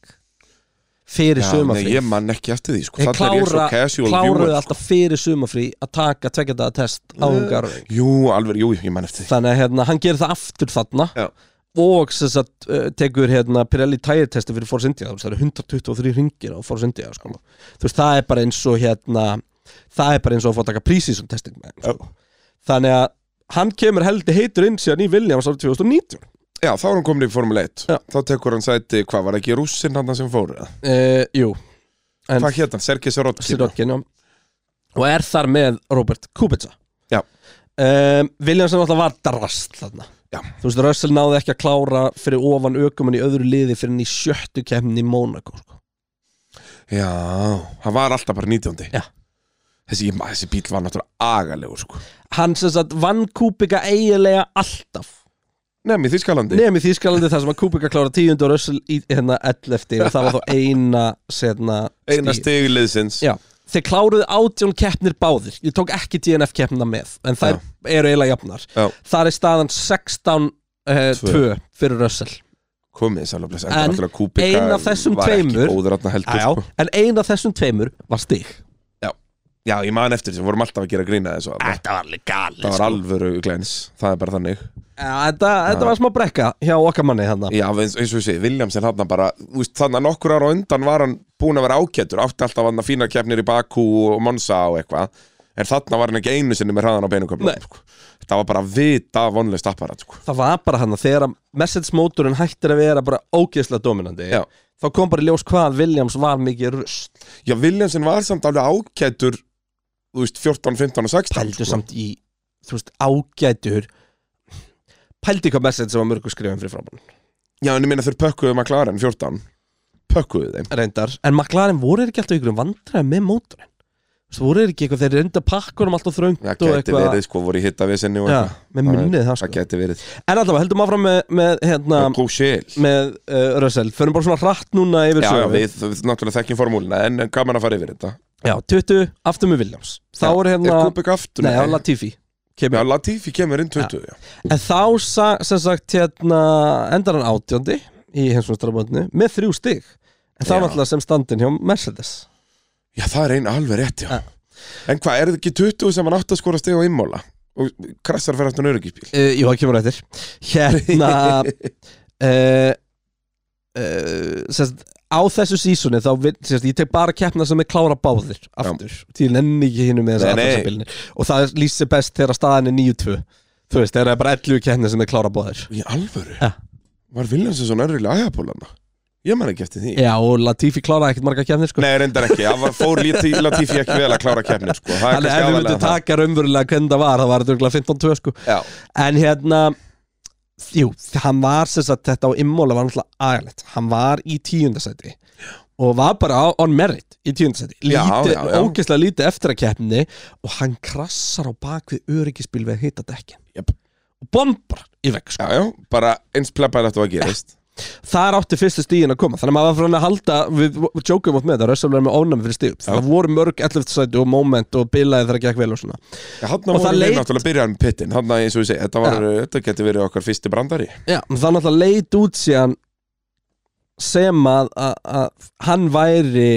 [SPEAKER 1] fyrir
[SPEAKER 2] Já, nei,
[SPEAKER 1] sumafrí
[SPEAKER 2] ég man ekki eftir því sko.
[SPEAKER 1] Þeir
[SPEAKER 2] Þarna er ég svo
[SPEAKER 1] klára-
[SPEAKER 2] casual
[SPEAKER 1] kláruðu
[SPEAKER 2] viewer Eh,
[SPEAKER 1] alltaf fyrir sumafrí að taka tveggjadaða test á Hungaroring
[SPEAKER 2] Jú, alveg, jú, ég man eftir því
[SPEAKER 1] þannig að hérna, hann gerir það aftur þarna
[SPEAKER 2] Já.
[SPEAKER 1] og sem sagt uh, tekur hérna Pirelli tire testi fyrir Force India þú veist, það eru 123 ringir á Force India sko. þú veist það er bara eins og hérna það er bara eins og að fá að taka prísísum testing með þeim, sko. þannig að hann kemur heldur heitur inn síðan í Williams árið 2019 uh,
[SPEAKER 2] Já, þá er hann komin í Formule 1
[SPEAKER 1] Já.
[SPEAKER 2] Þá tekur hann sæti, hvað var ekki rússinn hann sem fór eða?
[SPEAKER 1] Eh, jú, En-
[SPEAKER 2] Hvað hétt hann? Sergei Sirotkin
[SPEAKER 1] Sirotkin já. og er þar með Robert Kubica
[SPEAKER 2] Já.
[SPEAKER 1] um, Williams sem alltaf var drast þarna
[SPEAKER 2] Já.
[SPEAKER 1] þú veist Russell náði ekki að klára fyrir ofan ökumann í öðru liði fyrir hann í sjöttu kemni í Monaco sko.
[SPEAKER 2] Já, hann var alltaf bara 19.
[SPEAKER 1] Já.
[SPEAKER 2] Þessi, ég- þessi bíl var náttúrulega agalegur sko.
[SPEAKER 1] hann sem sagt vann Kubica eiginlega alltaf
[SPEAKER 2] Nefn í Þískalandi
[SPEAKER 1] nefn í Þýskalandi þar sem að Kubica klára tíund og Russell í hérna 11 og það var þá eina hérna, setna
[SPEAKER 2] Eina stig liðsins
[SPEAKER 1] Já. þeir kláruðu átjón keppnir báðir ég tók ekki DNF keppnina með en þær eru eiginlega jafnar
[SPEAKER 2] Já.
[SPEAKER 1] þar er staðan 16
[SPEAKER 2] Tvö.
[SPEAKER 1] 2 fyrir Russell
[SPEAKER 2] Komið þess alveg blessa
[SPEAKER 1] En ein af þessum tveimur-
[SPEAKER 2] Var ekki góður hann heldur
[SPEAKER 1] Já,
[SPEAKER 2] sko.
[SPEAKER 1] en eina af þessum tveimur var stig
[SPEAKER 2] Já, ég man eftir þessu, við vorum alltaf að gera grína þessu þarna.
[SPEAKER 1] Þetta var alveg galið
[SPEAKER 2] Það var
[SPEAKER 1] sko.
[SPEAKER 2] alvöru glens, það er bara þannig
[SPEAKER 1] þetta, þetta var smá brekka hjá okkar manni hérna
[SPEAKER 2] Já, eins, eins og ég segi, Williamson hann bara þú veist, þannig að nokkur ára á undan var hann búin að vera ágætur, átti alltaf hann að fína keppnir í Bakú og Monza og eitthvað en þannig var hann ekki einu sinni með hraðan á beinuköflum
[SPEAKER 1] Nei.
[SPEAKER 2] sko. þetta var bara vita vonlist apparat sko.
[SPEAKER 1] Það var bara hann að þegar message mótorinn hættir að vera bara ógeðslega dominandi
[SPEAKER 2] Já.
[SPEAKER 1] þá kom bara í ljós hvað Williams var mikið rust
[SPEAKER 2] Já, Williamson var samt alveg ágætur þú veist, 14, 15 og sko. 16
[SPEAKER 1] pældu samt í, þú veist, ágætur pældu hvað message sem var mörgu skrifin fyrir frábæðan
[SPEAKER 2] Já, en ég meina þeir pökkuðu McLaren 14 pökkuðu þeim
[SPEAKER 1] reyndar, en McLaren voru þeir ekki alltaf ykkur vandræði með mótorinn þú veist, voru þeir ekki eitthvað, þeir reynda pakkunum alltaf þröngt
[SPEAKER 2] Já,
[SPEAKER 1] og
[SPEAKER 2] gæti
[SPEAKER 1] eitthvað
[SPEAKER 2] verið, sko, voru í hitta við sinni og
[SPEAKER 1] Já,
[SPEAKER 2] eitthvað
[SPEAKER 1] með
[SPEAKER 2] Það er-
[SPEAKER 1] minnið það
[SPEAKER 2] Það
[SPEAKER 1] sko
[SPEAKER 2] gæti verið
[SPEAKER 1] En allavega, heldum áfram með, með hérna,
[SPEAKER 2] Kúsil
[SPEAKER 1] með uh, Russell, förum bara svona hratt núna yfir
[SPEAKER 2] Já, já,
[SPEAKER 1] sögu.
[SPEAKER 2] við, við náttúrulega þekkjum formúluna en en gaman að fara yfir þetta
[SPEAKER 1] já, 20, aftur með Williams þá
[SPEAKER 2] Já,
[SPEAKER 1] er hérna,
[SPEAKER 2] Er Kubik aftur?
[SPEAKER 1] nei, á Latifi
[SPEAKER 2] Já, Latifi kemur inn 20 já.
[SPEAKER 1] En þá sa- sem sagt hérna endar hann átjóndi í hensumstrafböndinu með þrjú stig En það
[SPEAKER 2] Já.
[SPEAKER 1] var alltaf sem standin hjá Mercedes
[SPEAKER 2] já, það er einn alveg rétt,
[SPEAKER 1] Ja.
[SPEAKER 2] já En hvað, er þetta ekki 20 sem hann átt að skora stig á Immola? Og krassar fyrir aftur nörgisbíl
[SPEAKER 1] uh, Jó, það kemur á eftir Hérna uh, uh, sagt, Á þessu sísunni þá vin- sem sagt, ég tek bara keppna sem er klára báðir aftur, því ég nenni ekki hinu með
[SPEAKER 2] Nei, nei.
[SPEAKER 1] þessu og það lýsir best þegar staðan er 9-2 Þú veist, þegar það er bara 11 keppna sem er klára báðir
[SPEAKER 2] Í alvöru?
[SPEAKER 1] Ja.
[SPEAKER 2] Var Viljánsson svo nörgilega aðjapólana? Ég man ekki eftir því
[SPEAKER 1] Já, og Latifi kláraði ekkert marga keppnir sko
[SPEAKER 2] Nei, reyndar ekki, það var- fór Lati- Latifi ekki vel að klára keppnir sko. Það er
[SPEAKER 1] Þannig ef
[SPEAKER 2] kannski
[SPEAKER 1] við
[SPEAKER 2] aðalega
[SPEAKER 1] myndum
[SPEAKER 2] það.
[SPEAKER 1] taka raunverulega hvernig það var, það var þetta 15-2 sko
[SPEAKER 2] Já,
[SPEAKER 1] En hérna Jú, hann var sem sagt þetta á immóla var náttúrulega agalegt Hann var í tíundasæti og var bara á- on merit í tíundasæti
[SPEAKER 2] Já,
[SPEAKER 1] lítið,
[SPEAKER 2] já, já.
[SPEAKER 1] ógeðslega lítið eftir að keppni og hann krassar á bak við öryggisbíl við að hita dekkin
[SPEAKER 2] Jöp.
[SPEAKER 1] og bombar í vegg sko.
[SPEAKER 2] já, já, bara eins plebbaði þetta var að gerist
[SPEAKER 1] þar átti fyrstu stíðin að koma þannig að maður var frá hann að halda við við jokum átt með þetta, Russell var með ónæmi fyrir stíðum það voru mörg 11. sæti og moment og bilaði þegar gekk vel og svona
[SPEAKER 2] Já, hann
[SPEAKER 1] Og það
[SPEAKER 2] voru við
[SPEAKER 1] leit-
[SPEAKER 2] náttúrulega byrjaðan með pittin Hann eins og ég segi, þetta, var, þetta geti verið okkar fyrsti brandari
[SPEAKER 1] Já, menn það náttúrulega leit út síðan sem að, að, að hann væri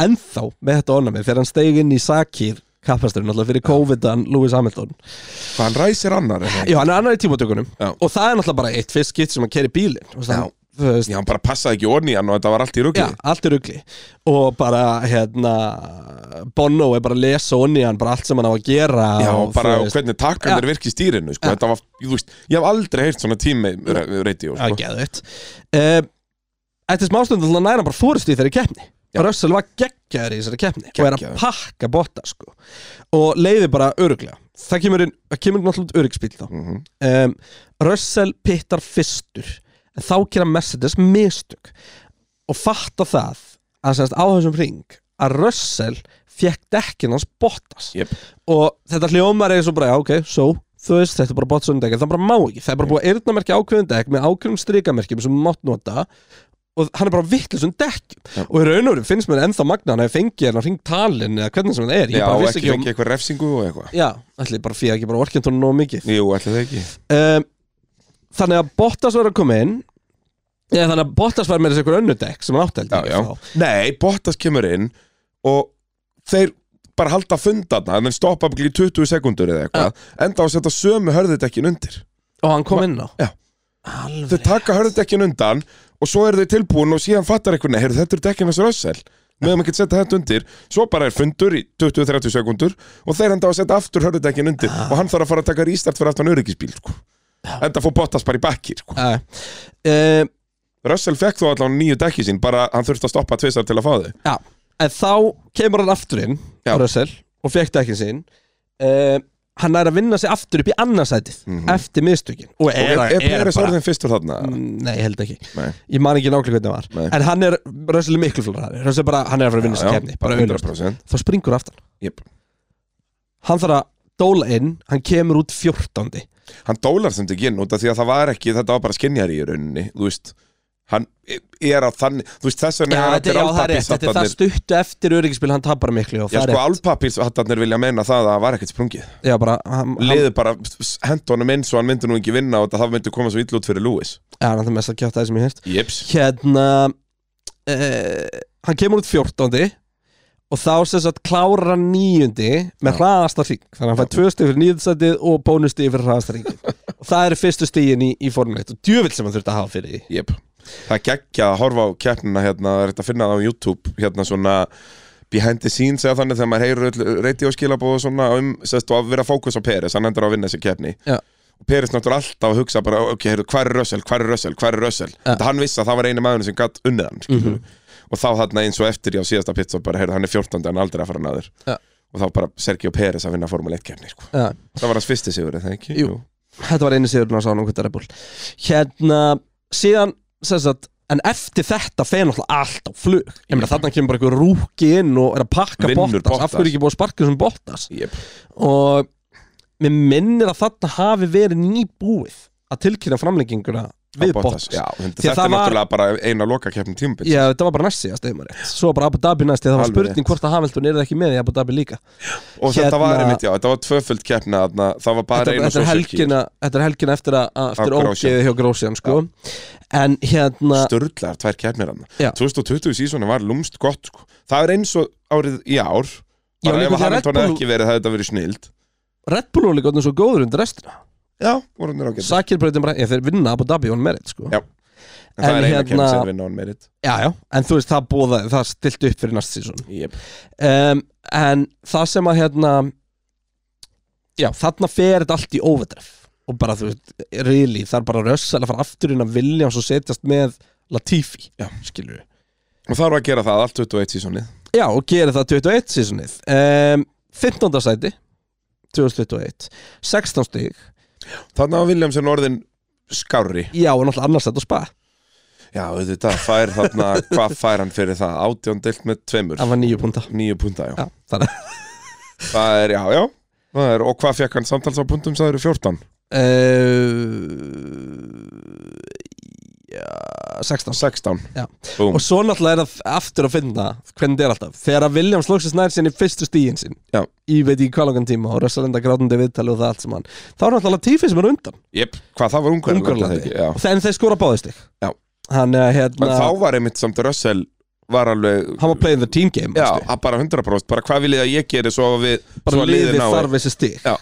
[SPEAKER 1] ennþá með þetta onami þegar hann steig inn í Sakir kappasturinn náttúrulega fyrir COVID-an Lewis Hamilton
[SPEAKER 2] Hvað hann ræsir annar er það?
[SPEAKER 1] Já, hann er annar í tímatökunum
[SPEAKER 2] Já.
[SPEAKER 1] og það er náttúrulega bara eitt fyrst skitt sem hann keri bílinn og
[SPEAKER 2] Já.
[SPEAKER 1] það þú veist,
[SPEAKER 2] Já, hann bara passaði ekki orni hann og þetta var allt í rugli
[SPEAKER 1] Já, allt er rugli og bara, hérna Bono er bara að lesa onni hann bara allt sem hann á að gera
[SPEAKER 2] Já,
[SPEAKER 1] og,
[SPEAKER 2] bara
[SPEAKER 1] þú
[SPEAKER 2] og
[SPEAKER 1] veist,
[SPEAKER 2] hvernig takkan
[SPEAKER 1] Já.
[SPEAKER 2] þeir virki í stýrinu sko.
[SPEAKER 1] Já.
[SPEAKER 2] Þetta var, þú veist, ég hef aldrei heyrt svona tími radio
[SPEAKER 1] Já,
[SPEAKER 2] sko.
[SPEAKER 1] geðvitt Eh, Eftir smástundu þannig að næra bara fórust í þeirri keppni
[SPEAKER 2] Já.
[SPEAKER 1] Russell var geggjaður í þessari keppni og er að
[SPEAKER 2] Geggjaður.
[SPEAKER 1] pakka botta sko og leiði bara öruglega það kemur, inn, það kemur náttúrulega örugspíl þá
[SPEAKER 2] mm
[SPEAKER 1] um, Russell pittar fyrstur en þá gera Mercedes mistök og fatta það að semst á þessum ring að Russell fekk dekkin hans Bottas
[SPEAKER 2] Jep.
[SPEAKER 1] og þetta hljómar er svo bara, já, ok, so þú veist, þetta er bara Bottas um dekkin, það bara má ekki það er bara búið að eyrnamerkja ákveðin dekk með ákveðum strikamerkjum sem mátt nota og hann er bara vittlisum dekkjum
[SPEAKER 2] Já.
[SPEAKER 1] og í raun og veru finnst mér ennþá magna hann að fengi hann að ring talin eða hvernig sem það er, ég
[SPEAKER 2] Já,
[SPEAKER 1] bara
[SPEAKER 2] og
[SPEAKER 1] vissi
[SPEAKER 2] ekki
[SPEAKER 1] ekki, um-
[SPEAKER 2] fengi eitthvað refsingu og eitthvað
[SPEAKER 1] já, ætli bara fyrir ekki bara orkjönd honum nóg mikið
[SPEAKER 2] Jú, ætlaði ekki
[SPEAKER 1] um, Þannig að Bottas var að koma inn Eða þannig að Bottas var með þessi einhver önnu dekk sem hann átti held
[SPEAKER 2] já,
[SPEAKER 1] ég
[SPEAKER 2] já.
[SPEAKER 1] þá.
[SPEAKER 2] Nei, Bottas kemur inn og þeir bara halda fundarna en þeir stoppa ekki í 20 sekundur eða eitthvað enda á að setja sömu hörðutekkin undir
[SPEAKER 1] Og hann kom inn á
[SPEAKER 2] Já.
[SPEAKER 1] Alveg
[SPEAKER 2] Þeir taka hörðutekkin undan og svo eru þeir tilbúin og síðan fattar eitthvað, heyrðu þetta eru dekkin hans rössel meðan maður getur setja þetta undir svo bara er fundur í 20-30 sekundur og þeir enda á að setja aftur hörðutekkin undir og hann þarf að fara að taka rístart fyrir aftan öryggisbíl sko. enda fór Bottas bara í bekki sko.
[SPEAKER 1] uh, um,
[SPEAKER 2] Russell fekk þó allan nýju dekki sín bara hann þurfti að stoppa tvisar til að fá þau
[SPEAKER 1] Já En þá kemur hann aftur inn
[SPEAKER 2] Já.
[SPEAKER 1] Russell Og fekk dekkin sín uh, Hann er að vinna sig aftur upp í annarsætið Eftir miðstökin Og
[SPEAKER 2] og
[SPEAKER 1] er,
[SPEAKER 2] Mhm. er, er, er,
[SPEAKER 1] bara-
[SPEAKER 2] orðin fyrstur þarna
[SPEAKER 1] Mm, Nei, ég held ekki
[SPEAKER 2] Nei.
[SPEAKER 1] Ég man ekki nákvæmlega hvernig það var
[SPEAKER 2] Nei.
[SPEAKER 1] En hann er, Russell er miklu flóra Russell bara, hann er að fara að vinna sig kefni Bara auðvitað
[SPEAKER 2] 100%
[SPEAKER 1] Þá springur aftan
[SPEAKER 2] yep.
[SPEAKER 1] Hann þarf að dóla inn Hann kemur út 14.
[SPEAKER 2] Hann dólar sem þetta ekki inn út af því að það var ekki þetta var bara skinjar í rauninni þú veist, hann er að þannig þú veist, þess vegna
[SPEAKER 1] Já,
[SPEAKER 2] er
[SPEAKER 1] þetta er, já, það er rétt, þetta er það
[SPEAKER 2] alpapírshattarnir
[SPEAKER 1] stuttu eftir öryggisbíl, hann tapar miklu og
[SPEAKER 2] Já,
[SPEAKER 1] það
[SPEAKER 2] sko,
[SPEAKER 1] er rétt.
[SPEAKER 2] alpapírshattarnir vilja meina það að það var ekkert sprungið
[SPEAKER 1] Já, bara, hann, hann,
[SPEAKER 2] Liðu bara, hendu honum inn svo hann myndi nú ekki vinna og þetta- það myndi koma svo illa út fyrir Lewis
[SPEAKER 1] já, hann er mest að kjáta það sem ég hérst.
[SPEAKER 2] Jeps
[SPEAKER 1] Hérna, uh, hann kemur út 14. og þá sem sagt klárar hann níundi með
[SPEAKER 2] Já.
[SPEAKER 1] hraðasta hring. Þannig að hann fær tvö stig fyrir nýjöndsætið og bónustig fyrir hraðasta hringin. og það eru fyrstu stigin í, í formulegt og djövill sem hann þurfti að hafa fyrir því.
[SPEAKER 2] Jep. Það geggja að horfa á keppnina hérna, það er hægt að finna það á YouTube hérna svona behind the scenes eða þannig þegar maður heyrir radioskilabóð og svona um, sérst, og að vera fókus á Peres, hann endur á að vinna þessi keppni
[SPEAKER 1] Já.
[SPEAKER 2] og Peres náttúrulega alltaf að hugsa bara, ok, heyrðu, hvar er Russell, hvar er Russell, hvar er Russell
[SPEAKER 1] Já.
[SPEAKER 2] þetta hann vissi að það var eini maðurinn sem gatt unnið hann mm
[SPEAKER 1] Mhm.
[SPEAKER 2] og þá þarna eins og eftir ég á síðasta pitstop bara, heyrðu, hann er 14 en aldrei að fara naður
[SPEAKER 1] Já.
[SPEAKER 2] og þá bara Sergio Peres að vinna Formule 1 keppni sko.
[SPEAKER 1] Já.
[SPEAKER 2] það var hans fyrsti sigur, eða ekki?
[SPEAKER 1] Jú. Þetta var einu sigurinn á sánum um hvernig Red Bull Hérna, síðan sem sagt, En eftir þetta feir náttúrulega allt á flug Ég meina þarna kemur bara einhver rúki inn og er að pakka
[SPEAKER 2] Vinnur
[SPEAKER 1] Bottas Af
[SPEAKER 2] Bottas.
[SPEAKER 1] hverju ekki búið að sparka þessum Bottas
[SPEAKER 2] Jep.
[SPEAKER 1] Og mér minnir að þarna hafi verið nýbúið Að tilkynna framlenginguna við
[SPEAKER 2] Á
[SPEAKER 1] Bottas,
[SPEAKER 2] Já, þetta
[SPEAKER 1] Því að
[SPEAKER 2] þetta
[SPEAKER 1] það
[SPEAKER 2] er
[SPEAKER 1] var-
[SPEAKER 2] náttúrulega bara eina loka keppni tímabils
[SPEAKER 1] Já, þetta var bara næst síðast eða maður rétt Svo bara Abu Dhabi næst, því að það var
[SPEAKER 2] Alveg
[SPEAKER 1] spurning
[SPEAKER 2] rétt.
[SPEAKER 1] hvort að Hamilton er ekki með í Abu Dhabi líka
[SPEAKER 2] Og
[SPEAKER 1] Hérna-
[SPEAKER 2] þetta var einmitt, já, þetta var tvöföld keppna þarna, það var bara
[SPEAKER 1] þetta,
[SPEAKER 2] einu
[SPEAKER 1] þetta, er helgina, þetta er helgina eftir, að- að- eftir
[SPEAKER 2] Á Grósjan.
[SPEAKER 1] ógeðið hjá Grósjan sko. En hérna
[SPEAKER 2] Sturlar, tvær keppnir hann
[SPEAKER 1] Já.
[SPEAKER 2] 2020 sísoni var lúmst gott sko. Það er eins og árið í ár
[SPEAKER 1] Já,
[SPEAKER 2] Bara
[SPEAKER 1] líka
[SPEAKER 2] ef
[SPEAKER 1] því að Red
[SPEAKER 2] Hamilton hefði
[SPEAKER 1] Bull-
[SPEAKER 2] ekki verið, það hefði þetta verið snild
[SPEAKER 1] Red Bull voru líka orðin svo góður undir restina
[SPEAKER 2] Já, voru hann er ágætt
[SPEAKER 1] Sakir breytum bara, ég þeir vinna Abu Dhabi on merit sko.
[SPEAKER 2] Já.
[SPEAKER 1] en
[SPEAKER 2] En það er eina
[SPEAKER 1] hérna-
[SPEAKER 2] keppni sem vinna hann merit
[SPEAKER 1] já, já, en þú veist það búða, það stilt upp fyrir næst sísón
[SPEAKER 2] yep.
[SPEAKER 1] um, En það sem að hérna Já, þarna fer þetta allt í overdref Og bara, þú veist, really, það er bara rössal að fara aftur inn að vilja og svo setjast með Latifi,
[SPEAKER 2] Já.
[SPEAKER 1] skilur við
[SPEAKER 2] Og það var að gera það allt 21 sísonið
[SPEAKER 1] Já, og gerir það 21 sísonið um, 15. sæti 2021 16 stig,
[SPEAKER 2] Þannig að Williamson orðin skárri
[SPEAKER 1] já, og náttúrulega annars þetta og spa
[SPEAKER 2] Já, auðvitað, fær þarna, hvað fær hann fyrir það? Átjón deilt með tveimur
[SPEAKER 1] Það var nýju púnta
[SPEAKER 2] Nýju púnta, já.
[SPEAKER 1] Já, þannig
[SPEAKER 2] Það er, já, já Það er, Og hvað fekk hann samtals á púntum? Það eru 14
[SPEAKER 1] Uh, Eh, já, 16
[SPEAKER 2] 16
[SPEAKER 1] Já.
[SPEAKER 2] Búm.
[SPEAKER 1] og svo náttúrulega er það aftur að finna hvernig þetta er alltaf, þegar að Williams loksist nær sinni fyrstu stíin sin
[SPEAKER 2] Já.
[SPEAKER 1] í veit í hvað langan tíma og Rössalenda grátandi viðtali og það allt sem hann þá er náttúrulega Tífi sem er undan,
[SPEAKER 2] Jep, hvað það var Ungarland
[SPEAKER 1] Ungarlandi
[SPEAKER 2] Já.
[SPEAKER 1] Og þe- en þeir skora báðist þig
[SPEAKER 2] Já.
[SPEAKER 1] hann,
[SPEAKER 2] En
[SPEAKER 1] hérna,
[SPEAKER 2] þá var einmitt samt Russell var alveg
[SPEAKER 1] hann var playing the team game
[SPEAKER 2] Já,
[SPEAKER 1] veistu.
[SPEAKER 2] að bara 100% bara hvað viljið að ég geri svo að við
[SPEAKER 1] bara
[SPEAKER 2] svo að liðið
[SPEAKER 1] liðið
[SPEAKER 2] nái.
[SPEAKER 1] þarf þessi stík
[SPEAKER 2] Já.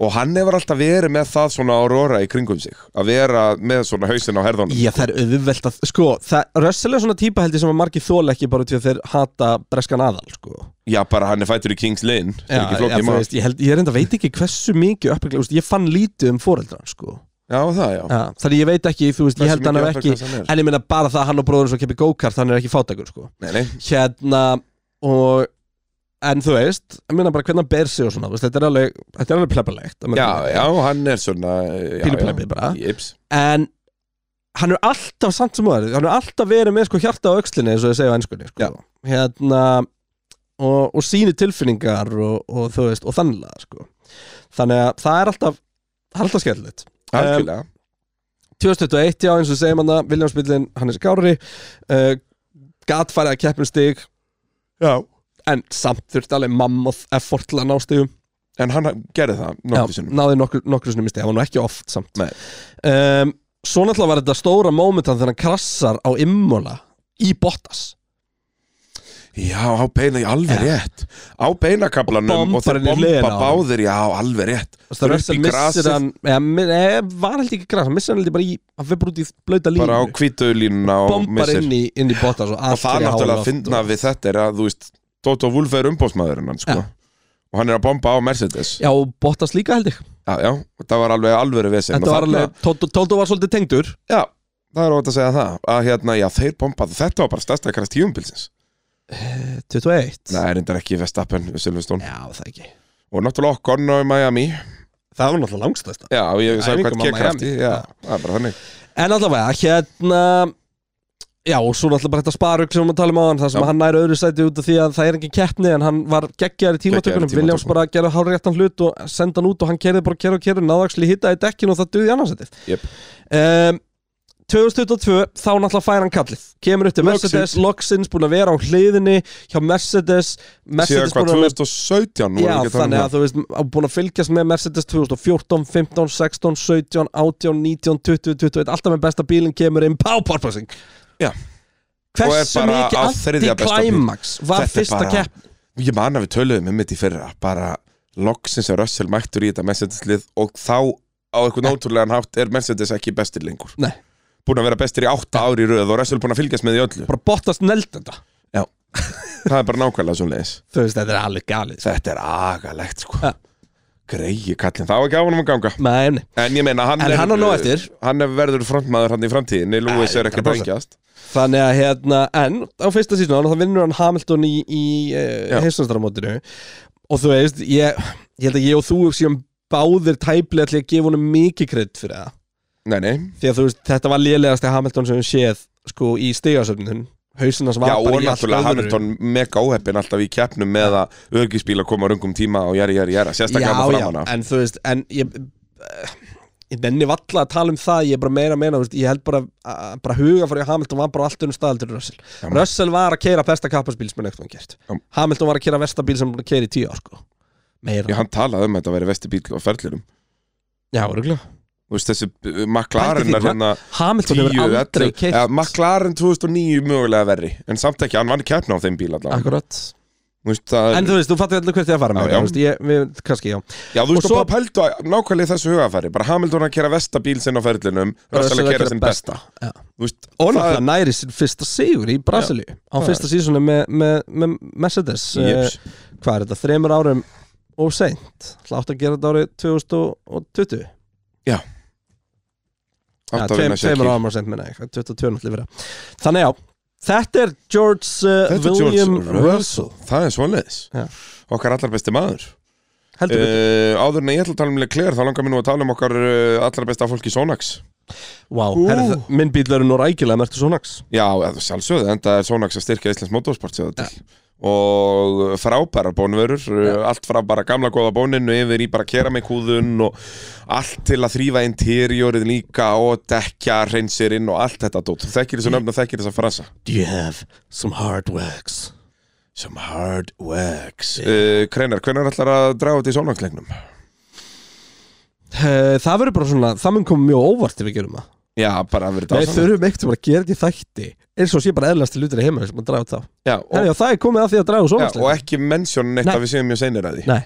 [SPEAKER 2] og hann hefur alltaf verið með það svona Aurora í kringum sig að vera með svona hausinn á herðunum
[SPEAKER 1] Já, það er auðvelt að, sko, það, Russell er svona típa heldur sem að margir þóla ekki bara út því að þeir hata breskan aðal, sko.
[SPEAKER 2] já bara hann er fættur í Kings Lane það er ekki
[SPEAKER 1] já,
[SPEAKER 2] flókið
[SPEAKER 1] þú
[SPEAKER 2] mál
[SPEAKER 1] veist, ég, held, ég reynda veit ekki hversu mikið uppbygglega, veist, ég fann lítið um foreldra, sko.
[SPEAKER 2] já það já,
[SPEAKER 1] Ja, þannig ég veit ekki, þú veist, ég
[SPEAKER 2] Hversu
[SPEAKER 1] held hann
[SPEAKER 2] mikið
[SPEAKER 1] hef ekki,
[SPEAKER 2] uppbygglaðs hann er?
[SPEAKER 1] en ég meina bara það að hann og bróður svo keppi go-kart, hann er ekki fátækur, sko.
[SPEAKER 2] nei, nei.
[SPEAKER 1] Hérna, og, en þú veist, ég meina bara hvernig hann ber sig og svona, þú veist, þetta er alveg, þetta er alveg plebbalegt. að mörgu
[SPEAKER 2] já,
[SPEAKER 1] leyti.
[SPEAKER 2] já hann er svona já,
[SPEAKER 1] Pínu
[SPEAKER 2] já.
[SPEAKER 1] plebbi bara.
[SPEAKER 2] Jips.
[SPEAKER 1] En hann er alltaf, samt sem aðeins, hann er alltaf verið með sko hjarta á öxlinni, eins og ég segja á ennskunni, sko.
[SPEAKER 2] Já.
[SPEAKER 1] Hérna, og, og síni tilfinningar og, og þú veist, og þannlega, sko. Þannig að það er alltaf, það er alltaf skemmtilegt.
[SPEAKER 2] algjörlega
[SPEAKER 1] 2021, já, eins og segjum hann það, Viljámsbyllin, Hannes Kári, uh, gat farið að keppnum stig,
[SPEAKER 2] já.
[SPEAKER 1] en samt þurfti alveg mammoth effort til að ná stigum.
[SPEAKER 2] en hann gerði það nokkuð
[SPEAKER 1] Já,
[SPEAKER 2] sinnum
[SPEAKER 1] náði nokkur, nokkur sinnum í stig, það var nú ekki oft samt.
[SPEAKER 2] Nei.
[SPEAKER 1] Um, svo náttúrulega var þetta stóra mómentan þegar hann krassar á Immola í Bottas.
[SPEAKER 2] já á beina, já, alveg rétt á
[SPEAKER 1] Og
[SPEAKER 2] beinakablanum og
[SPEAKER 1] bombar
[SPEAKER 2] þeir
[SPEAKER 1] henni í hliðina
[SPEAKER 2] bomba
[SPEAKER 1] á honum.
[SPEAKER 2] báðir já alveg rétt
[SPEAKER 1] Þú veist, það
[SPEAKER 2] Upp
[SPEAKER 1] Russell
[SPEAKER 2] í grasið.
[SPEAKER 1] missir hann, eða, mi- eða, var held ekki græs, hann missir hann held ég bara í, hann fyrir bara út í blöta línu.
[SPEAKER 2] bara á kvítulínuna og
[SPEAKER 1] bombar
[SPEAKER 2] missir
[SPEAKER 1] inn í, inn í Bottas og
[SPEAKER 2] og
[SPEAKER 1] allt
[SPEAKER 2] það er
[SPEAKER 1] fyrir
[SPEAKER 2] náttúrulega að
[SPEAKER 1] hálfloft
[SPEAKER 2] finna
[SPEAKER 1] og-
[SPEAKER 2] við þetta er að þú veist Toto Wolff er umbóðsmaðurinn hann sko
[SPEAKER 1] Ja.
[SPEAKER 2] og hann er að bomba á Mercedes já,
[SPEAKER 1] Já, og Bottas líka held ég.
[SPEAKER 2] já, og það var alveg alvöru vesinn
[SPEAKER 1] Þetta
[SPEAKER 2] og
[SPEAKER 1] var
[SPEAKER 2] þarna-
[SPEAKER 1] alveg, Tóto- Tóto var svolítið tengdur.
[SPEAKER 2] já, það er ótt að segja það að hérna, já, þeir bombaðu, þetta var bara stærsta kærast tíumbilsins
[SPEAKER 1] 21
[SPEAKER 2] Nei, reyndar ekki Vestappen, Silveston
[SPEAKER 1] Já, það ekki
[SPEAKER 2] og náttúrulega Ocon á Miami
[SPEAKER 1] Það var náttúrulega langstæðsta
[SPEAKER 2] já, og ég sagði
[SPEAKER 1] Æfingum
[SPEAKER 2] hvað
[SPEAKER 1] á
[SPEAKER 2] kekkrafti
[SPEAKER 1] Miami.
[SPEAKER 2] já,
[SPEAKER 1] Ja.
[SPEAKER 2] það er bara þannig
[SPEAKER 1] En allavega, hérna Já, og svo náttúrulega bara þetta sparug sem við talum á hann Það um sem
[SPEAKER 2] Já.
[SPEAKER 1] hann nær öðru sæti út af því að það er engin keppni En hann var geggjar í tímatökunum
[SPEAKER 2] Geggjaður í
[SPEAKER 1] Viljáms
[SPEAKER 2] tímatökunum.
[SPEAKER 1] bara gerði hálfréttan hlut og senda hann út Og hann kerði bara kerði og kerði Náðaksli hitta í dekkinu og það duði annarsætið
[SPEAKER 2] Jep.
[SPEAKER 1] um, 2022, þá náttúrulega fær hann kallið Kemur upp til
[SPEAKER 2] Loksins.
[SPEAKER 1] Mercedes, Loxins búin að vera á hliðinni Hjá Mercedes
[SPEAKER 2] síðan
[SPEAKER 1] Mercedes
[SPEAKER 2] hvað,
[SPEAKER 1] búin að vera
[SPEAKER 2] 2017
[SPEAKER 1] Já, þannig að þú veist, á búin að fylgjast með Mercedes 2014, 15, 16, 17, 18, 19, 20, 21 Alltaf með besta bílinn kemur inn Pá, porpoising
[SPEAKER 2] Já. Og er
[SPEAKER 1] Hversu
[SPEAKER 2] bara á
[SPEAKER 1] mikið
[SPEAKER 2] þriðja besta bíl.
[SPEAKER 1] anti-climax var
[SPEAKER 2] Þetta er
[SPEAKER 1] fyrsta
[SPEAKER 2] bara-
[SPEAKER 1] kepp
[SPEAKER 2] ég man að við töluðum um þetta í fyrra bara loksins er Russell mættur í þetta Mercedeslið og þá á eitthvað náttúrulegan hátt er Mercedes ekki bestir lengur
[SPEAKER 1] Nei.
[SPEAKER 2] búin að vera bestir í átta ári í röð og Russell búin að fylgjast með í öllu
[SPEAKER 1] Bara bóttast neld þetta
[SPEAKER 2] það er bara nákvæmlega svona leis
[SPEAKER 1] Þú veist, þetta er alveg galið sko.
[SPEAKER 2] þetta er agalegt sko
[SPEAKER 1] Ja.
[SPEAKER 2] greiði kallin, það var ekki á honum að ganga
[SPEAKER 1] Nei, nei,
[SPEAKER 2] en ég meina hann,
[SPEAKER 1] En
[SPEAKER 2] er,
[SPEAKER 1] hann á nóg eftir.
[SPEAKER 2] hann er verður frontmaður hann í framtíðinni Lewis
[SPEAKER 1] Ja,
[SPEAKER 2] er ekki
[SPEAKER 1] 100%.
[SPEAKER 2] brengjast
[SPEAKER 1] þannig að hérna En á fyrsta sísonu, þá vinnur hann Hamilton í, í
[SPEAKER 2] Já.
[SPEAKER 1] uh, heimsumstaramótinu Og þú veist, ég, ég held að ég og þú séum báðir tæplega til að gefa honum mikið kredd fyrir það
[SPEAKER 2] nei, nei.
[SPEAKER 1] því að þú veist, þetta var lélegast að Hamilton sem við séð sko í stigasöfnun hausina sem var
[SPEAKER 2] Já, og
[SPEAKER 1] bara í allt
[SPEAKER 2] náttúrulega
[SPEAKER 1] öðru.
[SPEAKER 2] Hamilton mega óheppin alltaf í keppnum með að örgisbíla koma á rungum tíma og jæri, jæri, jæra sérstaklega hérna með
[SPEAKER 1] já,
[SPEAKER 2] framanna
[SPEAKER 1] já, en þú veist en ég, eh, ég nenni valla að tala um það ég er bara meira að meina, þú veist, ég held bara að- bara huga fyrir að Hamilton var bara allt unnum staðaldur Russell.
[SPEAKER 2] Já.
[SPEAKER 1] Russell var að keira besta kapparsbíl sem er neitt hann gert
[SPEAKER 2] Já.
[SPEAKER 1] Hamilton var að keira vestabíl sem hann keira í tíu ár sko. meira,
[SPEAKER 2] Já, hann talaði um að þetta væri vesti bíl á ferðlirum
[SPEAKER 1] já, örugglega.
[SPEAKER 2] Þú veist, þessi uh, McLaren
[SPEAKER 1] Pældi
[SPEAKER 2] er
[SPEAKER 1] því,
[SPEAKER 2] hérna
[SPEAKER 1] Hamilton
[SPEAKER 2] 10,
[SPEAKER 1] hefur
[SPEAKER 2] 11
[SPEAKER 1] aldrei keirt
[SPEAKER 2] ja, McLaren 2009 mögulega verri En samt ekki, hann vann keppna á þeim bíl allavega
[SPEAKER 1] akkurat,
[SPEAKER 2] Þú veist, það,
[SPEAKER 1] en þú veist, þú fattir allir hvert ég að fara með
[SPEAKER 2] Já, já.
[SPEAKER 1] þú veist, ég, við, kannski, já
[SPEAKER 2] Já, þú
[SPEAKER 1] og
[SPEAKER 2] veist, þú
[SPEAKER 1] svo-
[SPEAKER 2] bara pældu að- nákvæmlega í þessu hugafæri Bara Hamilton að kera vesta bíl sinn á ferðlinum Russell að kera sinn besta
[SPEAKER 1] Já.
[SPEAKER 2] Þú veist,
[SPEAKER 1] Og
[SPEAKER 2] það er-
[SPEAKER 1] náttúrulega næri sér fyrsta sigur í Brasilíu á
[SPEAKER 2] það
[SPEAKER 1] fyrsta sísoni með me, me Mercedes
[SPEAKER 2] Jeps.
[SPEAKER 1] eh, Hvað er þetta? Þremur árum og seint Látt að gera þetta árið 2020
[SPEAKER 2] átti að
[SPEAKER 1] tveim-
[SPEAKER 2] vinna sér
[SPEAKER 1] Tveimur
[SPEAKER 2] kýr.
[SPEAKER 1] árum og seint minna ég 2020 náttúrulega vera Þannig já, þetta er George, uh,
[SPEAKER 2] Þetta er
[SPEAKER 1] William
[SPEAKER 2] George Russell Það er svoleiðis
[SPEAKER 1] Já.
[SPEAKER 2] Okkar allar besti maður
[SPEAKER 1] Heldur við
[SPEAKER 2] uh, Áður en ég ætla að tala um Leclerc Þá langar mér nú að tala um okkar uh, allar besta fólki Sonax
[SPEAKER 1] Vá,
[SPEAKER 2] Ú.
[SPEAKER 1] herri, það- minn bíl verður nú rækilega mertu Sonax
[SPEAKER 2] Já, eða sjálfsögðu, enda er Sonax að styrkja Íslands motorsport sér þetta til og frábærar bónverur eh, allt frá bara gamla góða bóninu yfir í bara keramikúðun og allt til að þrýfa interiorið líka og dekja reynsirinn og allt þetta dót. Þú þekkir
[SPEAKER 1] Mm.
[SPEAKER 2] þessu nöfn og þekkir þessa frasa
[SPEAKER 1] Do you have some hard works?
[SPEAKER 2] Some hard works uh, Kreinar, hvernig ætlar að draga þetta í Sonax-leiknum?
[SPEAKER 1] Eh, Uh, það verður bara svona, það mun koma mjög óvart ef við gerum það
[SPEAKER 2] já, bara að vera
[SPEAKER 1] Við
[SPEAKER 2] dásamlega
[SPEAKER 1] þurfum ekkert að gera þetta í þætti eins og sé bara eðlast til hlutir heima sem að draga þá
[SPEAKER 2] já, og,
[SPEAKER 1] Herra, já, það er komið að því að draga
[SPEAKER 2] já,
[SPEAKER 1] svona
[SPEAKER 2] og ekki mennsjón neitt
[SPEAKER 1] Nei.
[SPEAKER 2] að við séum mjög seinir að því
[SPEAKER 1] Nei.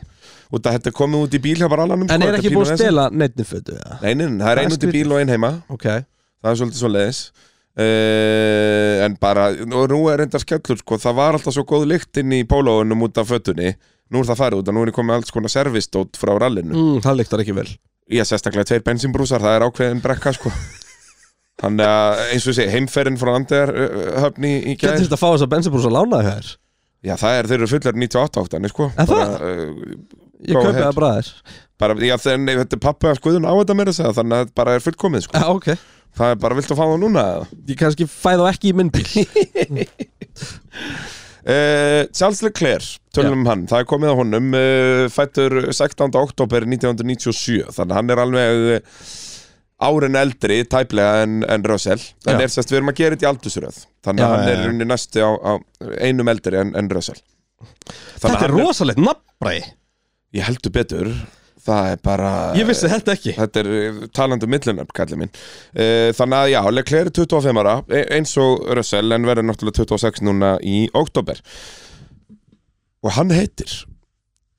[SPEAKER 2] og það þetta er komið út í bíl hjá bara um allanum
[SPEAKER 1] En er ekki búin að stela neittni fötu eða?
[SPEAKER 2] Nei, nei, nei, það er
[SPEAKER 1] Það er
[SPEAKER 2] einn út í bíl og einn heima
[SPEAKER 1] Ok
[SPEAKER 2] það er svolítið svo leiðis en bara, og nú er enda skellur sko, það var alltaf svo góð lykt inn í pólóunum út af fötunni, nú er það farið út og nú er komið alls konar servistótt frá rallinu
[SPEAKER 1] mm, Það lyktar ekki vel
[SPEAKER 2] ég sérstaklega tveir bensinbrúsar, það er ákveðin brekka sko þannig að eins og sé, heimferðin frá Andjar höfni í
[SPEAKER 1] Getur
[SPEAKER 2] gæð
[SPEAKER 1] þetta að fá þess að bensinbrús að lána þér?
[SPEAKER 2] já það er, þeir eru fullar 98 áttanir sko
[SPEAKER 1] Er það?
[SPEAKER 2] uh,
[SPEAKER 1] Ég
[SPEAKER 2] Go
[SPEAKER 1] kaupi
[SPEAKER 2] ahead.
[SPEAKER 1] það bara þér
[SPEAKER 2] bara, já þannig, þetta er pappi að skoðun á þetta meira að segja, þannig að þetta bara er fullkomið sko
[SPEAKER 1] Já, ok
[SPEAKER 2] það er bara, viltu að fá það núna eða?
[SPEAKER 1] Ég kannski fæ þá ekki í minn bíl
[SPEAKER 2] Uh, Charles Leclerc, tölum um hann það er komið á honum, uh, fættur 16. oktober 1997 þannig að hann er alveg uh, árin eldri, tæplega en, en Russell en
[SPEAKER 1] Já.
[SPEAKER 2] er sérst, við erum að gera þetta í aldursröð þannig
[SPEAKER 1] Já,
[SPEAKER 2] að hann
[SPEAKER 1] já,
[SPEAKER 2] er
[SPEAKER 1] já.
[SPEAKER 2] runni næstu á, á einum eldri en, en Russell þannig
[SPEAKER 1] Þetta
[SPEAKER 2] að
[SPEAKER 1] er
[SPEAKER 2] hann
[SPEAKER 1] rosalegt nafnbræði
[SPEAKER 2] ég heldur betur það er bara
[SPEAKER 1] Ég vissi þetta ekki
[SPEAKER 2] Þetta er eh, talandi millinöfn, kallið minn Eh, Þannig að já, Leclerc er 25 ára e- eins og Russell en verður náttúrulega 26 núna í oktober og hann heitir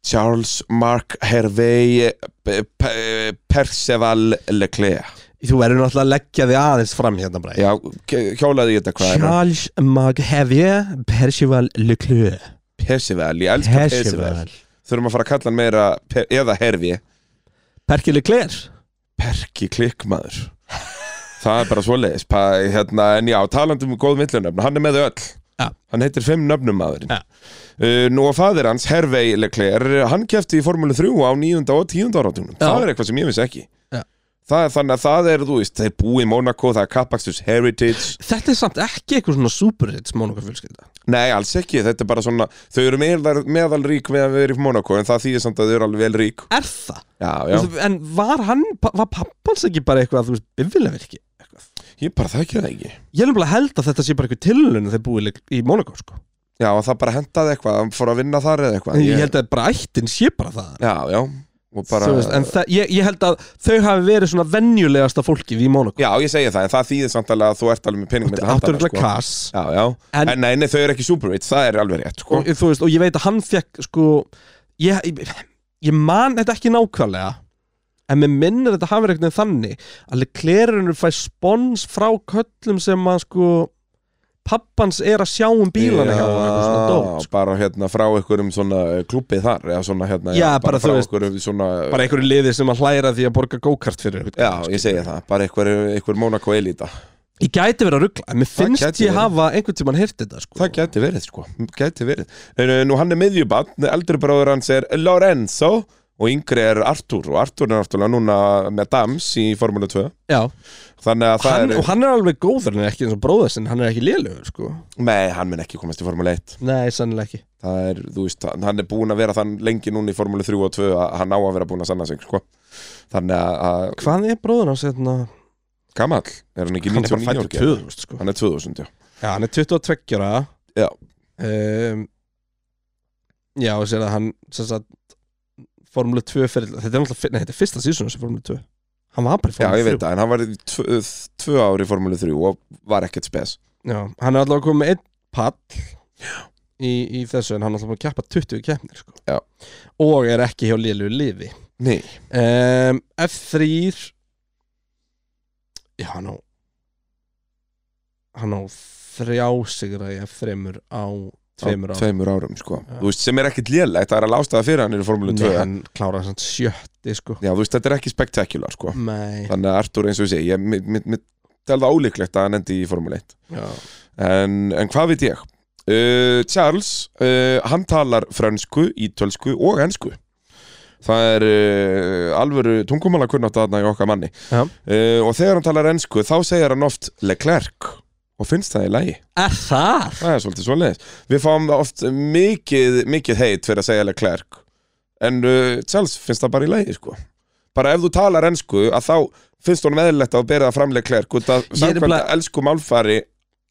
[SPEAKER 2] Charles Mark Hervey P- P- Perceval Leclerc
[SPEAKER 1] Þú verður náttúrulega að leggja þig aðeins fram hérna bræði
[SPEAKER 2] Já, k- hjólaði ég þetta hvað er hann?
[SPEAKER 1] Charles Maghevier Percival Leclerc
[SPEAKER 2] Perceval, ég elska Perceval
[SPEAKER 1] Percival
[SPEAKER 2] Þurfum að fara að kalla hann meira Pe- eða Hervey
[SPEAKER 1] Perki Leclerc
[SPEAKER 2] Perki klikkmaður Það er bara svoleiðis pa, hérna, En já, talandi um góð millunöfn Hann er með þau öll
[SPEAKER 1] Já.
[SPEAKER 2] Hann heitir fimm nöfnum maðurinn
[SPEAKER 1] Já.
[SPEAKER 2] uh, Nú og faðir hans, Hervey Leclerc Hann kefti í Formúlu 3 á 9. og 10. áratunum
[SPEAKER 1] Já.
[SPEAKER 2] Það er eitthvað sem ég vissi ekki
[SPEAKER 1] Já.
[SPEAKER 2] Það er þannig að það er, þú veist, þeir búi í Monaco Það er Kapakstus Heritage
[SPEAKER 1] Þetta er samt ekki eitthvað svona superhits Mónunga fjölskylda
[SPEAKER 2] Nei, alls ekki, þetta er bara svona Þau eru meðal, meðalrík með að vera í Monaco En það þýðir samt að þau eru alveg vel rík
[SPEAKER 1] Er það?
[SPEAKER 2] Já, já,
[SPEAKER 1] Vistu, en var hann, pa- var pappans ekki bara eitthvað þú veist, bifilega virki?
[SPEAKER 2] ég bara þekki það ekki
[SPEAKER 1] Ég er nefnilega að held að þetta sé bara eitthvað tilhörlun þegar búið í- í Monaco sko.
[SPEAKER 2] Já, það bara hendaði eitthvað, hann fór að vinna þar eða
[SPEAKER 1] En
[SPEAKER 2] eitthvað
[SPEAKER 1] ég held að bara ættin sé bara það
[SPEAKER 2] Já, já og bara,
[SPEAKER 1] Þú veist, En það, ég, ég held að þau hafi verið svona venjulegasta fólkið í Monaco
[SPEAKER 2] Já, ég segi það, en það þýðir samt alveg að þú ert alveg með peningum
[SPEAKER 1] Þetta áttur eitthvað kass
[SPEAKER 2] sko. Já, já, en,
[SPEAKER 1] En-
[SPEAKER 2] en nei, nei, þau eru ekki superrich, það er alveg rétt, sko
[SPEAKER 1] og, þú veist, og ég veit að hann fekk sko, ég, ég, ég man þetta ekki nákvæmlega en mér minnir þetta hafi verið einhvern veginn þannig að Leclerurinn fæ spons frá köllum sem að sko pappans er að sjá um bílana hjá hann eitthvað svona dót sko.
[SPEAKER 2] Bara hérna frá einhverjum svona klubbi þar, eða svona hérna
[SPEAKER 1] Já, bara, þú
[SPEAKER 2] frá
[SPEAKER 1] veist,
[SPEAKER 2] einhverjum svona
[SPEAKER 1] bara einhverju liði sem að hlæra því að borga go-kart fyrir einhvern
[SPEAKER 2] Já, ég segi það, bara einhver, einhver Monaco elita
[SPEAKER 1] ég gæti verið að ruggla, en mér finnst
[SPEAKER 2] gæti
[SPEAKER 1] ég
[SPEAKER 2] verið.
[SPEAKER 1] hafa einhvern tímann hirt þetta sko.
[SPEAKER 2] Það gæti verið, sko, gæti verið En, eh, Nú, hann er miðjubann, eldri bróður hans er Lorenzo og yngri er Artur og Artur er náttúrulega núna með Dams í Formule 2
[SPEAKER 1] Já,
[SPEAKER 2] Þannig að það
[SPEAKER 1] hann,
[SPEAKER 2] er,
[SPEAKER 1] og hann er alveg góður en ekki eins og bróður sinn, hann er ekki lélugur sko.
[SPEAKER 2] nei, hann mun ekki komast í Formule 1
[SPEAKER 1] nei, sannilega ekki
[SPEAKER 2] það er, þú veist, hann- hann er búin að vera þann lengi núna í Formúlu 3 og 2 að hann á að vera búin að sanna sig, sko þannig að, að
[SPEAKER 1] hvað er bróður hans hérna?
[SPEAKER 2] gamall, er hann ekki
[SPEAKER 1] hann er bara
[SPEAKER 2] 99
[SPEAKER 1] fættur
[SPEAKER 2] ára gefur?
[SPEAKER 1] 2000 sko.
[SPEAKER 2] hann er 2000, já
[SPEAKER 1] Já, hann er 22 ára
[SPEAKER 2] Já.
[SPEAKER 1] um, Já, og sér að hann sem sagt, Formule 2 feril, Þetta er náttúrulega nei, þetta er fyrsta sísunum sem Formule 2 Hann var bara í
[SPEAKER 2] já,
[SPEAKER 1] Formule
[SPEAKER 2] ég
[SPEAKER 1] 3
[SPEAKER 2] veit það, en hann var í tvö, tvö ári í Formúlu 3 og var ekkert spes
[SPEAKER 1] Já, Hann er allavega komið með einn pall í, í þessu en hann er allavega búinn að keppa 20 keppnir sko.
[SPEAKER 2] Já.
[SPEAKER 1] Og er ekki hjá lélu liði
[SPEAKER 2] nei,
[SPEAKER 1] um, F3 Já, hann á Hann á þrjá sigra í F3 á tveimur
[SPEAKER 2] á
[SPEAKER 1] árum
[SPEAKER 2] tveimur árum, sko
[SPEAKER 1] Já.
[SPEAKER 2] þú veist, sem er ekkert lélegt, það er að lástaða fyrir hann í Formúlu 2
[SPEAKER 1] Nei, hann kláraði sann sjötti sko
[SPEAKER 2] já, þú veist, þetta er ekki spektakular, sko
[SPEAKER 1] Nei
[SPEAKER 2] þannig að Artur, eins og ég segi, ég mi- mi- mi- tel það ólíklegt að hann endi í Formúlu 1
[SPEAKER 1] Já.
[SPEAKER 2] En, en hvað veit ég? Uh, Charles, uh, hann talar frönsku, ítölsku og ensku Það er uh, alvöru tungumála kunnátt aðna í okkar manni
[SPEAKER 1] Já.
[SPEAKER 2] uh, Og þegar hann talar ensku þá segir hann oft Leclerc Og finnst það í lagi
[SPEAKER 1] Er það?
[SPEAKER 2] Það er svolítið svoleiðis Við fáum oft mikið, mikið heit fyrir að segja Leclerc En uh, Charles finnst það bara í lagi sko Bara ef þú talar ensku að þá finnst honum eðlilegt að bera það fram Leclerc Út að
[SPEAKER 1] Ég er
[SPEAKER 2] samkvæmt
[SPEAKER 1] nefnilega-
[SPEAKER 2] elsku málfari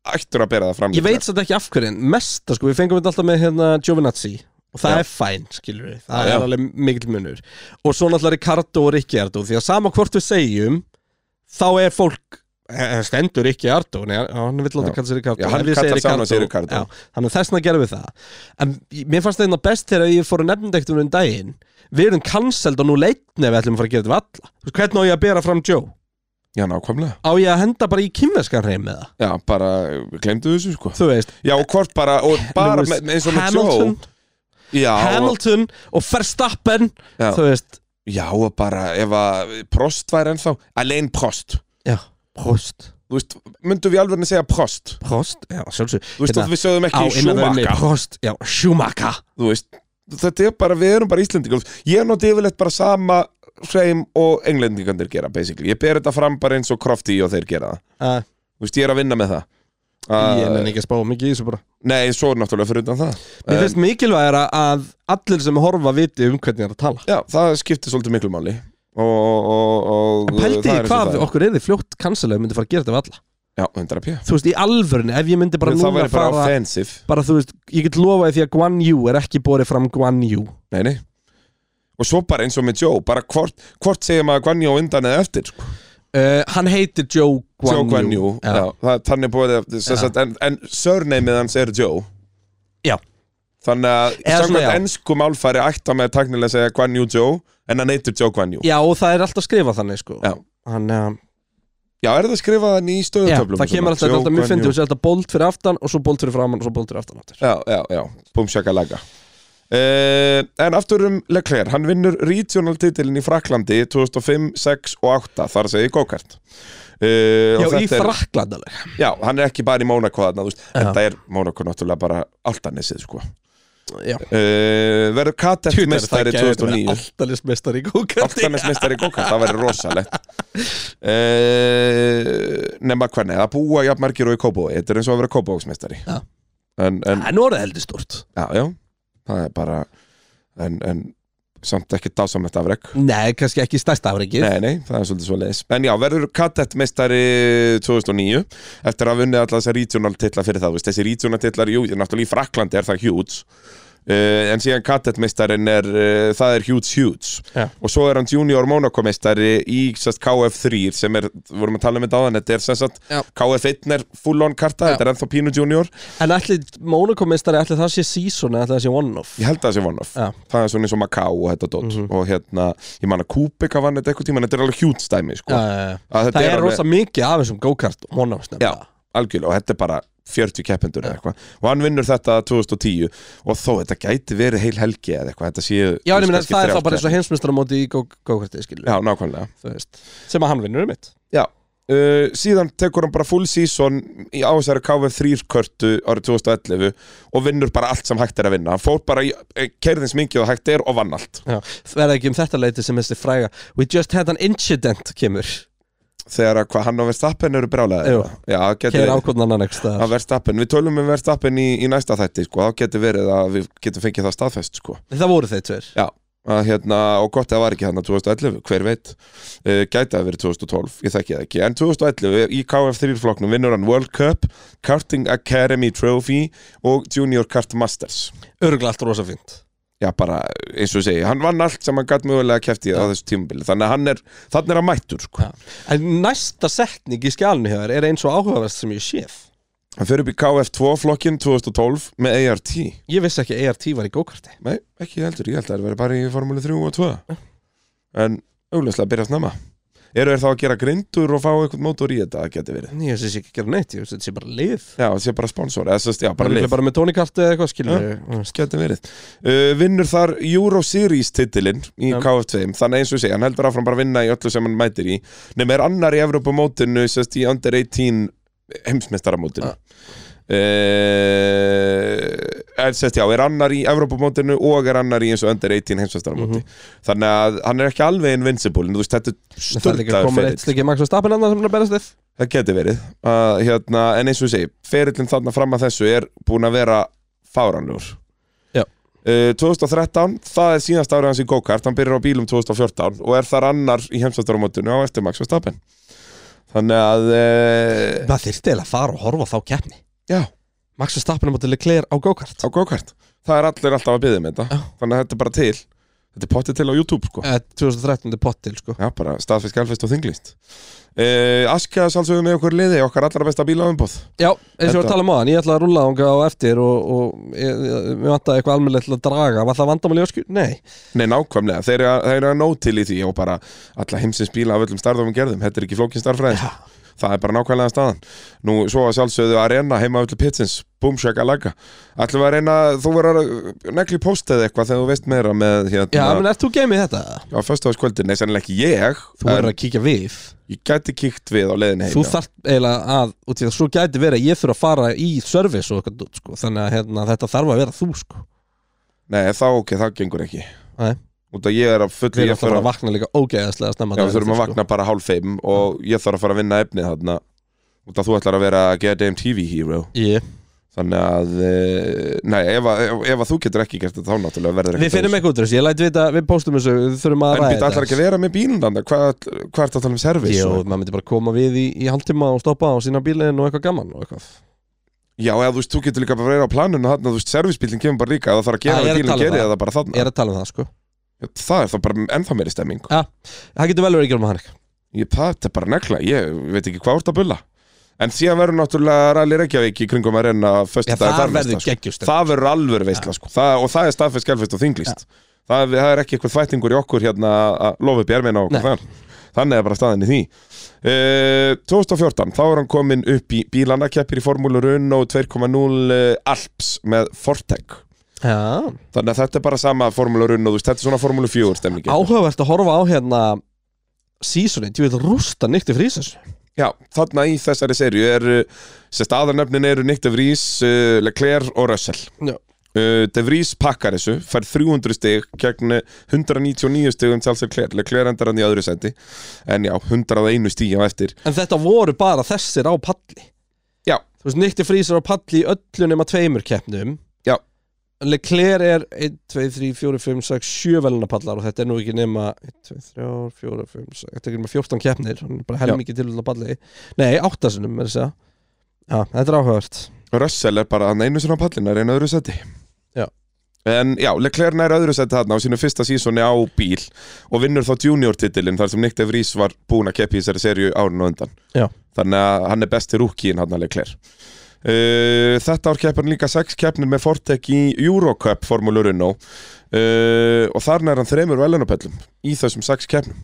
[SPEAKER 2] ættur að bera það fram
[SPEAKER 1] Ég veit þetta ekki af hverju en mesta sko, við fengum þetta alltaf með hérna Giovinazzi og það
[SPEAKER 2] Já.
[SPEAKER 1] er fæn, skilur við, það
[SPEAKER 2] Já, já.
[SPEAKER 1] er alveg mikill munur og svo náttúrulega Ricardo og Ricciardo því að sama hvort við segjum þá er fólk en stendur ekki Ardo nei, hann vil láta
[SPEAKER 2] Já.
[SPEAKER 1] kalla sér Ricardo
[SPEAKER 2] Já, hann
[SPEAKER 1] en við
[SPEAKER 2] kallar
[SPEAKER 1] segir
[SPEAKER 2] sig annars
[SPEAKER 1] Ricardo.
[SPEAKER 2] Ricardo.
[SPEAKER 1] Já, þannig að þessna gerum við það en ég- mér fannst þetta best þegar ég fór að nefnda ekkert um daginn við erum cancelled og nú leitni ef við ætlum að fara að gera þetta við alla Þú veist, hvernig á ég að bera fram Joe?
[SPEAKER 2] Já, nákvæmlega
[SPEAKER 1] Á ég að henda bara í kynveskan heim með það?
[SPEAKER 2] Já, bara, glemdu þessu sko
[SPEAKER 1] Þú veist,
[SPEAKER 2] Já, og hvort bara, og bara
[SPEAKER 1] Lewis
[SPEAKER 2] með, eins og með Joe
[SPEAKER 1] Hamilton,
[SPEAKER 2] Já, og-
[SPEAKER 1] Hamilton og Verstappen
[SPEAKER 2] Já.
[SPEAKER 1] Þú veist,
[SPEAKER 2] já, og bara ef að Prost væri ennþá Alain Prost
[SPEAKER 1] já, Prost
[SPEAKER 2] Þú veist, myndum við alveg að segja Prost
[SPEAKER 1] Prost, já, sjálfsög
[SPEAKER 2] Þú veist, að við sögðum
[SPEAKER 1] Hérna, á
[SPEAKER 2] ekki
[SPEAKER 1] innan við mig,
[SPEAKER 2] Schumacher
[SPEAKER 1] Prost, já, Schumacher
[SPEAKER 2] Þú veist, þetta er bara, við erum bara Íslendingar Ég er nátti yfirleitt bara sama hreim og englendingandir gera, basically Ég ber þetta fram bara eins og Crofty og þeir gera það
[SPEAKER 1] uh,
[SPEAKER 2] Þú veist, ég er að vinna með það
[SPEAKER 1] Ég
[SPEAKER 2] Uh,
[SPEAKER 1] menn ekki að spá mikið í þessu bara
[SPEAKER 2] Nei, svo er náttúrulega fyrir utan það
[SPEAKER 1] Mér
[SPEAKER 2] En-
[SPEAKER 1] finnst mikilvægara að allir sem horfa viti um hvernig það er að tala
[SPEAKER 2] Já, það skiptir svolítið miklu máli og, og, og
[SPEAKER 1] En pældi
[SPEAKER 2] það
[SPEAKER 1] ég
[SPEAKER 2] er eins og
[SPEAKER 1] hvað
[SPEAKER 2] það er.
[SPEAKER 1] okkur er þið fljótt kansilega myndi fara að gera þetta við alla
[SPEAKER 2] Já, 100 p
[SPEAKER 1] Þú veist, í alvörni, ef ég myndi bara
[SPEAKER 2] Það
[SPEAKER 1] núna
[SPEAKER 2] væri bara
[SPEAKER 1] fara
[SPEAKER 2] offensive
[SPEAKER 1] Bara þú veist, ég get lofaði því að Guan Yu er ekki borið fram Guan Yu
[SPEAKER 2] Nei, nei Og svo bara eins og með Joe, bara hvort, hvort segir maður Guanjú undan eða eftir sko.
[SPEAKER 1] uh, Hann heitir Joe Guan
[SPEAKER 2] Joe
[SPEAKER 1] Yu
[SPEAKER 2] Guanjú, já,
[SPEAKER 1] já.
[SPEAKER 2] það, þannig búið að, sem sagt, en, en sörneimið hans er Joe
[SPEAKER 1] Já.
[SPEAKER 2] Þannig að
[SPEAKER 1] Eða svona,
[SPEAKER 2] samkvæmt
[SPEAKER 1] já.
[SPEAKER 2] ennsku málfæri ætti að með tæknilega að segja Guanjú Joe en hann heitir Joe Guanjú
[SPEAKER 1] já, og það er alltaf skrifað þannig sko
[SPEAKER 2] Já.
[SPEAKER 1] Hann, uh,
[SPEAKER 2] Já, er það skrifað hann í
[SPEAKER 1] já,
[SPEAKER 2] stöðutöflum
[SPEAKER 1] það kemur alltaf, alltaf mjög fyndið, þú veist, alltaf bolt fyrir aftan og svo bolt fyrir framan og svo bolt fyrir aftan aftur.
[SPEAKER 2] Já, já, já, búmsjakalaga uh, En aftur um Leclerc, hann vinnur regional titilin í Fraklandi 2005, 6 og 8 þar að segja í go-kart uh,
[SPEAKER 1] Já,
[SPEAKER 2] og
[SPEAKER 1] í
[SPEAKER 2] þetta er-
[SPEAKER 1] Frakland alveg
[SPEAKER 2] Já, hann er ekki bara í Mónako þarna, þú veist,
[SPEAKER 1] Já.
[SPEAKER 2] þetta er Mónako náttúrulega bara altanesið, sko uh,
[SPEAKER 1] Já.
[SPEAKER 2] Verður Katet mestari 2009
[SPEAKER 1] Alltanis mestari í kókarti
[SPEAKER 2] Altanes mestari í go-kart, það verður rosalegt uh, Nefna hvernig, að búa jafn margir og í Kóbói, þetta er eins og að vera Kóbóksmestari
[SPEAKER 1] Já.
[SPEAKER 2] En, en
[SPEAKER 1] En nú er það heldur stort
[SPEAKER 2] Já, já, það er bara en, en samt ekki dásamlegt afrek
[SPEAKER 1] Nei, kannski ekki stærsta afreikið
[SPEAKER 2] Nei, nei, það er svolítið svo leiðis En já, verður kadettmeistari 2009 eftir að hafa unnið alla þessar regional titla fyrir það þú veist, Þessi regional titlar, jú, náttúrulega í Fraklandi er það huge uh, En síðan kadettmeistarin er, uh, það er huge huge
[SPEAKER 1] Já.
[SPEAKER 2] Og svo er hann junior monakomeistari í sest, KF3 sem er, vorum að tala um þetta á þann Þetta er sem sagt,
[SPEAKER 1] Já.
[SPEAKER 2] KF1 er full on karta
[SPEAKER 1] Já.
[SPEAKER 2] Þetta er ennþá Pínu junior
[SPEAKER 1] En allir Monaco-mestari, allir það sé season eða ætli það sé one-off
[SPEAKER 2] Ég held að það sé one-off
[SPEAKER 1] Já.
[SPEAKER 2] Það er svona eins og Macau og þetta dot
[SPEAKER 1] Mhm.
[SPEAKER 2] Og hérna, ég man að Kubika vann þetta eitthvað tíma Þetta er alveg hjút stæmi sko.
[SPEAKER 1] Já, já, já.
[SPEAKER 2] Að þetta
[SPEAKER 1] Það er
[SPEAKER 2] alveg-
[SPEAKER 1] rosa mikið af þessum go-kart og one-off
[SPEAKER 2] Já,
[SPEAKER 1] snemma
[SPEAKER 2] algjörlega Og þetta er bara 40 keppendur eða eitthvað Og hann vinnur þetta 2010 Og þó, þetta gæti verið heil helgi eða eitthvað Þetta séu
[SPEAKER 1] Já, en ég meina,
[SPEAKER 2] kannski
[SPEAKER 1] það er
[SPEAKER 2] þrjár
[SPEAKER 1] þá bara eins og
[SPEAKER 2] keppnir.
[SPEAKER 1] heimsmyndstaramóti í go- go-karti, skilur
[SPEAKER 2] Já, nákvæmlega
[SPEAKER 1] þú veist Sem að hann vinnur um mitt
[SPEAKER 2] Já Uh, síðan tekur hann bara full season í ásæri KV3 körtu árið 2011 og vinnur bara allt sem hægt er að vinna hann fór bara, kerðins mikið og hægt er og vann allt
[SPEAKER 1] Það er ekki um þetta leiti sem þessi fræga We just had an incident kemur
[SPEAKER 2] þegar að hvað hann og Verstappen eru brálaði
[SPEAKER 1] Jú.
[SPEAKER 2] Já, það gæti
[SPEAKER 1] Kemur
[SPEAKER 2] verið.
[SPEAKER 1] ákvörn annan ekki staðar
[SPEAKER 2] að verðstappen, við tölum um verðstappen í, í næsta þætti sko, þá getur verið að við getum fengið það staðfest sko,
[SPEAKER 1] Það voru þeir tveir
[SPEAKER 2] að hérna, og gott að það var ekki hérna hann 2011, hver veit uh, gæti að verið 2012, ég þekki það ekki en 2011 í KF3 flokknum vinnur hann World Cup, Karting Academy Trophy og Junior Kart Masters
[SPEAKER 1] Örgulega allt rosa fínt
[SPEAKER 2] já bara, eins og ég segi, hann vann allt sem hann gæti mögulega kæft í á þessu tímabili, þannig að hann er þannig er hann mættur sko,
[SPEAKER 1] Já. En næsta setning í skjálunni hér er eins og áhugaverst sem ég séð
[SPEAKER 2] hann fyrir upp í KF2 flokkin 2012 með ART
[SPEAKER 1] Ég vissi ekki að ART var í go-karti
[SPEAKER 2] Nei, ekki heldur, ég held að það verið bara í Formúlu 3 og 2 En augljóslega byrja snemma Eru þeir þá að gera grindur og fá eitthvað mótor í þetta að geti verið
[SPEAKER 1] Nei, Ég vissi ekki að gera neitt, ég vissi þetta sé bara lið
[SPEAKER 2] Já, það sé bara sponsor, eða sérst, já, bara
[SPEAKER 1] Bara,
[SPEAKER 2] leif
[SPEAKER 1] bara með tónikarti eða eitthvað skilur
[SPEAKER 2] Geti Mm. verið uh, Vinnur þar Euro Series titilinn í
[SPEAKER 1] Já.
[SPEAKER 2] KF2 Þannig eins og ég segi, hann heldur áfram bara að vinna í öllu sem hann mætir í Nefn er annar í Evrópumótinu, sérst, í Under 18 heimsmeistaramótinu
[SPEAKER 1] Ah.
[SPEAKER 2] Uh, en sérst já, er annar í Evrópumótinu og er annar í eins og undir 18 heimsvæstaramóti þannig að hann er ekki alveg invincible en þú veist, þetta er
[SPEAKER 1] Mhm. Það er líka að
[SPEAKER 2] störtaður
[SPEAKER 1] koma eitt
[SPEAKER 2] ferill
[SPEAKER 1] slikki Max og Stappen annar sem er að berast þið
[SPEAKER 2] það geti verið uh, hérna, en eins og ég segi, ferillin þarna fram að þessu er búin að vera fáranlegur
[SPEAKER 1] Já.
[SPEAKER 2] Uh, 2013, það er síðast árið hans í go-kart hann byrjar á bílum 2014 og er þar annar í heimsvæstaramótinu á eftir Max Verstappen þannig að uh,
[SPEAKER 1] Það þyrfti eiginlega að fara og horfa á þá keppni
[SPEAKER 2] já
[SPEAKER 1] Max og Stappen er mútið leikleir á go-kart
[SPEAKER 2] á go-kart það er allir alltaf að byggja um þetta
[SPEAKER 1] Já.
[SPEAKER 2] þannig að þetta er bara til Þetta er pottið til á YouTube sko
[SPEAKER 1] Eh, 2013 er pottil sko
[SPEAKER 2] Já, bara staðfest, galfest og þinglist uh, Aska sálsögum með okkur í liði Okkar allra besta bíla umbóð
[SPEAKER 1] Já, eins og ég var
[SPEAKER 2] Þetta-
[SPEAKER 1] að tala um á hann, ég ætla að rúlla þangað á eftir og, og ég, ég, ég vantaði eitthvað almennilegt til að draga, var það vandamáli ösku? Nei
[SPEAKER 2] Nei, nákvæmlega, þeir eru að- þeir eru að nóg til í því og bara alla heimsins bíla af öllum starfum gerðum, þetta er ekki flókin starffræði sko. það er bara nákvæmlega staðan nú svo að sjálfsögðu að reyna heima öllu pitsins búmsjöka laga ætlum við að reyna, þú verður að negli postað eitthvað þegar þú veist meira með hérna,
[SPEAKER 1] Já, menn, ert þú geimið þetta?
[SPEAKER 2] á föstudagskvöldin, nei sennilega ekki ég
[SPEAKER 1] Þú verður
[SPEAKER 2] en
[SPEAKER 1] að kíkja við
[SPEAKER 2] ég gæti kíkt við á leiðin heim
[SPEAKER 1] Þú
[SPEAKER 2] já.
[SPEAKER 1] þarft eiginlega að, út í það svo gæti verið að ég þurfa að fara í service og eitthvað dót, sko, þannig að hérna, þetta þarf að vera þú sko
[SPEAKER 2] Nei, þá ok, það gengur ekki
[SPEAKER 1] Nei.
[SPEAKER 2] út að ég er að fullu
[SPEAKER 1] Við erum
[SPEAKER 2] ég
[SPEAKER 1] alltaf
[SPEAKER 2] þarf
[SPEAKER 1] bara að
[SPEAKER 2] að,
[SPEAKER 1] vakna líka ógeðaslega snemma
[SPEAKER 2] já,
[SPEAKER 1] daginn
[SPEAKER 2] við þurfum að
[SPEAKER 1] eftir, sko.
[SPEAKER 2] vakna bara hálf feim og ég þarf að fara að vinna efnið þarna út að þú ætlar að vera goddamn TV hero
[SPEAKER 1] sko. Ég.
[SPEAKER 2] Þannig að, eh, nei, ef, að- ef, ef að þú getur ekki gert þetta þá náttúrulega verður
[SPEAKER 1] Við finnum
[SPEAKER 2] ekki sko.
[SPEAKER 1] eitthvað út úr þessu, ég læt vita, við postum þessu, við þurfum að
[SPEAKER 2] En býtt allar ekki
[SPEAKER 1] þetta.
[SPEAKER 2] að vera með bílinn þarna, hvað hvað ertu að tala um servis?
[SPEAKER 1] Jó,
[SPEAKER 2] og-
[SPEAKER 1] maður myndi bara koma við í, í hálftíma og stoppa og sína bílinn og eitthvað gaman og eitthvað
[SPEAKER 2] Já, eða þú veist, þú getur líka bara verið á planinu þarna, þú veist, servisbílinn kemur bara líka, eða það þarf að
[SPEAKER 1] Já, ég
[SPEAKER 2] gera
[SPEAKER 1] er
[SPEAKER 2] að
[SPEAKER 1] að
[SPEAKER 2] bílinn
[SPEAKER 1] tala um
[SPEAKER 2] gerir
[SPEAKER 1] það.
[SPEAKER 2] það bara þarna.
[SPEAKER 1] Ég er að tala um það sko
[SPEAKER 2] Það er þá bara ennþá meiri stemming.
[SPEAKER 1] Það getur vel verið að gera með hann
[SPEAKER 2] Ég, það þetta er bara negla, ég veit ekki hvað úr það bulla. En síðan verður náttúrulega Rally Reykjavík í kringum að reyna
[SPEAKER 1] Já,
[SPEAKER 2] föstudag
[SPEAKER 1] það verður
[SPEAKER 2] sko.
[SPEAKER 1] geggjust
[SPEAKER 2] það verður alvör veistla sko. það, og það er staðfest, skjálfest og þinglist það, er- það er ekki eitthvað þvættingur í okkur hérna að lofa upp í ermina og
[SPEAKER 1] Nei.
[SPEAKER 2] okkur þar þannig er bara staðin í því uh, 2014, þá er hann komin upp í bílana keppir í formúlu Renault 2.0 eh, Alps með Fortec
[SPEAKER 1] Já,
[SPEAKER 2] þannig að þetta er bara sama formúlu Renault þú veist, þetta er svona formúlu 4 stemningi
[SPEAKER 1] áhugavert að horfa á hérna Seasonin, ég vil rústa nýtti frísins
[SPEAKER 2] Já, þarna í þessari serju er eh, sérst aðarnöfnin eru Nick De Vries, uh, Leclerc og Russell
[SPEAKER 1] Já.
[SPEAKER 2] Uh, De Vries pakkar þessu, fær 300 stig gegn 199 stigum Charles Leclerc, Leclerc endar hann í öðru sendi en já, 101 stíg á eftir
[SPEAKER 1] En þetta voru bara þessir á palli
[SPEAKER 2] Já.
[SPEAKER 1] Þú veist, nýtti frísir á palli í öllu nema tveimur keppnum
[SPEAKER 2] Já.
[SPEAKER 1] Leclerc er 1, 2, 3, 4, 5, 6, 7 velunapallar og þetta er nú ekki nema 1, 2, 3, 4, 5, 6, þetta er ekki nema 14 keppnir hann er bara helmingi til á palli Nei, 8 sinum er þess að segja. Já, þetta er áhugavert
[SPEAKER 2] Russell er bara hann einu sinna á pallin, er einu öðru sendi
[SPEAKER 1] Já.
[SPEAKER 2] En já, Leclerc nær öðru sendi þarna á sínu fyrsta sísoni á bíl og vinnur þá junior titilin þar sem Nick De Vries var búin að keppi í þessari serju árun og undan
[SPEAKER 1] Já.
[SPEAKER 2] Þannig að hann er besti rúkiðin hann að Leclerc Uh, þetta ár keppar hann líka sex keppnir með Fortec í Eurocup formúlu Renault uh, og þarna er hann þremur velunapöllum í þessum sex keppnum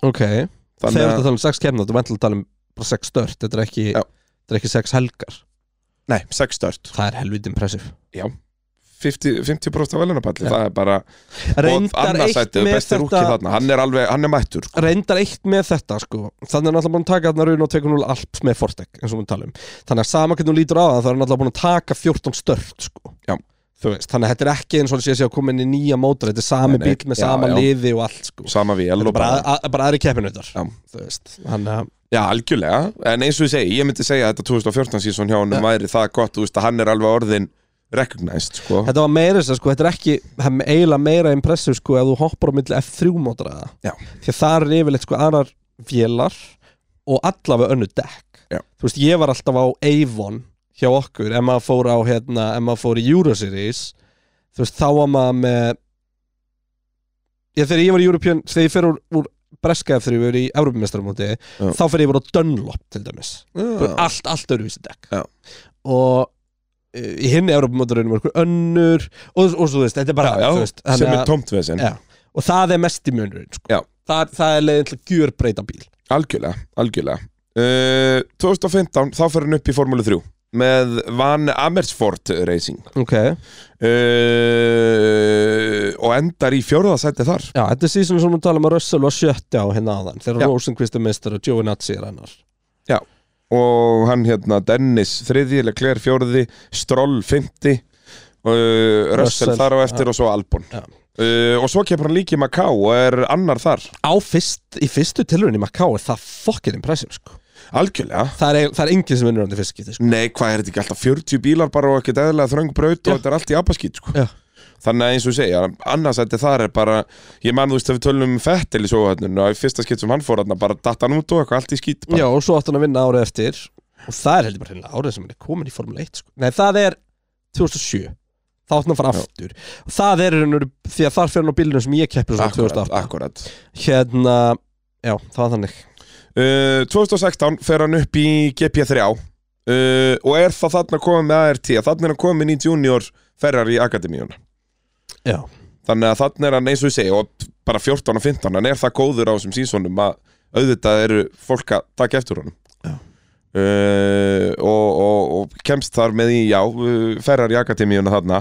[SPEAKER 1] Ok,
[SPEAKER 2] Þannig
[SPEAKER 1] þegar þetta
[SPEAKER 2] að,
[SPEAKER 1] tala um 6 keppnir þú vendilega tala um bara 6 stört þetta er ekki,
[SPEAKER 2] Já.
[SPEAKER 1] þetta er ekki 6 helgar
[SPEAKER 2] nei, sex stört
[SPEAKER 1] Það er helviti impressiv
[SPEAKER 2] 50%, 50 af velunapalli,
[SPEAKER 1] Já.
[SPEAKER 2] það er bara og
[SPEAKER 1] Reyndar eitt,
[SPEAKER 2] annars sættu,
[SPEAKER 1] með
[SPEAKER 2] besti rúkið
[SPEAKER 1] þetta,
[SPEAKER 2] þarna hann er alveg, hann er mættur sko.
[SPEAKER 1] reyndar eitt með þetta sko. Þannig er náttúrulega búin að taka þarna raun og tekur núl alps með Fortec eins og við talum Þannig að sama hvernig hún lítur á það það er náttúrulega búin að taka 14 stört sko.
[SPEAKER 2] Já.
[SPEAKER 1] Þú veist, Þannig að þetta er ekki eins og sé að sé að koma inn í nýja mótor Þetta er sami
[SPEAKER 2] Nei, nei.
[SPEAKER 1] bíl með
[SPEAKER 2] Já,
[SPEAKER 1] sama
[SPEAKER 2] já.
[SPEAKER 1] liði og allt sko.
[SPEAKER 2] sama vél
[SPEAKER 1] Þetta
[SPEAKER 2] og
[SPEAKER 1] er bara,
[SPEAKER 2] bara,
[SPEAKER 1] að, að, bara aðri keppinu þetta
[SPEAKER 2] Já.
[SPEAKER 1] Þannig að
[SPEAKER 2] já, algjörlega, en eins og ég segi ég myndi segja að þetta 2014 sísón hjá hann
[SPEAKER 1] Já.
[SPEAKER 2] væri það gott, þú veist að hann er alveg orðin recognized, sko
[SPEAKER 1] Þetta var meira þess að sko, þetta er ekki það er eiginlega meira impressiv sko að þú hoppar á milli F3 mótra
[SPEAKER 2] Já.
[SPEAKER 1] því að það er yfirleitt sko annar vélar og allavega önnu dekk
[SPEAKER 2] Já.
[SPEAKER 1] þú veist ég var alltaf á Avon hjá okkur ef maður fór á hérna ef maður fór í Euroseries þú veist þá var maður með ég, þegar ég var í European þegar ég fer úr, úr Breska F3 við erum í Evropamestramóti
[SPEAKER 2] Já.
[SPEAKER 1] þá fer ég bara á Dunlop til dæmis Bara
[SPEAKER 2] já,
[SPEAKER 1] allt, allt öruvísi dekk
[SPEAKER 2] Já.
[SPEAKER 1] og uh, í hinn Evrópumótarunum var eitthvað önnur og, og svo þú veist, þetta er bara
[SPEAKER 2] já,
[SPEAKER 1] þú veist,
[SPEAKER 2] sem
[SPEAKER 1] þannig
[SPEAKER 2] er
[SPEAKER 1] að-
[SPEAKER 2] tómt við þessin
[SPEAKER 1] Já. og það er mest í munurinn
[SPEAKER 2] Já.
[SPEAKER 1] sko. það, það er leiðin til að gjör breyta bíl
[SPEAKER 2] algjörlega, algjörlega uh, 2015, þá fer hann upp í Formúlu 3 með Van Amersfoort Racing
[SPEAKER 1] ok, já,
[SPEAKER 2] uh, og endar í fjórðasætti þar
[SPEAKER 1] þetta er síðan sem við tala um að Russell var sjötti á hérna aðan
[SPEAKER 2] Já.
[SPEAKER 1] þegar Rosenqvist er meistar og Giovinazzi er annar
[SPEAKER 2] og hann hérna Dennis þriði, Leclerc fjórði Stroll fymti uh, Russell
[SPEAKER 1] Russell,
[SPEAKER 2] þar á eftir og svo Albon
[SPEAKER 1] Já.
[SPEAKER 2] uh, og svo kemur hann líki í Macau og er annar þar,
[SPEAKER 1] á fyrst, í fyrstu tilurinn í Macau er það fucking impressive sko.
[SPEAKER 2] algjörlega
[SPEAKER 1] það, er, eiginlega- það er enginn sem vinnur hann til fyrst skipti sko.
[SPEAKER 2] Nei, hvað er þetta ekki alltaf 40 bílar bara og ekkert eðlilega þröng braut
[SPEAKER 1] Já.
[SPEAKER 2] og þetta er allt í abaskýt sko.
[SPEAKER 1] Já.
[SPEAKER 2] Þannig að eins og ég segja, annars þetta þar er bara Ég man þú veist að við tölum um Fettel í sjóhætnun og í fyrsta skipt sem hann fór hann bara datt hann út og eitthvað allt í skýt bara.
[SPEAKER 1] já, og svo átti hann að vinna árið eftir og það er heldur bara hérna árið sem hann er komin í Formule 1 sko. nei, það er 2007 þá átti hann að fara
[SPEAKER 2] Já.
[SPEAKER 1] aftur það er raunur, því að þar fyrir hann á bílunum sem ég keppi svona
[SPEAKER 2] Akkurat,
[SPEAKER 1] 2008
[SPEAKER 2] akkurat
[SPEAKER 1] hérna, já, það var þannig
[SPEAKER 2] Uh, 2016 fer hann upp í GP3 uh, og er það þarna komið með ART þannig er hann komið í junior Ferrari Akademíuna
[SPEAKER 1] já,
[SPEAKER 2] þannig að þannig er hann eins og ég segi og bara 14 og 15, hann er það góður á þessum sísonum að auðvitað eru fólk að taka eftir honum
[SPEAKER 1] Já.
[SPEAKER 2] Uh, og, og, og kemst þar með í, já, uh, Ferrari Akademíuna þarna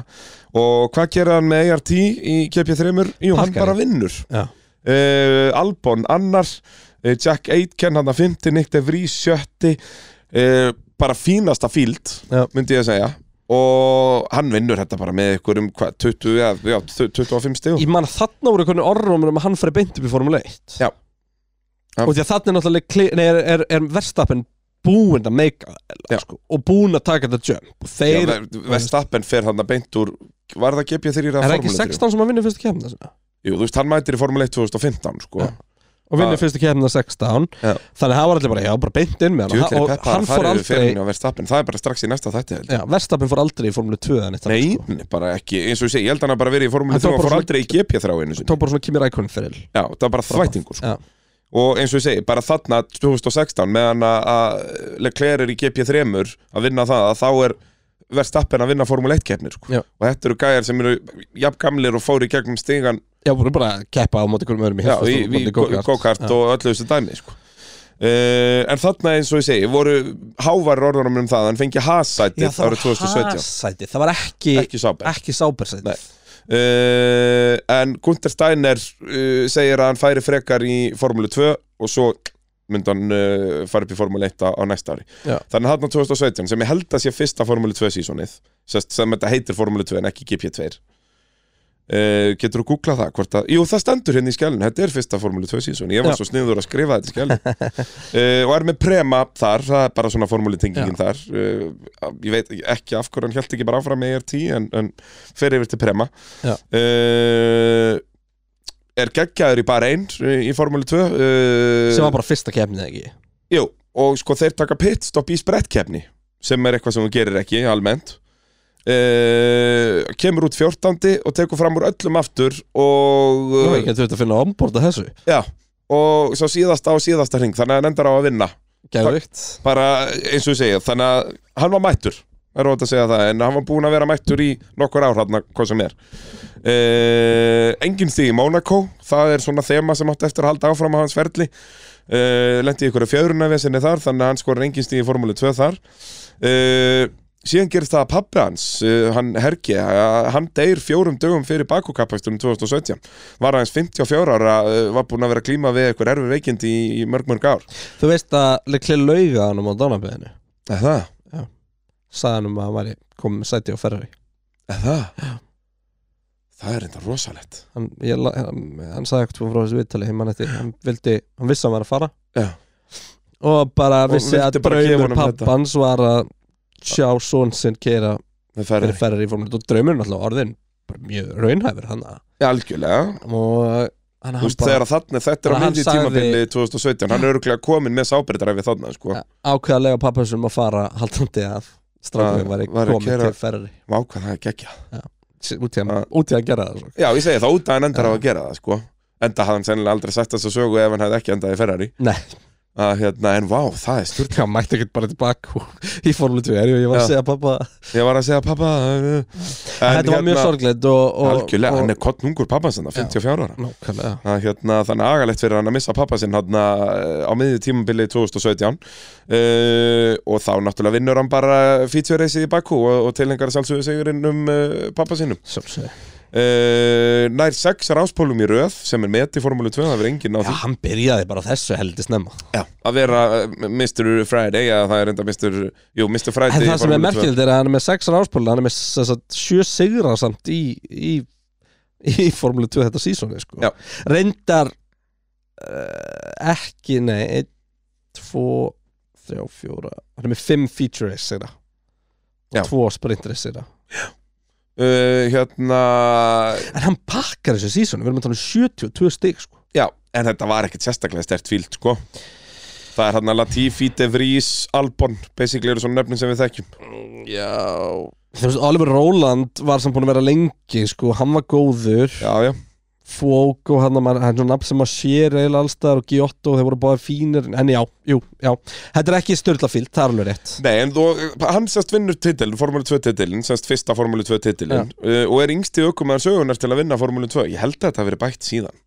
[SPEAKER 2] og hvað gerir hann með ART í GP3? Jú, hann
[SPEAKER 1] Parkar.
[SPEAKER 2] bara vinnur
[SPEAKER 1] já,
[SPEAKER 2] uh, Albon annar uh, Jack Aitken hann að fymti, Nick De Vries sjötti uh, bara fínasta fíld
[SPEAKER 1] Já.
[SPEAKER 2] myndi ég að segja og hann vinnur þetta bara með ykkur um 20, ja, já, 25 stíð
[SPEAKER 1] ég man að þarna voru einhvern orðrómur um að hann færi beint upp í Formule 1
[SPEAKER 2] Já. Já.
[SPEAKER 1] og því að þarna er náttúrulega kli- nei, er, er, er verstappen búin að meika
[SPEAKER 2] Já.
[SPEAKER 1] sko, og búin að taka þetta jump og þeir,
[SPEAKER 2] Vestappen fer hann að beint úr var það GP3 eða
[SPEAKER 1] er það
[SPEAKER 2] Formule
[SPEAKER 1] ekki
[SPEAKER 2] 3?
[SPEAKER 1] 16 sem að vinna fyrstu kemna sinna?
[SPEAKER 2] Jú, þú veist, hann mætir í Formule 1 2015 sko.
[SPEAKER 1] Já. og vinnur
[SPEAKER 2] Það-
[SPEAKER 1] fyrstu kemna 16
[SPEAKER 2] Já.
[SPEAKER 1] þannig að það var allir bara, já, bara beint inn með hann
[SPEAKER 2] Djúvillir
[SPEAKER 1] og
[SPEAKER 2] Peppa
[SPEAKER 1] hann
[SPEAKER 2] að
[SPEAKER 1] fór
[SPEAKER 2] fara yfir
[SPEAKER 1] aldrei
[SPEAKER 2] ferðinni á Verstappen það er bara strax í næsta þætti held ég.
[SPEAKER 1] já, Verstappen fór aldrei í Formule 2 eða neitt þannig,
[SPEAKER 2] Nei,
[SPEAKER 1] sko.
[SPEAKER 2] bara ekki, eins og ég segi, ég held hann að bara verið í Formule
[SPEAKER 1] Hann tók
[SPEAKER 2] 3 og
[SPEAKER 1] bara
[SPEAKER 2] fór
[SPEAKER 1] svona-
[SPEAKER 2] aldrei í GP3 einu sinni
[SPEAKER 1] tók bara svona Kimi Rækonin fyrir
[SPEAKER 2] Já, það var bara þvætingur sko.
[SPEAKER 1] Já.
[SPEAKER 2] Og eins og ég segi, bara þarna 2016 meðan að- að Leclerc er í GP3 að vinna það að þá er verðstappen að vinna Formule 1 keppnir sko.
[SPEAKER 1] Já.
[SPEAKER 2] og þetta eru gæjar sem eru jafn gamlir og fóru í gegnum stigan
[SPEAKER 1] já, voru bara að keppa á móti hverjum öðrum í
[SPEAKER 2] já,
[SPEAKER 1] heimsmeistaramóti
[SPEAKER 2] í, í
[SPEAKER 1] go-kart.
[SPEAKER 2] go-kart
[SPEAKER 1] Já.
[SPEAKER 2] og öllu þessu dæmi sko. uh, En þarna eins og ég segi voru hávar orðunum um það hann fengi
[SPEAKER 1] Já,
[SPEAKER 2] hasætið
[SPEAKER 1] það var
[SPEAKER 2] árið 2017
[SPEAKER 1] hassæti, það var ekki,
[SPEAKER 2] ekki sáber
[SPEAKER 1] ekki sábersæti
[SPEAKER 2] Nei. uh, en Gunther Steiner uh, segir að hann færi frekar í Formule 2 og svo myndi hann uh, fara upp í Formule 1 á, á næsta ári
[SPEAKER 1] Já.
[SPEAKER 2] þannig hann á 2017 sem ég held að sé fyrsta Formule 2 sísonið sem, sem þetta heitir Formule 2 en ekki GP2 Uh, getur þú googlað það hvort að, jú það stendur hérna í skjælun þetta er fyrsta Formule 2 sísón, ég var
[SPEAKER 1] Já.
[SPEAKER 2] svo sniður að skrifa þetta í skjælun uh, og er með prema þar, það er bara svona Formule tengingin þar uh, ég veit ekki af hverju hann held ekki bara áfram með ERT en, en fer yfir til prema
[SPEAKER 1] Já.
[SPEAKER 2] uh, er geggjaður í bara einn í Formule 2 uh,
[SPEAKER 1] sem var bara fyrsta kemni ekki
[SPEAKER 2] Jú, og sko þeir taka pitstop í sprettkefni sem er eitthvað sem þú gerir ekki almennt uh, kemur út 14. og tekur fram úr öllum aftur og
[SPEAKER 1] Nú, ég getur þetta að finna omborda þessu
[SPEAKER 2] já, og svo síðasta og síðasta hring þannig að hann endar á að vinna
[SPEAKER 1] Gæðvikt
[SPEAKER 2] bara eins og ég segja, þannig að hann var mættur er rót að segja það, en hann var búinn að vera mættur í nokkur ár hann, hvað sem er uh, engin stig í Monaco það er svona þema sem átti eftir að halda áfram á hans ferli uh, lendi í ykkur fjörunavesinni þar, þannig að hann skorar engin stig í Formule 2 þar uh, síðan gerist það að pappi hans uh, hann Herki, uh, hann deyr fjórum dögum fyrir bakukappakstunum 2017 var aðeins 54 ára uh, var búinn að vera að klíma við ykkur erfi veikindi í, í mörg mörg ár
[SPEAKER 1] Þú veist að Lekli lauga hann um á dánabæðinu
[SPEAKER 2] Er það?
[SPEAKER 1] sagði hann um að hann væri komið með sæti á ferri
[SPEAKER 2] Eða? Það er enda rosalegt
[SPEAKER 1] hann, ég, la- hann, hann sagði eitthvað frá þessu viðtali hann, eftir, hann, vildi, hann vissi að hann var að fara
[SPEAKER 2] Já.
[SPEAKER 1] og bara
[SPEAKER 2] Og
[SPEAKER 1] vissi
[SPEAKER 2] vildi
[SPEAKER 1] að
[SPEAKER 2] bara gefa
[SPEAKER 1] draumur
[SPEAKER 2] honum þetta.
[SPEAKER 1] pappans var að sjá són sinn keira
[SPEAKER 2] Við
[SPEAKER 1] fyrir
[SPEAKER 2] ferðum
[SPEAKER 1] ferri í formule og draumurinn alltaf orðin bara mjög raunhæfur hann að-
[SPEAKER 2] Algjörlega
[SPEAKER 1] og hann,
[SPEAKER 2] Þú
[SPEAKER 1] hann
[SPEAKER 2] veist þegar að þarna, þetta er á
[SPEAKER 1] Bara hann
[SPEAKER 2] myndi
[SPEAKER 1] sagði-
[SPEAKER 2] tímabili 2017 Hann er örgulega komin með sábyrðræfi þarna sko.
[SPEAKER 1] bara ákveða að lega pappansum að fara haldandi að strafnum
[SPEAKER 2] Að-
[SPEAKER 1] væri
[SPEAKER 2] væri að
[SPEAKER 1] komið
[SPEAKER 2] keyra-
[SPEAKER 1] til ferri
[SPEAKER 2] Vá hvað það er geggja
[SPEAKER 1] út í að,
[SPEAKER 2] Að-
[SPEAKER 1] út í að gera það sko. svo.
[SPEAKER 2] Já ég segi það, út að hann endar á
[SPEAKER 1] Já.
[SPEAKER 2] að gera það sko. Enda hafði hann sennilega aldrei sett þess að sögu Ef hann hefði ekki endað í Ferrari
[SPEAKER 1] Nei,
[SPEAKER 2] að, hérna, En vá, það er sturt
[SPEAKER 1] hann mætti ekkert bara tilbaka í formule 2 er ég var
[SPEAKER 2] Já.
[SPEAKER 1] að segja pappa
[SPEAKER 2] Ég var að segja pappa en, hérna-
[SPEAKER 1] Þetta var mjög sorglegt og, og,
[SPEAKER 2] Algjörlega,
[SPEAKER 1] og,
[SPEAKER 2] hann er kottnungur pappans hann 54 ára
[SPEAKER 1] Nákvæmlega
[SPEAKER 2] að, hérna, þannig að agalegt fyrir hann að missa pappa sinn hann á miðju tímabili 2017 uh, og þá náttúrulega vinnur hann bara feature-reysið í Bakú og, og tilhengar sjálfsögur segurinn um uh, pappa sinnum
[SPEAKER 1] Sjálfsög
[SPEAKER 2] uh, nær sex ráspólum í röð sem er met í Formúlu 2, það verður enginn á
[SPEAKER 1] Já,
[SPEAKER 2] því
[SPEAKER 1] hann byrjaði bara á þessu heldur snemma
[SPEAKER 2] Já. að vera eh, Mr. Friday eða það er enda Mr. Jú, Mr.
[SPEAKER 1] En
[SPEAKER 2] Friday í
[SPEAKER 1] það sem er
[SPEAKER 2] Formúlu 2.
[SPEAKER 1] merkilegt er að hann er með 6 áspóla Hann er með þess að 7 sigra samt í, í, í Formule 2 þetta sísoni sko.
[SPEAKER 2] Já.
[SPEAKER 1] Reyndar uh, ekki, nei 1, 2, 3, 4 Hann er með 5 feature race sigra
[SPEAKER 2] Já.
[SPEAKER 1] og 2 sprint race sigra
[SPEAKER 2] uh, hérna
[SPEAKER 1] En hann pakkar þessu sísoni, við erum að tala um 72 stig sko.
[SPEAKER 2] Já, en þetta var ekkert sérstaklega stert fíld sko Það hérna Mm, er hann að Latifi, De Vries, Albon basically eru svona nöfnin sem við þekkjum
[SPEAKER 1] Já Þú veist, Oliver Róland var samt búin að vera lengi sko, hann var góður
[SPEAKER 2] já, já,
[SPEAKER 1] Fók og hann, maður- hann er svona nafn sem maður sér eiginlega allstaðar og Giotto, þeir voru báðið fínir en já, jú, já, þetta er ekki störlafíld, það er alveg rétt
[SPEAKER 2] nei, en þú, hann sérst vinnur titil, Formule 2 titilin, sérst fyrsta Formule 2 titilin uh, og er yngsti aukumæður sögunar til að vinna Formule 2, ég held að þetta hafi verið bætt síðan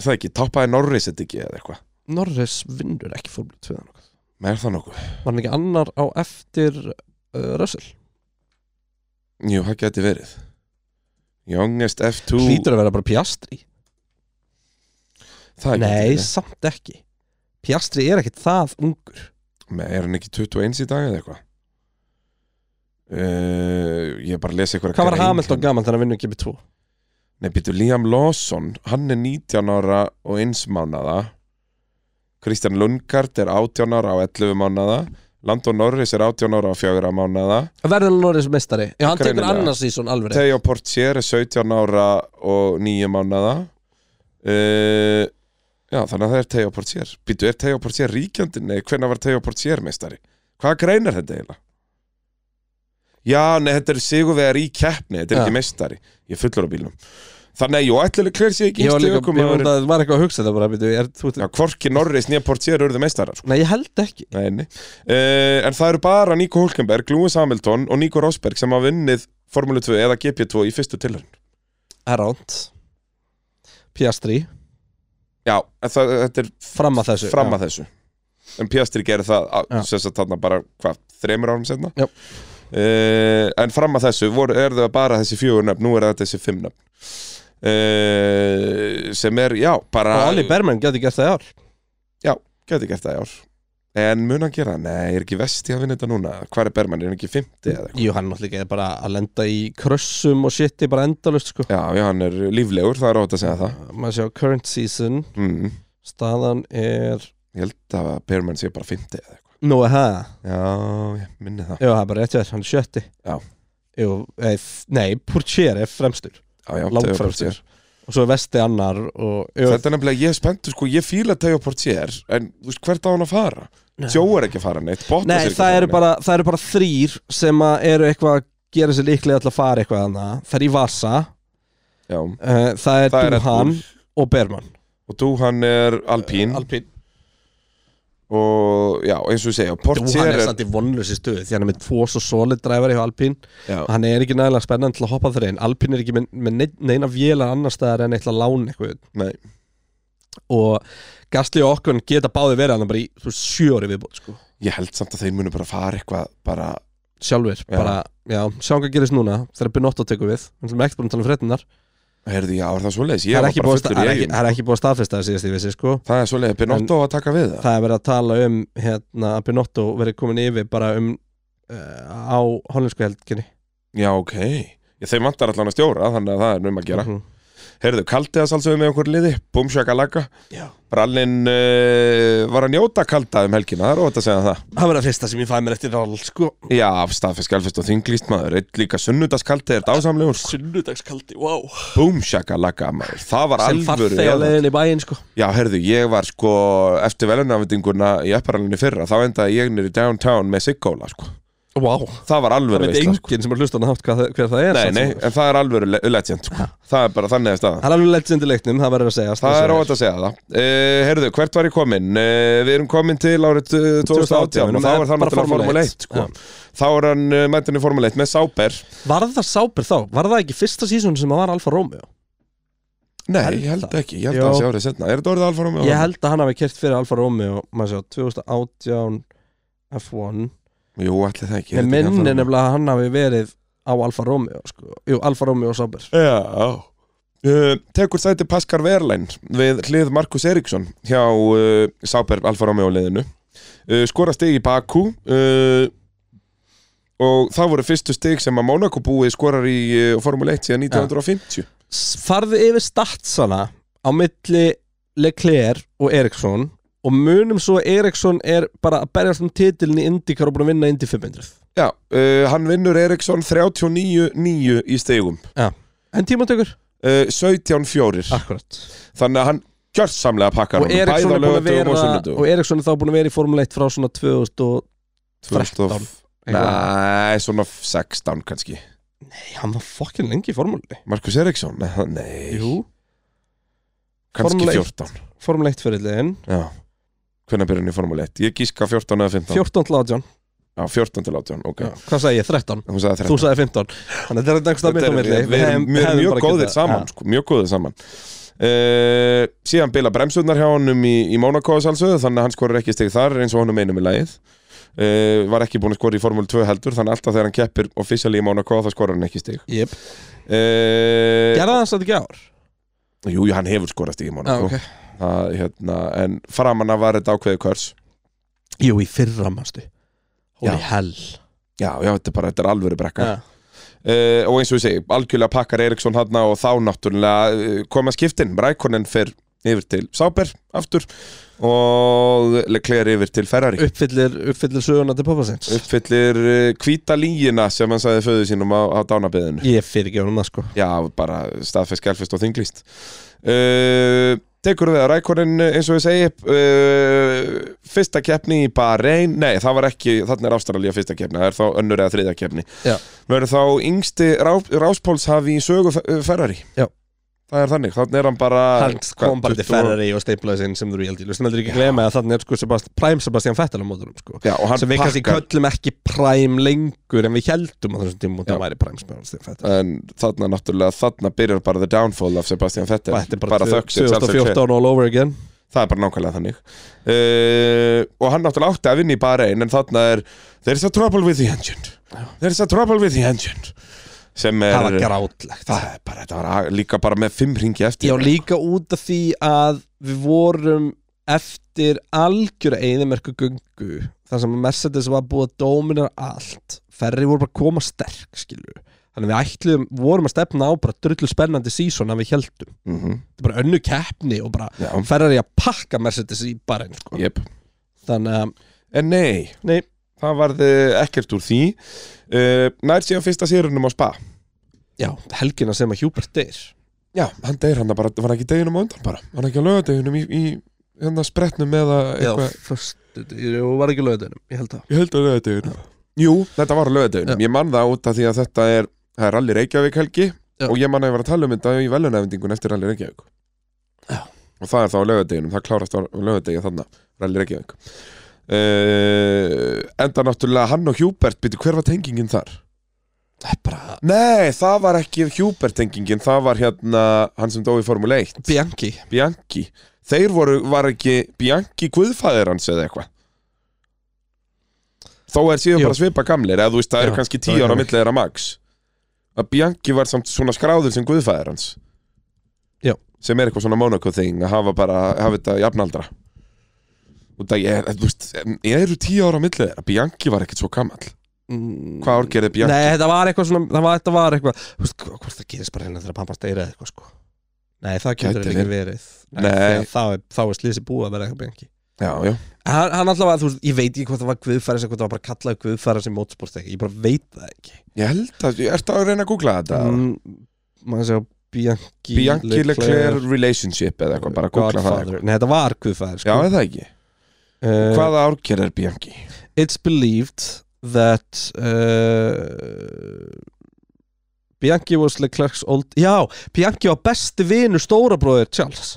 [SPEAKER 2] er það ekki, tappaði Norris þetta ekki eða eitthvað,
[SPEAKER 1] Norris vinnur ekki fórmúlu 2 eða nokkuð.
[SPEAKER 2] með er það nokkuð
[SPEAKER 1] var hann ekki annar á eftir uh, Russell
[SPEAKER 2] jú, það geti verið Youngest F2
[SPEAKER 1] hlýtur að vera bara Piastri
[SPEAKER 2] það gæti
[SPEAKER 1] nei,
[SPEAKER 2] verið.
[SPEAKER 1] samt ekki Piastri er ekkit það ungur
[SPEAKER 2] Með, er hann ekki 21 í dag eða eitthvað? Uh, ég er bara að lesa eitthvað
[SPEAKER 1] hvað var Hamilton gaman þegar hann vinnur ekki með 2
[SPEAKER 2] Nei, býttu Liam Lawson, hann er 19 ára og eins mánada Kristjan Lundgaard er 18 ára og 11 mánada Landon Norris er 18 ára og 4 mánada
[SPEAKER 1] verður Norris mestari, já, hann tekur
[SPEAKER 2] Greinilega.
[SPEAKER 1] annars í svona alveg rétt.
[SPEAKER 2] Theo Portier er 17 ára og 9 mánada uh, Já, þannig að það er Theo Portier Býttu, er Theo Portier ríkjandi? Nei, hvenær var Theo Portier meistari? Hvaða grein er þetta eiginlega? Já, nei, þetta er sigurvegar í keppni, þetta er
[SPEAKER 1] Já.
[SPEAKER 2] ekki meistari Ég er fullur á bílnum Þannig að, jú, ætlilega klær sér ekki
[SPEAKER 1] ég var
[SPEAKER 2] yngsti
[SPEAKER 1] líka, ég
[SPEAKER 2] ökumaðurinn.
[SPEAKER 1] var, það var eitthvað að hugsa það bara byrju, er, þú,
[SPEAKER 2] Já, hvorki Norris nýja Portier urðu meistarar sko.
[SPEAKER 1] nei, ég held ekki
[SPEAKER 2] Nei, nei. Uh, en það eru bara Nico Hulkenberg, Lewis Hamilton og Nico Rosberg sem hafa vunnið Formule 2 eða GP2 í fyrstu tilhörn
[SPEAKER 1] Errant Piastri,
[SPEAKER 2] Já, en það, þetta er
[SPEAKER 1] fram að þessu
[SPEAKER 2] fram
[SPEAKER 1] já.
[SPEAKER 2] að þessu En Piastri gerir það á-
[SPEAKER 1] Já.
[SPEAKER 2] sem sagt þarna bara, hvað, þremur árum senna
[SPEAKER 1] Já.
[SPEAKER 2] En fram að þessu voru, er það bara þessi fjögur nöfn, nú er þetta þessi fimm nöfn uh, sem er, já, bara
[SPEAKER 1] og Olli Berman getur gert það í ár
[SPEAKER 2] gæti gert það í ár En mun hann gera? það? Nei, er ekki vesti að vinna þetta núna? Hvar er Berman? Er hann ekki 50 eða eitthvað?
[SPEAKER 1] Jú, hann náttúrulega er bara að lenda í krössum og shiti bara endalust sko
[SPEAKER 2] Já, já, hann er líflegur, það er ótt að segja það
[SPEAKER 1] maður sjá current season
[SPEAKER 2] mm.
[SPEAKER 1] staðan er
[SPEAKER 2] Ég held að Perman sé bara 50 eða eitthvað
[SPEAKER 1] nú er það,
[SPEAKER 2] Já, ég minni það
[SPEAKER 1] jú það er bara rétt hjá þér, hann er sjötti
[SPEAKER 2] Já.
[SPEAKER 1] jú, eð, nei, Purchér er fremstur
[SPEAKER 2] Já, já,
[SPEAKER 1] Langt
[SPEAKER 2] Teo
[SPEAKER 1] frá
[SPEAKER 2] Portier.
[SPEAKER 1] sér. og svo er Vesti annar og jú,
[SPEAKER 2] Þetta er nefnilega, ég er spenntur sko, ég fíla Teo Portier En þú veist, hvert á hann að fara?
[SPEAKER 1] Nei.
[SPEAKER 2] Tjó er ekki að fara neitt, Bottas er
[SPEAKER 1] nei,
[SPEAKER 2] ekki að
[SPEAKER 1] það
[SPEAKER 2] fara
[SPEAKER 1] eru bara, það eru bara þrýr sem að eru eitthvað að gera sér líklega til að fara eitthvað annað, það er í Vasa
[SPEAKER 2] Já,
[SPEAKER 1] uh, það er
[SPEAKER 2] það er Red
[SPEAKER 1] Duhan Eh,
[SPEAKER 2] Bull.
[SPEAKER 1] og Berman
[SPEAKER 2] Og Dúhan er Alpín
[SPEAKER 1] Alpín,
[SPEAKER 2] Og já, eins og ég segja,
[SPEAKER 1] Duhan
[SPEAKER 2] Portier
[SPEAKER 1] er
[SPEAKER 2] er
[SPEAKER 1] samt í vonlösi stöðu því hann er með tvo svo solid driver hjá Alpín
[SPEAKER 2] Já,
[SPEAKER 1] hann er ekki nægilega spennandi til að hoppa þar inn Alpín er ekki með, með neinn- neina vélar annar staðar en eitthvað lán eitthvað
[SPEAKER 2] nei,
[SPEAKER 1] og Gastli og Okkun geta báði verið hann bara í þú veist, sjö ári viðbútt sko.
[SPEAKER 2] ég held samt að þeir munu bara fara eitthvað Bara,
[SPEAKER 1] sjálfur,
[SPEAKER 2] Já.
[SPEAKER 1] bara, já, sjáum hvað gerist núna þegar Benotto tekur við, við erum ekki búin að tala um fréttinar
[SPEAKER 2] heyrðu, já, er það svoleiðis
[SPEAKER 1] það
[SPEAKER 2] Ég
[SPEAKER 1] er
[SPEAKER 2] var
[SPEAKER 1] ekki
[SPEAKER 2] bara
[SPEAKER 1] búið að sta-
[SPEAKER 2] fullur
[SPEAKER 1] það
[SPEAKER 2] í
[SPEAKER 1] er ekki-
[SPEAKER 2] eigum
[SPEAKER 1] það er ekki búið að staðfesta það síðast ég vissi sko.
[SPEAKER 2] Það er svoleiðis, Benotto að taka við það
[SPEAKER 1] það er verið að tala um hérna, að Benotto verið komin yfir bara um uh, á hollensku helginni
[SPEAKER 2] Já, ok Ég, þeim vantar allan að stjóra, þannig að það er um að gera
[SPEAKER 1] Mhm.
[SPEAKER 2] Heyrðu, kaldiðas alls við með okkur liði, búmsjakalaka
[SPEAKER 1] Já.
[SPEAKER 2] Brallinn uh, var að njóta kalda um helgina, það er ótt að segja það
[SPEAKER 1] það verið að fyrsta sem ég fæði mér eftir all sko.
[SPEAKER 2] Já, staðfisk, alfist og þinglýst maður Eitt líka sunnudaskaldið er dásamlegur
[SPEAKER 1] sunnudagskaldi, wow
[SPEAKER 2] Búmsjakalaka maður, það var
[SPEAKER 1] sem
[SPEAKER 2] alvöru
[SPEAKER 1] farþeg á
[SPEAKER 2] eða-
[SPEAKER 1] leiðin í bæinn sko.
[SPEAKER 2] Já, heyrðu, ég var sko eftir velunafendinguna í epparalunni fyrra Þá endaði ég nýri downtown með Siggóla sko.
[SPEAKER 1] wow.
[SPEAKER 2] Það var
[SPEAKER 1] Það
[SPEAKER 2] alvöru
[SPEAKER 1] veit
[SPEAKER 2] veisla,
[SPEAKER 1] enginn
[SPEAKER 2] sko.
[SPEAKER 1] sem er hlustan að hátt hvað, það- hver það er
[SPEAKER 2] Nei,
[SPEAKER 1] samt
[SPEAKER 2] nei,
[SPEAKER 1] sem áður.
[SPEAKER 2] en það er alvöru le- legend sko. Það er bara þannig að staða
[SPEAKER 1] Það er alveg legend í leiknum, það verður að segja
[SPEAKER 2] Það er óvægt að segja það uh, Herðu, hvert var ég komin? Uh, við erum komin til árið uh, 2018 og þá er það náttúrulega Formule 1 sko. Þá er hann uh, mættin í Formule 1 með Sáber
[SPEAKER 1] Var það sáper þá? Var það ekki fyrsta sísón sem að var Alfa Romeo?
[SPEAKER 2] Nei,
[SPEAKER 1] Held
[SPEAKER 2] ég held
[SPEAKER 1] það.
[SPEAKER 2] ekki, ég held
[SPEAKER 1] Jó.
[SPEAKER 2] að það sé árið setna Er þetta orðið Alfa Romeo?
[SPEAKER 1] Ég held að hann hafi kert fyrir Alfa Romeo maður sjá, 2018 F1
[SPEAKER 2] Jú, allir það ekki
[SPEAKER 1] Ég minni nefnilega að hann hafi verið á Alfa Romeo sko. Jú, Alfa Romeo og sáper
[SPEAKER 2] nefnilega Já Uh, tekur sæti Paskar Verlein við hlið Markus Eriksson hjá uh, Sáber Alfa Romeo liðinu uh, skora stig í Baku uh, og það voru fyrstu stig sem að Monaco búið skorar í uh, Formule 1 síðan 1950
[SPEAKER 1] Farðu yfir statsana á milli Leclerc og Eriksson og munum svo að Eriksson er bara að berjast um titilin í IndyCar og búin að vinna Indy 500
[SPEAKER 2] Já, uh, hann vinnur Eriksson 39-9 í stegum
[SPEAKER 1] En tímantökur?
[SPEAKER 2] uh, 17-4
[SPEAKER 1] Akkurat
[SPEAKER 2] Þannig að hann gjörsamlega
[SPEAKER 1] Ah.
[SPEAKER 2] pakkar
[SPEAKER 1] og Eriksson er búin að vera
[SPEAKER 2] og
[SPEAKER 1] og,
[SPEAKER 2] sunnudum
[SPEAKER 1] Eriksson er þá búin að vera í Formule 1 frá svona 2013 Nei,
[SPEAKER 2] Nei, svona 16 kannski
[SPEAKER 1] hann var fokkin lengi í formúli
[SPEAKER 2] Markus Eriksson, Nei, nei
[SPEAKER 1] Jú,
[SPEAKER 2] kannski
[SPEAKER 1] Formule eitt.
[SPEAKER 2] 14
[SPEAKER 1] formúli 1 fyrirliðin
[SPEAKER 2] Já, hvernig byrja hann í Formule 1? Ég gíska 14 eða 15
[SPEAKER 1] 14 til 18
[SPEAKER 2] Já, 14 til 18, ok
[SPEAKER 1] Já, Hvað sagði ég? 13
[SPEAKER 2] Hún sagði 13
[SPEAKER 1] Þú sagði 15 Þannig að þetta er einhvers stað mitt á milli
[SPEAKER 2] Við erum mjög,
[SPEAKER 1] hefðum
[SPEAKER 2] mjög
[SPEAKER 1] bara
[SPEAKER 2] góðir
[SPEAKER 1] getað-
[SPEAKER 2] saman,
[SPEAKER 1] Ja.
[SPEAKER 2] sko, mjög góðir saman uh, Síðan bila bremsurnar hjá honum í, í Monaco sálsöðu Þannig að hann skorur ekki stig þar eins og honum einum í lagið uh, Var ekki búin að skora í Formule 2 heldur Þannig að alltaf þegar hann keppir officially í Monaco þá skorur hann ekki stig
[SPEAKER 1] Jep.
[SPEAKER 2] uh,
[SPEAKER 1] Gerða hans þetta ekki í ár?
[SPEAKER 2] Jú, jú, hann hefur skorað stig í
[SPEAKER 1] Já,
[SPEAKER 2] Monaco
[SPEAKER 1] ok
[SPEAKER 2] það, hérna, En framanna var þetta ákveðið körs
[SPEAKER 1] Jú, í fyrra mannstu Holy hell
[SPEAKER 2] Já, já, þetta er bara, þetta er alvöru brekka
[SPEAKER 1] ja.
[SPEAKER 2] uh, og eins og ég segi, algjörlega pakkar Eriksson hann og þá náttúrulega eh, koma skiptin, Rækonen fer yfir til Sáber aftur og Leclerc yfir til Ferrari
[SPEAKER 1] uppfyllir, uppfyllir söguna til pappasins
[SPEAKER 2] uppfyllir eh, hvíta línina sem hann sagði föðu sínum á, á dánabeðinu
[SPEAKER 1] Ég fyrir ekki honum það sko
[SPEAKER 2] já, bara staðfest, gelfest og þinglist uh, tekur við að Rækonen eins og ég segi uh, fyrsta keppni í Bahrein nei, það var ekki, þarna er Ástralía fyrsta keppni það er þá önnur eða þriðja keppni
[SPEAKER 1] Já.
[SPEAKER 2] verður þá yngsti rá, ráspólshafi í sögu Fe- uh, Ferrari
[SPEAKER 1] Já.
[SPEAKER 2] það er þannig, þannig er hann bara
[SPEAKER 1] Hann kom
[SPEAKER 2] hvað,
[SPEAKER 1] bara til
[SPEAKER 2] 20 og-
[SPEAKER 1] Ferrari og steiplaði sinn sem þú eru held í Lustum heldur ekki að glema að þannig er sko Sebast, Prime Sebastian Vettel á mótunum sko
[SPEAKER 2] Já, og hann
[SPEAKER 1] sem við kannski
[SPEAKER 2] pakkar,
[SPEAKER 1] köllum ekki Prime lengur en við heldum á þessum tímum og
[SPEAKER 2] Já.
[SPEAKER 1] það væri Prime Sebastian Vettel
[SPEAKER 2] en þarna náttúrulega þarna byrjar bara the downfall af Sebastian Vettel
[SPEAKER 1] Og Þetta er bara,
[SPEAKER 2] þökk sé Charles Leclerc.
[SPEAKER 1] 2014 all over again
[SPEAKER 2] það er bara nákvæmlega þannig uh, og hann náttúrulega átti að vinna í bara einn en þarna er there's a trouble with the engine there's a trouble with the engine sem er
[SPEAKER 1] Það var grátlegt
[SPEAKER 2] það er bara, þetta var að- líka bara með fimm ringi eftir
[SPEAKER 1] Já, líka út af því að við vorum eftir algjöra eðimerku gungu þar sem Mercedes var búið að dóminar allt Ferri voru bara að koma sterk, skilju Þannig við ætluðum, vorum að stefna á bara drullu spennandi sísón að við heldum
[SPEAKER 2] Mhm,
[SPEAKER 1] Þetta er bara önnu keppni og bara
[SPEAKER 2] já,
[SPEAKER 1] Ferrari að pakka Mercedes í bara einn sko.
[SPEAKER 2] jep
[SPEAKER 1] Þannig að,
[SPEAKER 2] en nei
[SPEAKER 1] nei,
[SPEAKER 2] það varði ekkert úr því uh, nær síðan fyrsta sérunum á spa
[SPEAKER 1] já, helgina sem að Hubert deyr
[SPEAKER 2] já, hann deyr hann bara, var ekki deginum á undan bara var ekki á lögadeginum í, í hérna spretnum eða
[SPEAKER 1] Eða
[SPEAKER 2] eitthvað
[SPEAKER 1] fyrst, þú var ekki löðunum, ég held það
[SPEAKER 2] ég held að lögadeginum jú, þetta var á lögadeginum, ég man það út af því að þetta er það er allir Reykjavík helgi
[SPEAKER 1] Já.
[SPEAKER 2] og ég man að ég var að tala um þetta í velunæfendingun eftir allir Reykjavík
[SPEAKER 1] Já.
[SPEAKER 2] og það er þá á lögadeginum, það klárast á lögadegin þannig, allir Reykjavík uh, enda náttúrulega hann og Hjúbert, byrju, hver var tengingin þar?
[SPEAKER 1] Það er bara
[SPEAKER 2] Nei, það var ekki Hjúbert-tengingin, það var hérna hann sem dó í Formule 1,
[SPEAKER 1] Bianchi
[SPEAKER 2] Bianchi Þeir voru, var ekki Bianchi guðfæðir hans eða eitthvað Þó er síðan
[SPEAKER 1] Jú.
[SPEAKER 2] bara svipa gamlir, eða þú veist, það
[SPEAKER 1] Já,
[SPEAKER 2] eru kannski
[SPEAKER 1] það
[SPEAKER 2] tíu
[SPEAKER 1] er
[SPEAKER 2] ára á
[SPEAKER 1] þannig.
[SPEAKER 2] milli þeirra max að Bianchi var samt svona skráður sem guðfæðir hans
[SPEAKER 1] Já.
[SPEAKER 2] sem er eitthvað svona Monaco thing að hafa bara, hafa þetta jafnaldra og það er, þú veist ég eru tíu ára á milli þeirra, Bianchi var ekkert svo gamall
[SPEAKER 1] Mm.
[SPEAKER 2] Hvað ár gerði Bianchi?
[SPEAKER 1] Nei, þetta var eitthvað svona, það var, þetta var eitthvað Þú veist, hv- hvort það gerist bara hérna þegar pappa steyra eða eitthvað sko Nei, það getur
[SPEAKER 2] Gæti
[SPEAKER 1] þetta ekki verið Nei,
[SPEAKER 2] Nei.
[SPEAKER 1] þegar Þá er, þá er slísi búið að vera eitthvað bengi
[SPEAKER 2] Já, já,
[SPEAKER 1] Hann, hann alltaf var, þú veist, ég veit ekki hvort það var guðfæra sem hvort það var bara kallað guðfæra sem mótsport ekki Ég bara veit það ekki
[SPEAKER 2] ég held að, ertu að reyna að googla þetta?
[SPEAKER 1] Mm, Maður séu Bianchi
[SPEAKER 2] Bianchi Leclerc relationship eða eitthvað, bara googla það eitthvað.
[SPEAKER 1] Godfather. Nei, þetta var guðfæra
[SPEAKER 2] Já,
[SPEAKER 1] sko.
[SPEAKER 2] eða ekki
[SPEAKER 1] Eh,
[SPEAKER 2] Hvaða árkerð er Bianchi?
[SPEAKER 1] It's believed that uh, Bianchi was Leclerc's old Já, Bianchi var besti vinur stórabróðir Charles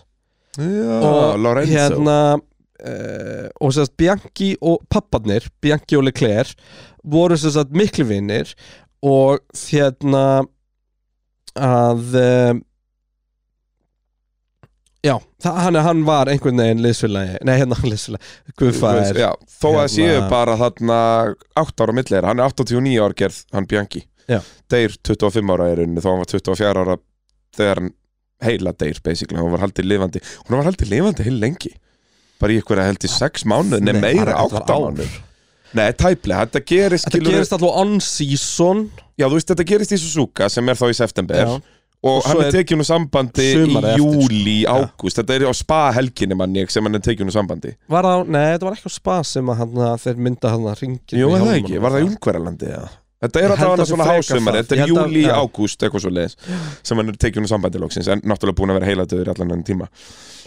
[SPEAKER 2] Já,
[SPEAKER 1] Og
[SPEAKER 2] Lorenzo
[SPEAKER 1] Hérna uh, og sérst Bianchi og papparnir Bianchi og Leclerc voru sérst miklu vinir og hérna að um, Já, það, hann, hann var einhvern veginn liðsfélagi, nei hérna hann liðsfélagi Guðfæðir
[SPEAKER 2] Já, Þó að
[SPEAKER 1] Hérna-
[SPEAKER 2] séu bara þarna 8 ára millir, hann er 89 árkerð hann Bianchi
[SPEAKER 1] Já.
[SPEAKER 2] Deyr 25 ára er unni, þó hann var 24 ára þegar hann heila deyr basically, hún var haldið lifandi hún var haldið lifandi heil lengi bara í ykkur að held í 6 mánuð, nei meira
[SPEAKER 1] bara- þetta var
[SPEAKER 2] 8
[SPEAKER 1] ár.
[SPEAKER 2] mánuð Nei, tæplega, þetta gerist,
[SPEAKER 1] Þetta
[SPEAKER 2] skilurðu-
[SPEAKER 1] gerist alltaf on season
[SPEAKER 2] Já, þú veist, þetta gerist í Suzuka sem er þá í september
[SPEAKER 1] Já.
[SPEAKER 2] og
[SPEAKER 1] Og
[SPEAKER 2] hann
[SPEAKER 1] svo
[SPEAKER 2] er
[SPEAKER 1] er
[SPEAKER 2] tekið nú sambandi í
[SPEAKER 1] sumarið eftir, sko.
[SPEAKER 2] júli, ágúst þetta er á spa helginni manni sem hann er tekið nú sambandi
[SPEAKER 1] Var það, nei, þetta var ekki á spa sem að hann, þeir mynda hann að ringja
[SPEAKER 2] Jú, var það ekki, var það í Ungverjalandi eða? Þetta er
[SPEAKER 1] Ég
[SPEAKER 2] að það
[SPEAKER 1] held
[SPEAKER 2] hana
[SPEAKER 1] að sé
[SPEAKER 2] svona
[SPEAKER 1] frekar
[SPEAKER 2] hásumar,
[SPEAKER 1] það.
[SPEAKER 2] þetta
[SPEAKER 1] Ég
[SPEAKER 2] er
[SPEAKER 1] held að-
[SPEAKER 2] júli,
[SPEAKER 1] já.
[SPEAKER 2] ágúst, eitthvað svo leiðis sem hann er tekið hún sambandi loksins en náttúrulega búin að vera heilatöður allan enn tíma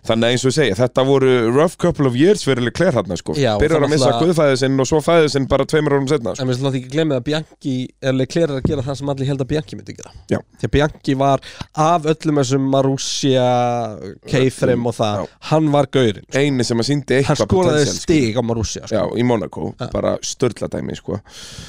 [SPEAKER 2] Þannig að eins og ég segja, þetta voru rough couple of years verileg klær hann sko.
[SPEAKER 1] Já, og
[SPEAKER 2] Byrjar
[SPEAKER 1] það
[SPEAKER 2] að missa
[SPEAKER 1] náttúrulega-
[SPEAKER 2] guðfæðu sinn og svo fæðu sinn bara tveimur árum setna sko.
[SPEAKER 1] En við slúna ekki glemja að Bianchi er Leclerc að gera það sem allir held að Bianchi myndi gera
[SPEAKER 2] Já.
[SPEAKER 1] Því að Bianchi var af öllum þessum Marussia, Keifrim og það
[SPEAKER 2] Já.
[SPEAKER 1] Hann var gaurinn
[SPEAKER 2] Eini sem að síndi
[SPEAKER 1] Hann
[SPEAKER 2] eitthvað
[SPEAKER 1] skoraði
[SPEAKER 2] potential, sko.
[SPEAKER 1] stig á Marussia sko.
[SPEAKER 2] Já, í Monaco,
[SPEAKER 1] Já.
[SPEAKER 2] bara störla dæmi sko.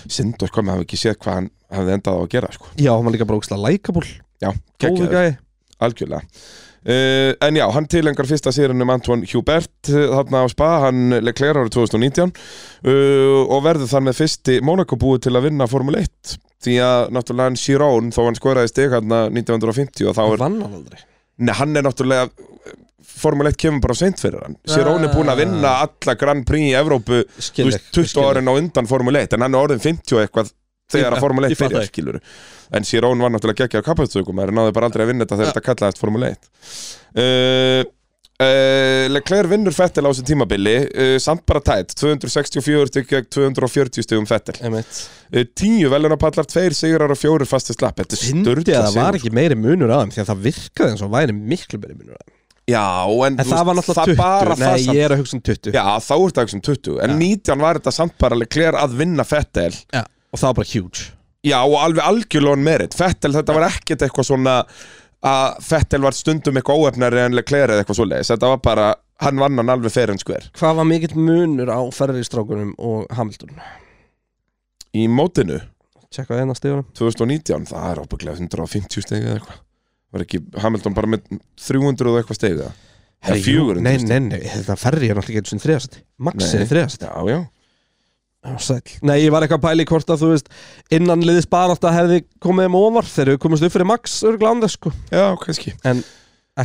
[SPEAKER 2] Sindur, sko, maður hafi ekki séð hvað hann hafði endað á að gera sko.
[SPEAKER 1] Já, hann var líka bara ógislega likeable
[SPEAKER 2] Já,
[SPEAKER 1] Góðu
[SPEAKER 2] geggjaður.
[SPEAKER 1] gæi
[SPEAKER 2] algjörlega uh, en já, hann tilengar fyrsta sérunum Antoine Hubert uh, þarna á Spa, hann leklerar árið 2019 uh, og verður þar með fyrsti Monaco búið til að vinna Formule 1 því að náttúrulega hann Chiron þó hann skoraði stig hann 1950 og þá
[SPEAKER 1] Hann
[SPEAKER 2] er,
[SPEAKER 1] vann hann aldrei
[SPEAKER 2] nei, hann er náttúrulega Formule 1 kemur bara seint fyrir hann Chiron er búin að vinna alla Grand Prix í Evrópu þú
[SPEAKER 1] Skilleg
[SPEAKER 2] veist, 20 árin á undan Formule 1 en hann er orðin 50 og eitthvað þegar
[SPEAKER 1] Ég-
[SPEAKER 2] að Formule
[SPEAKER 1] ég
[SPEAKER 2] 1
[SPEAKER 1] fatta
[SPEAKER 2] byrjar
[SPEAKER 1] ekki.
[SPEAKER 2] skilur en Sirón var náttúrulega geggjaður kapastökum en náði bara aldrei að vinna þetta þegar
[SPEAKER 1] Ja.
[SPEAKER 2] þetta kallaðist Formule 1 uh, uh, Leclerc vinnur Fettel á þessu tímabili uh, samt bara tætt 264 stygg gegn 240 stygum Fettel
[SPEAKER 1] Einmitt.
[SPEAKER 2] uh, 10 velunarpallar, 2 sigrar og 4 fastið slapp þetta er
[SPEAKER 1] Fyndi að
[SPEAKER 2] störðla
[SPEAKER 1] það var ekki meiri munur á þeim Því að það virkaði eins og væri miklu meiri munur á þeim
[SPEAKER 2] Já, en,
[SPEAKER 1] En
[SPEAKER 2] þú
[SPEAKER 1] það
[SPEAKER 2] veist,
[SPEAKER 1] var náttúrulega 20
[SPEAKER 2] bara það
[SPEAKER 1] Nei,
[SPEAKER 2] samt-
[SPEAKER 1] ég er að hugsa um 20
[SPEAKER 2] Já, þá er þetta ekki sem 20 en
[SPEAKER 1] Já.
[SPEAKER 2] 19 var þetta samt bara Leclerc að vinna Fettel
[SPEAKER 1] Já. Og það var bara huge
[SPEAKER 2] Já, og alveg algjörlega on merit Fettel, þetta var ekkert eitthvað svona að Fettel var stundum eitthvað óefnari en Leclerc eða eitthvað svoleiðis Þetta var bara, hann vann hann alveg fair and square
[SPEAKER 1] Hvað var mikill munur á ferðaristrákunum og Hamilton? hérna
[SPEAKER 2] Í mótinu,
[SPEAKER 1] Tjekka það eina stíðunum
[SPEAKER 2] 2019, það er ábygglega 150 stegi eða eitthvað Var ekki Hamilton bara með 300 og eitthvað stegi eða? Eða 400
[SPEAKER 1] Nei,
[SPEAKER 2] stigi?
[SPEAKER 1] nei, nei, þetta ferri er náttúrulega ekki eins og þriðast Max
[SPEAKER 2] Nei.
[SPEAKER 1] er þriðast
[SPEAKER 2] Já, já
[SPEAKER 1] Sæll Nei, ég var eitthvað að pæla í hvort að þú veist innan liðis barátt að hefði komið um ofar þegar við komumst upp fyrir Max örgulega án þess sko
[SPEAKER 2] Já, kannski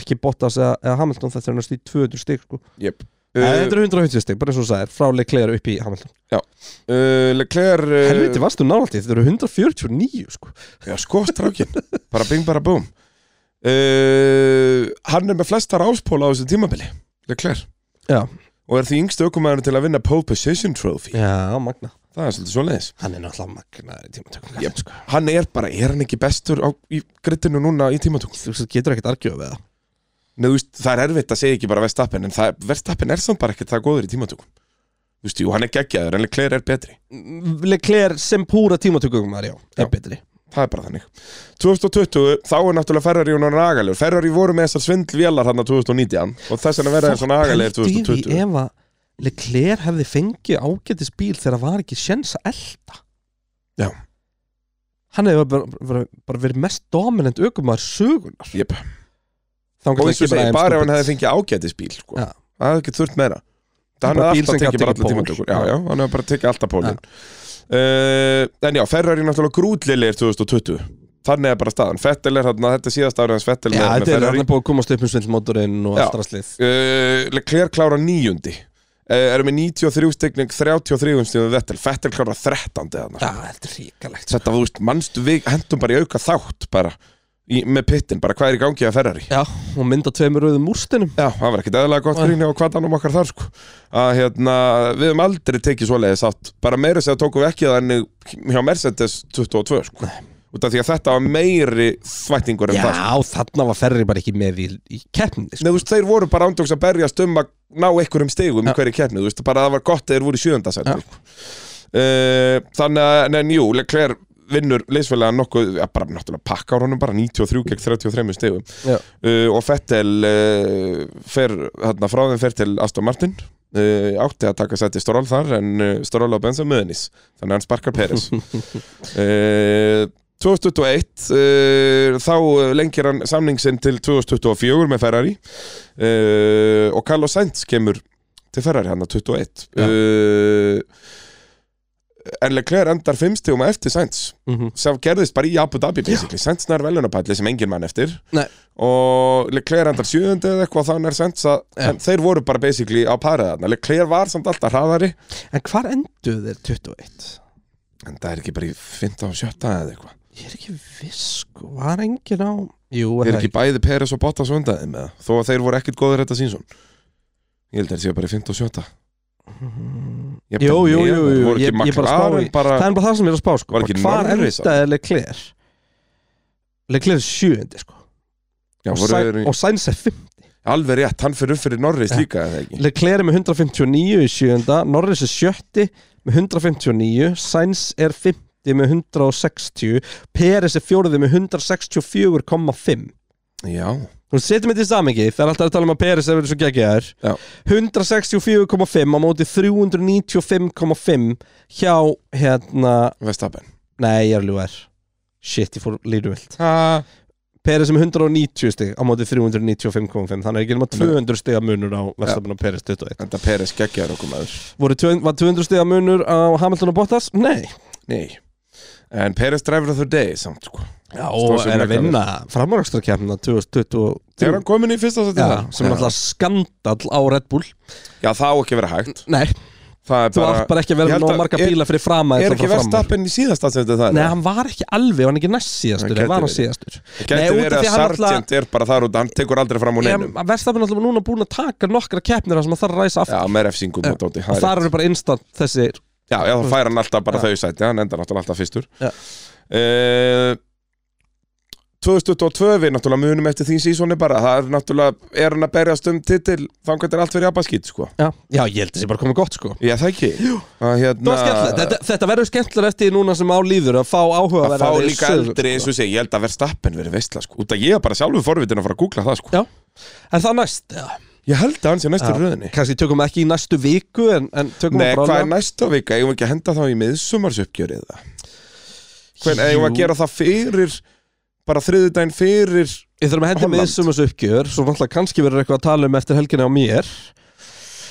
[SPEAKER 1] ekki Bottas eða, eða Hamilton þetta er næst í 200 stig sko
[SPEAKER 2] yep.
[SPEAKER 1] Nei,
[SPEAKER 2] uh,
[SPEAKER 1] Þetta eru 150 stig, bara eins og þú sagðir, frá Leclerc upp í Hamilton
[SPEAKER 2] uh, Leclerc uh,
[SPEAKER 1] Helviti varstu nálægt í, þetta eru 149 sko
[SPEAKER 2] Já, sko, strákin Bara bing, bara búm uh, Hann er með flestar áspóla á þessu tímabili Leclerc
[SPEAKER 1] Já.
[SPEAKER 2] Og er því yngstu ökumæður til að vinna pole position trophy
[SPEAKER 1] Já, magna
[SPEAKER 2] Það er svolítið svoleiðis
[SPEAKER 1] Hann er náttúrulega magnaður í tímatökum
[SPEAKER 2] Jep.
[SPEAKER 1] sko.
[SPEAKER 2] Hann er bara, er hann ekki bestur á, í grittinu núna í tímatökum?
[SPEAKER 1] Þú getur ekkert argjöf við það
[SPEAKER 2] Nei, þú veist, það er erfitt að segja ekki bara Vestappen En það, Vestappen er samt bara ekkert það góður í tímatökum Þú veist, jú, hann er geggjaður, en Leclerc er betri
[SPEAKER 1] Mm, Leclerc sem púra tímatökum já,
[SPEAKER 2] Já.
[SPEAKER 1] er betri
[SPEAKER 2] Það er bara þannig 2020, þá er náttúrulega Ferrari og hann agalegur Ferrari voru með þessar svindlvélar hann 2019 Og þess vegna verða þeir svona agalegur 2020
[SPEAKER 1] Ef að Leclerc hefði fengið ágætis bíl þegar það var ekki sjens að elda
[SPEAKER 2] Já.
[SPEAKER 1] Hann hefði bara, bara, bara verið mest dominant aukumar sögunar
[SPEAKER 2] Jep.
[SPEAKER 1] Þá
[SPEAKER 2] og eins og segi, bara ef hann hefði fengið ágætis bíl sko.
[SPEAKER 1] Já.
[SPEAKER 2] það hefði ekki þurft meira það hann
[SPEAKER 1] Bara
[SPEAKER 2] hefði
[SPEAKER 1] bíl sem
[SPEAKER 2] alltaf tekið
[SPEAKER 1] gat tekið
[SPEAKER 2] bara alla
[SPEAKER 1] pól.
[SPEAKER 2] tímatökur já,
[SPEAKER 1] Já.
[SPEAKER 2] já, hann hefði bara tekið alltaf pólinn uh, en já, Ferrari náttúrulega grútlilegir 2020 þannig er bara staðan, Fettel er þarna þetta er síðasta árið hans Fettel
[SPEAKER 1] Já,
[SPEAKER 2] er með
[SPEAKER 1] þetta er
[SPEAKER 2] Ferrari
[SPEAKER 1] hann er búið að komast upp um svindlmótorinn og
[SPEAKER 2] Já.
[SPEAKER 1] allt rastlið
[SPEAKER 2] uh, Leclerc klára níundi uh, erum með 93 stegning 33 stegning um Vettel, Fettel klára 13 þarna.
[SPEAKER 1] Já, þetta er ríkalegt
[SPEAKER 2] þetta, þú veist, manstu við hendum bara í auka þátt bara, í, með pittin, bara hvað er í gangi að Ferrari
[SPEAKER 1] Já, og mynda tveimur auðum úrstinum
[SPEAKER 2] Já, það var ekkert eðalega gott
[SPEAKER 1] Nei.
[SPEAKER 2] gríni og hvað annum okkar þar sko að hérna, við hefum aldrei tekið svoleiðis átt bara meira sér tókum við ekki þannig hjá Mercedes 22 sko út af því að þetta var meiri þvættingur en
[SPEAKER 1] Já,
[SPEAKER 2] það sko.
[SPEAKER 1] þarna var ferri bara ekki með í, í keppni
[SPEAKER 2] Nei, þú veist, þeir voru bara ándjóks að berjast um að ná einhverjum stegum
[SPEAKER 1] Já.
[SPEAKER 2] í hverju keppni, þú veist, bara það var gott að þeir voru í sjöndasætt
[SPEAKER 1] Já.
[SPEAKER 2] sko. uh, þannig að, neðan, jú, Leclerc vinnur leysfélaga nokkuð, ja, bara náttúrulega pakka á honum bara 93 gegn 33 stegum
[SPEAKER 1] Já.
[SPEAKER 2] uh, og Fettel uh, fer, hérna, frá þeim fer til Aston Martin uh, átti að taka sætti Storól þar en uh, Storól á bensa möðunis þannig að hann sparkar Peres uh, 2021 uh, þá lengir hann samning sinn til 2024 með Ferrari uh, og Carlos Sainz kemur til Ferrari hérna, hann að 21
[SPEAKER 1] Já.
[SPEAKER 2] uh, en Leclerc endar 5 stegum á eftir Sainz
[SPEAKER 1] mm
[SPEAKER 2] sem gerðist bara í Abu Dhabi basically Sainz nær velunapalli sem engin mann eftir
[SPEAKER 1] Nei.
[SPEAKER 2] og Leclerc endar sjöðundi eða eitthvað þannig er Sainz að
[SPEAKER 1] Já.
[SPEAKER 2] en þeir voru bara basically á parið þarna Leclerc var samt alltaf hraðari
[SPEAKER 1] En hvar enduðu þeir 21?
[SPEAKER 2] en það er ekki bara í 15 og 17 eða eitthvað
[SPEAKER 1] Ég er ekki viss, sko, var engin á Jú, er
[SPEAKER 2] er
[SPEAKER 1] það
[SPEAKER 2] ekki bæði Peres og Bottas undaði með þó að þeir voru ekkit góðir þetta sínsson ég held að þeir séu bara í 15 og 17
[SPEAKER 1] Mm,
[SPEAKER 2] Ég
[SPEAKER 1] Jú,
[SPEAKER 2] bara
[SPEAKER 1] jú,
[SPEAKER 2] með-
[SPEAKER 1] jú, jú,
[SPEAKER 2] Voru
[SPEAKER 1] ég-
[SPEAKER 2] ekki
[SPEAKER 1] ég bara spá
[SPEAKER 2] McLaren
[SPEAKER 1] í-
[SPEAKER 2] bara
[SPEAKER 1] Það er bara það sem ég er að spá sko
[SPEAKER 2] Var ekki
[SPEAKER 1] Hvar
[SPEAKER 2] Norris
[SPEAKER 1] endaði Leclerc? Leclerc er sjöundi sko
[SPEAKER 2] Já,
[SPEAKER 1] og,
[SPEAKER 2] voru
[SPEAKER 1] Sain,
[SPEAKER 2] þeir-
[SPEAKER 1] og Sainz er fimm
[SPEAKER 2] Alveg rétt, hann fyrir upp fyrir Norris
[SPEAKER 1] Ja.
[SPEAKER 2] líka eða ekki
[SPEAKER 1] Leclerc er með 159 í sjöunda Norris er sjötti með 159 Sainz er 50 með 160 Peres er fjóriði með 164,5
[SPEAKER 2] Já,
[SPEAKER 1] Þú setjum þetta í samingi, það er alltaf að tala um að Peres hefur verið svo geggjaður
[SPEAKER 2] Já.
[SPEAKER 1] 164,5 á móti 395,5 hjá hérna,
[SPEAKER 2] Vestapen
[SPEAKER 1] nei ég er ljúðar Shit, ég fór líruvilt
[SPEAKER 2] Ha,
[SPEAKER 1] Peres er með 190 stig á móti 395,5 þannig að ég gerum að 200 stiga munur á Vestapen og Peres 21
[SPEAKER 2] Enda Peres geggjaður okkur maður
[SPEAKER 1] Voru, tvö- Var 200 stiga munur á Hamilton og Bottas? Nei
[SPEAKER 2] Nei En Peres driver of the day samt sko
[SPEAKER 1] Já,
[SPEAKER 2] og
[SPEAKER 1] og
[SPEAKER 2] er
[SPEAKER 1] er
[SPEAKER 2] að
[SPEAKER 1] að vinna framarakstarkjæmna 2023
[SPEAKER 2] Er hann komin í fyrsta sætti?
[SPEAKER 1] Já, sem er alltaf skandall á Red Bull
[SPEAKER 2] Já, það á ekki að vera hægt
[SPEAKER 1] Nei,
[SPEAKER 2] Það er
[SPEAKER 1] þú
[SPEAKER 2] bara
[SPEAKER 1] átt bara ekki að
[SPEAKER 2] Ég
[SPEAKER 1] vera
[SPEAKER 2] held
[SPEAKER 1] nóg
[SPEAKER 2] að-
[SPEAKER 1] marga
[SPEAKER 2] er-
[SPEAKER 1] bíla fyrir frama
[SPEAKER 2] Er ekki Vestapen í síðasta sætti það?
[SPEAKER 1] Nei, hann var ekki alveg, hann var ekki næst síðastur
[SPEAKER 2] Hann
[SPEAKER 1] Hann var hann
[SPEAKER 2] gæti verið.
[SPEAKER 1] síðastur Nei, út
[SPEAKER 2] Gæti
[SPEAKER 1] af
[SPEAKER 2] verið
[SPEAKER 1] því
[SPEAKER 2] að
[SPEAKER 1] hann náttúrulega-
[SPEAKER 2] Sargent er bara þar út Hann tekur aldrei fram úr neinum
[SPEAKER 1] Verstafinn alltaf núna búin að taka nokkra keppnir þar sem hann þarf að ræsa aftur
[SPEAKER 2] Já, með refsingum og dóti
[SPEAKER 1] og þar eru bara instant þessir
[SPEAKER 2] Já, já, þá fær hann alltaf bara
[SPEAKER 1] Já.
[SPEAKER 2] þau sæti, hann endar náttúrulega alltaf fyrstur
[SPEAKER 1] Já.
[SPEAKER 2] uh, 2022 við náttúrulega munum eftir því sísoni bara það er náttúrulega, er hann að berjast um titil þangar þetta er allt verið abaskýt, sko
[SPEAKER 1] Já, já ég held að þessi bara komið gott sko
[SPEAKER 2] Já, það hérna ekki að,
[SPEAKER 1] Þetta, var skemmtilegt. þetta, þetta verður skemmtilega eftir því núna sem á líður að fá sko. áhuga
[SPEAKER 2] að fá líka eldri eins og segja, ég held að Verstappen verið veistla, sko út að ég er bara sjálfur forvitin að fara að googla það, sko
[SPEAKER 1] Já. En það næst, já.
[SPEAKER 2] Ég held að hann sé næstur
[SPEAKER 1] Já.
[SPEAKER 2] röðinni
[SPEAKER 1] kannski tökum ekki í næstu viku en, en tökum
[SPEAKER 2] Nei,
[SPEAKER 1] bara
[SPEAKER 2] hvað er
[SPEAKER 1] bráðlega.
[SPEAKER 2] næsta vika? Eigum við ekki að henda þá í miðsumarsuppgjörið það? Hvernig, eigum við að
[SPEAKER 1] Jú.
[SPEAKER 2] gera það fyrir bara þriðudaginn fyrir
[SPEAKER 1] Ég þurfum að hendi
[SPEAKER 2] Holland.
[SPEAKER 1] með sumus uppgjör Svo náttúrulega kannski verður eitthvað að tala um eftir helginni á mér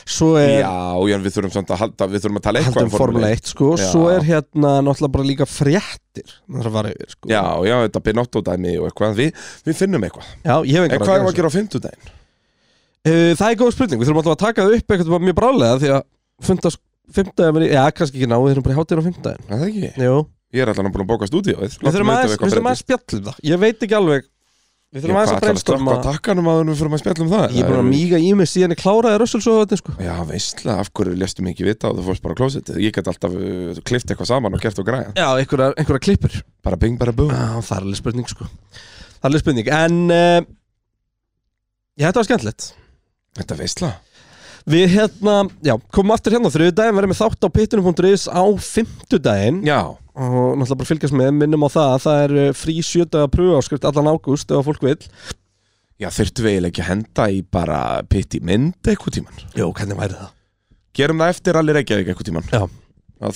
[SPEAKER 1] Svo er
[SPEAKER 2] Já, já, en við þurfum samt að halda, við þurfum að tala eitthvað um
[SPEAKER 1] Haldum Formule 1 sko
[SPEAKER 2] Já.
[SPEAKER 1] Svo er hérna náttúrulega bara líka fréttir Það þarf að fara yfir sko
[SPEAKER 2] Já, já, þetta Binotto dæmi og eitthvað, við, við finnum eitthvað
[SPEAKER 1] Já, ég hef
[SPEAKER 2] En
[SPEAKER 1] einhver
[SPEAKER 2] hvað erum við að gera á fimmtudaginn?
[SPEAKER 1] Uh, Það er góð spurning, við þurfum alltaf að taka það upp eitthvað mjög brálega Því að fundast fimmtæðin Já, kannski ekki ná, við þurfum bara í hátíðin á fimmtæðin
[SPEAKER 2] Er Það ekki,
[SPEAKER 1] Jú,
[SPEAKER 2] ég er alltaf búin að bóka stúdíóið
[SPEAKER 1] við þurfum aðeins við þurfum aðeins spjallum það Ég veit ekki alveg Við þurfum aðeins að
[SPEAKER 2] Ég
[SPEAKER 1] breynstorma
[SPEAKER 2] hvað ætlar að stökkva á takkanum áður en við þurfum að spjalla um það
[SPEAKER 1] Ég er bara að míga í mig síðan ég kláraði Russell svo þetta sko
[SPEAKER 2] Já, veistlega, af hverju lestum ekki vita og þú fórst bara á klósitið Ég get alltaf uh, klift eitthvað saman og gert og græja
[SPEAKER 1] Já, einhverja, einhverja klippur
[SPEAKER 2] Bara bing, bara bú
[SPEAKER 1] Já, það er alveg spurning sko Það er alveg spurning, en uh, Já, þetta var skemmtilegt
[SPEAKER 2] Þetta veistlega
[SPEAKER 1] Við hérna, já, komum aftur hérna á þriðudaginn, verðum með þátt á pittunum.is á fimmtudaginn
[SPEAKER 2] Já,
[SPEAKER 1] og náttúrulega bara fylgjast með, minnum á það að það er eh, frí sjötaða pröfuáskrift allan ágúst ef að fólk vil
[SPEAKER 2] já, þurftu við eiginlega ekki að henda í bara pitt í mynd eitthvað tíman
[SPEAKER 1] Jó, hvernig væri það?
[SPEAKER 2] Gerum það eftir allir ekki eitthvað tíman
[SPEAKER 1] Já.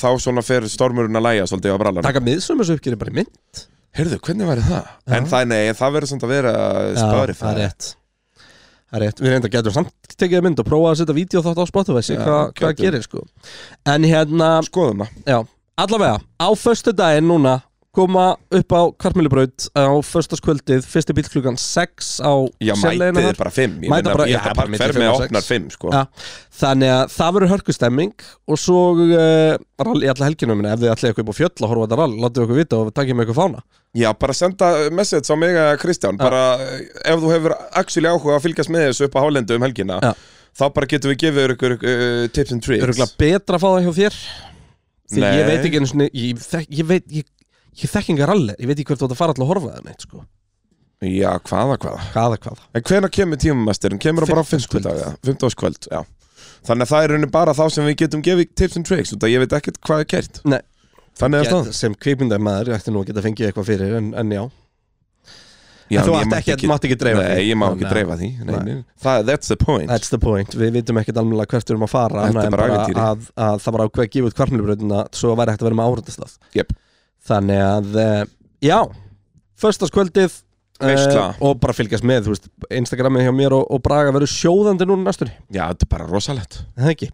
[SPEAKER 2] Þá svona fer stormurinn að læja svolítið á brallan
[SPEAKER 1] Taka miðsumur uppgjöri bara í mynd
[SPEAKER 2] Heyrðu, hvernig væri það?
[SPEAKER 1] Já.
[SPEAKER 2] En það, nei, það verður samt að vera spöri
[SPEAKER 1] það er rétt Það er rétt, við reynda getum samt tekið mynd og prófað að setja vídeo þátt á Spotify, sé
[SPEAKER 2] Já,
[SPEAKER 1] hvað hva
[SPEAKER 2] getum.
[SPEAKER 1] gerir sko En hérna,
[SPEAKER 2] Skoðum það
[SPEAKER 1] Já, allavega á föstu daginn núna koma upp á Karmelibraut á föstaskvöldið, fyrsti bíl klukkan 6 á
[SPEAKER 2] Já,
[SPEAKER 1] sérleiðina
[SPEAKER 2] mætið
[SPEAKER 1] þar.
[SPEAKER 2] er bara 5 Ég
[SPEAKER 1] Mæta
[SPEAKER 2] meina,
[SPEAKER 1] bara-
[SPEAKER 2] ég
[SPEAKER 1] já,
[SPEAKER 2] ætla
[SPEAKER 1] bara
[SPEAKER 2] bara
[SPEAKER 1] milli
[SPEAKER 2] fer
[SPEAKER 1] fimm
[SPEAKER 2] með
[SPEAKER 1] og
[SPEAKER 2] að
[SPEAKER 1] sex.
[SPEAKER 2] opnar 5 sko.
[SPEAKER 1] Já, þannig að það verður hörkustemming og svo uh, rall í alla helginu minna, ef þið ætlaði eitthvað upp á fjöll að horfa á þetta rall, látið okkur vita og takkið með eitthvað fána
[SPEAKER 2] Já, bara senda message á mig að Kristján Bara, eh, ef þú hefur actually áhuga að fylgjast með þessu upp á hálendu um helgina
[SPEAKER 1] Já.
[SPEAKER 2] Þá bara getum við gefið ykkur uh, tips and tricks
[SPEAKER 1] Örgulega betra að fá það hjá þér Því
[SPEAKER 2] Nei.
[SPEAKER 1] ég veit ekki einu sinni, ég, þek, ég veit ég, ég þekk engar rallir, ég veit ekki hvert þú átt að fara alltaf að horfa það neitt sko,
[SPEAKER 2] Já, hvaða, hvaða
[SPEAKER 1] hvaða hvaða
[SPEAKER 2] En hvenær kemur tímamæsturinn? Kemur hann bara á
[SPEAKER 1] Fimmtudagskvöld.
[SPEAKER 2] fimmtudaga? Fimmtudagskvöld, já Þannig að það er í rauninni bara þá sem við getum gefið tips and tricks Þannig að ég veit ekkert hvað er kert
[SPEAKER 1] Nei.
[SPEAKER 2] Þannig er
[SPEAKER 1] Get,
[SPEAKER 2] staðan.
[SPEAKER 1] sem kvikmyndamæður, ég ætti nú að geta fengið eitthvað fyrir en, en já,
[SPEAKER 2] Já,
[SPEAKER 1] en þú átt
[SPEAKER 2] en ég mátti
[SPEAKER 1] ekki, ekki, mátt ekki dreifa
[SPEAKER 2] Nei,
[SPEAKER 1] því.
[SPEAKER 2] ég má ekki
[SPEAKER 1] Nei.
[SPEAKER 2] dreifa því nei,
[SPEAKER 1] Nei.
[SPEAKER 2] nei. Það, That's the point
[SPEAKER 1] That's the point, við vitum ekkert alveg hvert við erum að fara
[SPEAKER 2] Þetta
[SPEAKER 1] annað
[SPEAKER 2] er
[SPEAKER 1] en
[SPEAKER 2] bara ævintýri.
[SPEAKER 1] að, að það var ákveð að gefa út kvarmilbröðina svo væri hægt að vera með áhundastað
[SPEAKER 2] Jep.
[SPEAKER 1] Þannig að, eh, já Föstaskvöldið
[SPEAKER 2] Veisla.
[SPEAKER 1] og bara fylgjast með, þú veist Instagramið hjá mér og, og Braga verður sjóðandi núna næstur
[SPEAKER 2] Já, þetta er bara rosalegt
[SPEAKER 1] Það ekki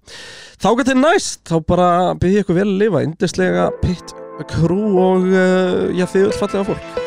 [SPEAKER 1] Þá gæti næst, þá bara byrði ég ykkur vel að lifa Indislega pitt, krú og uh, eh, já, þið öll fallega fólk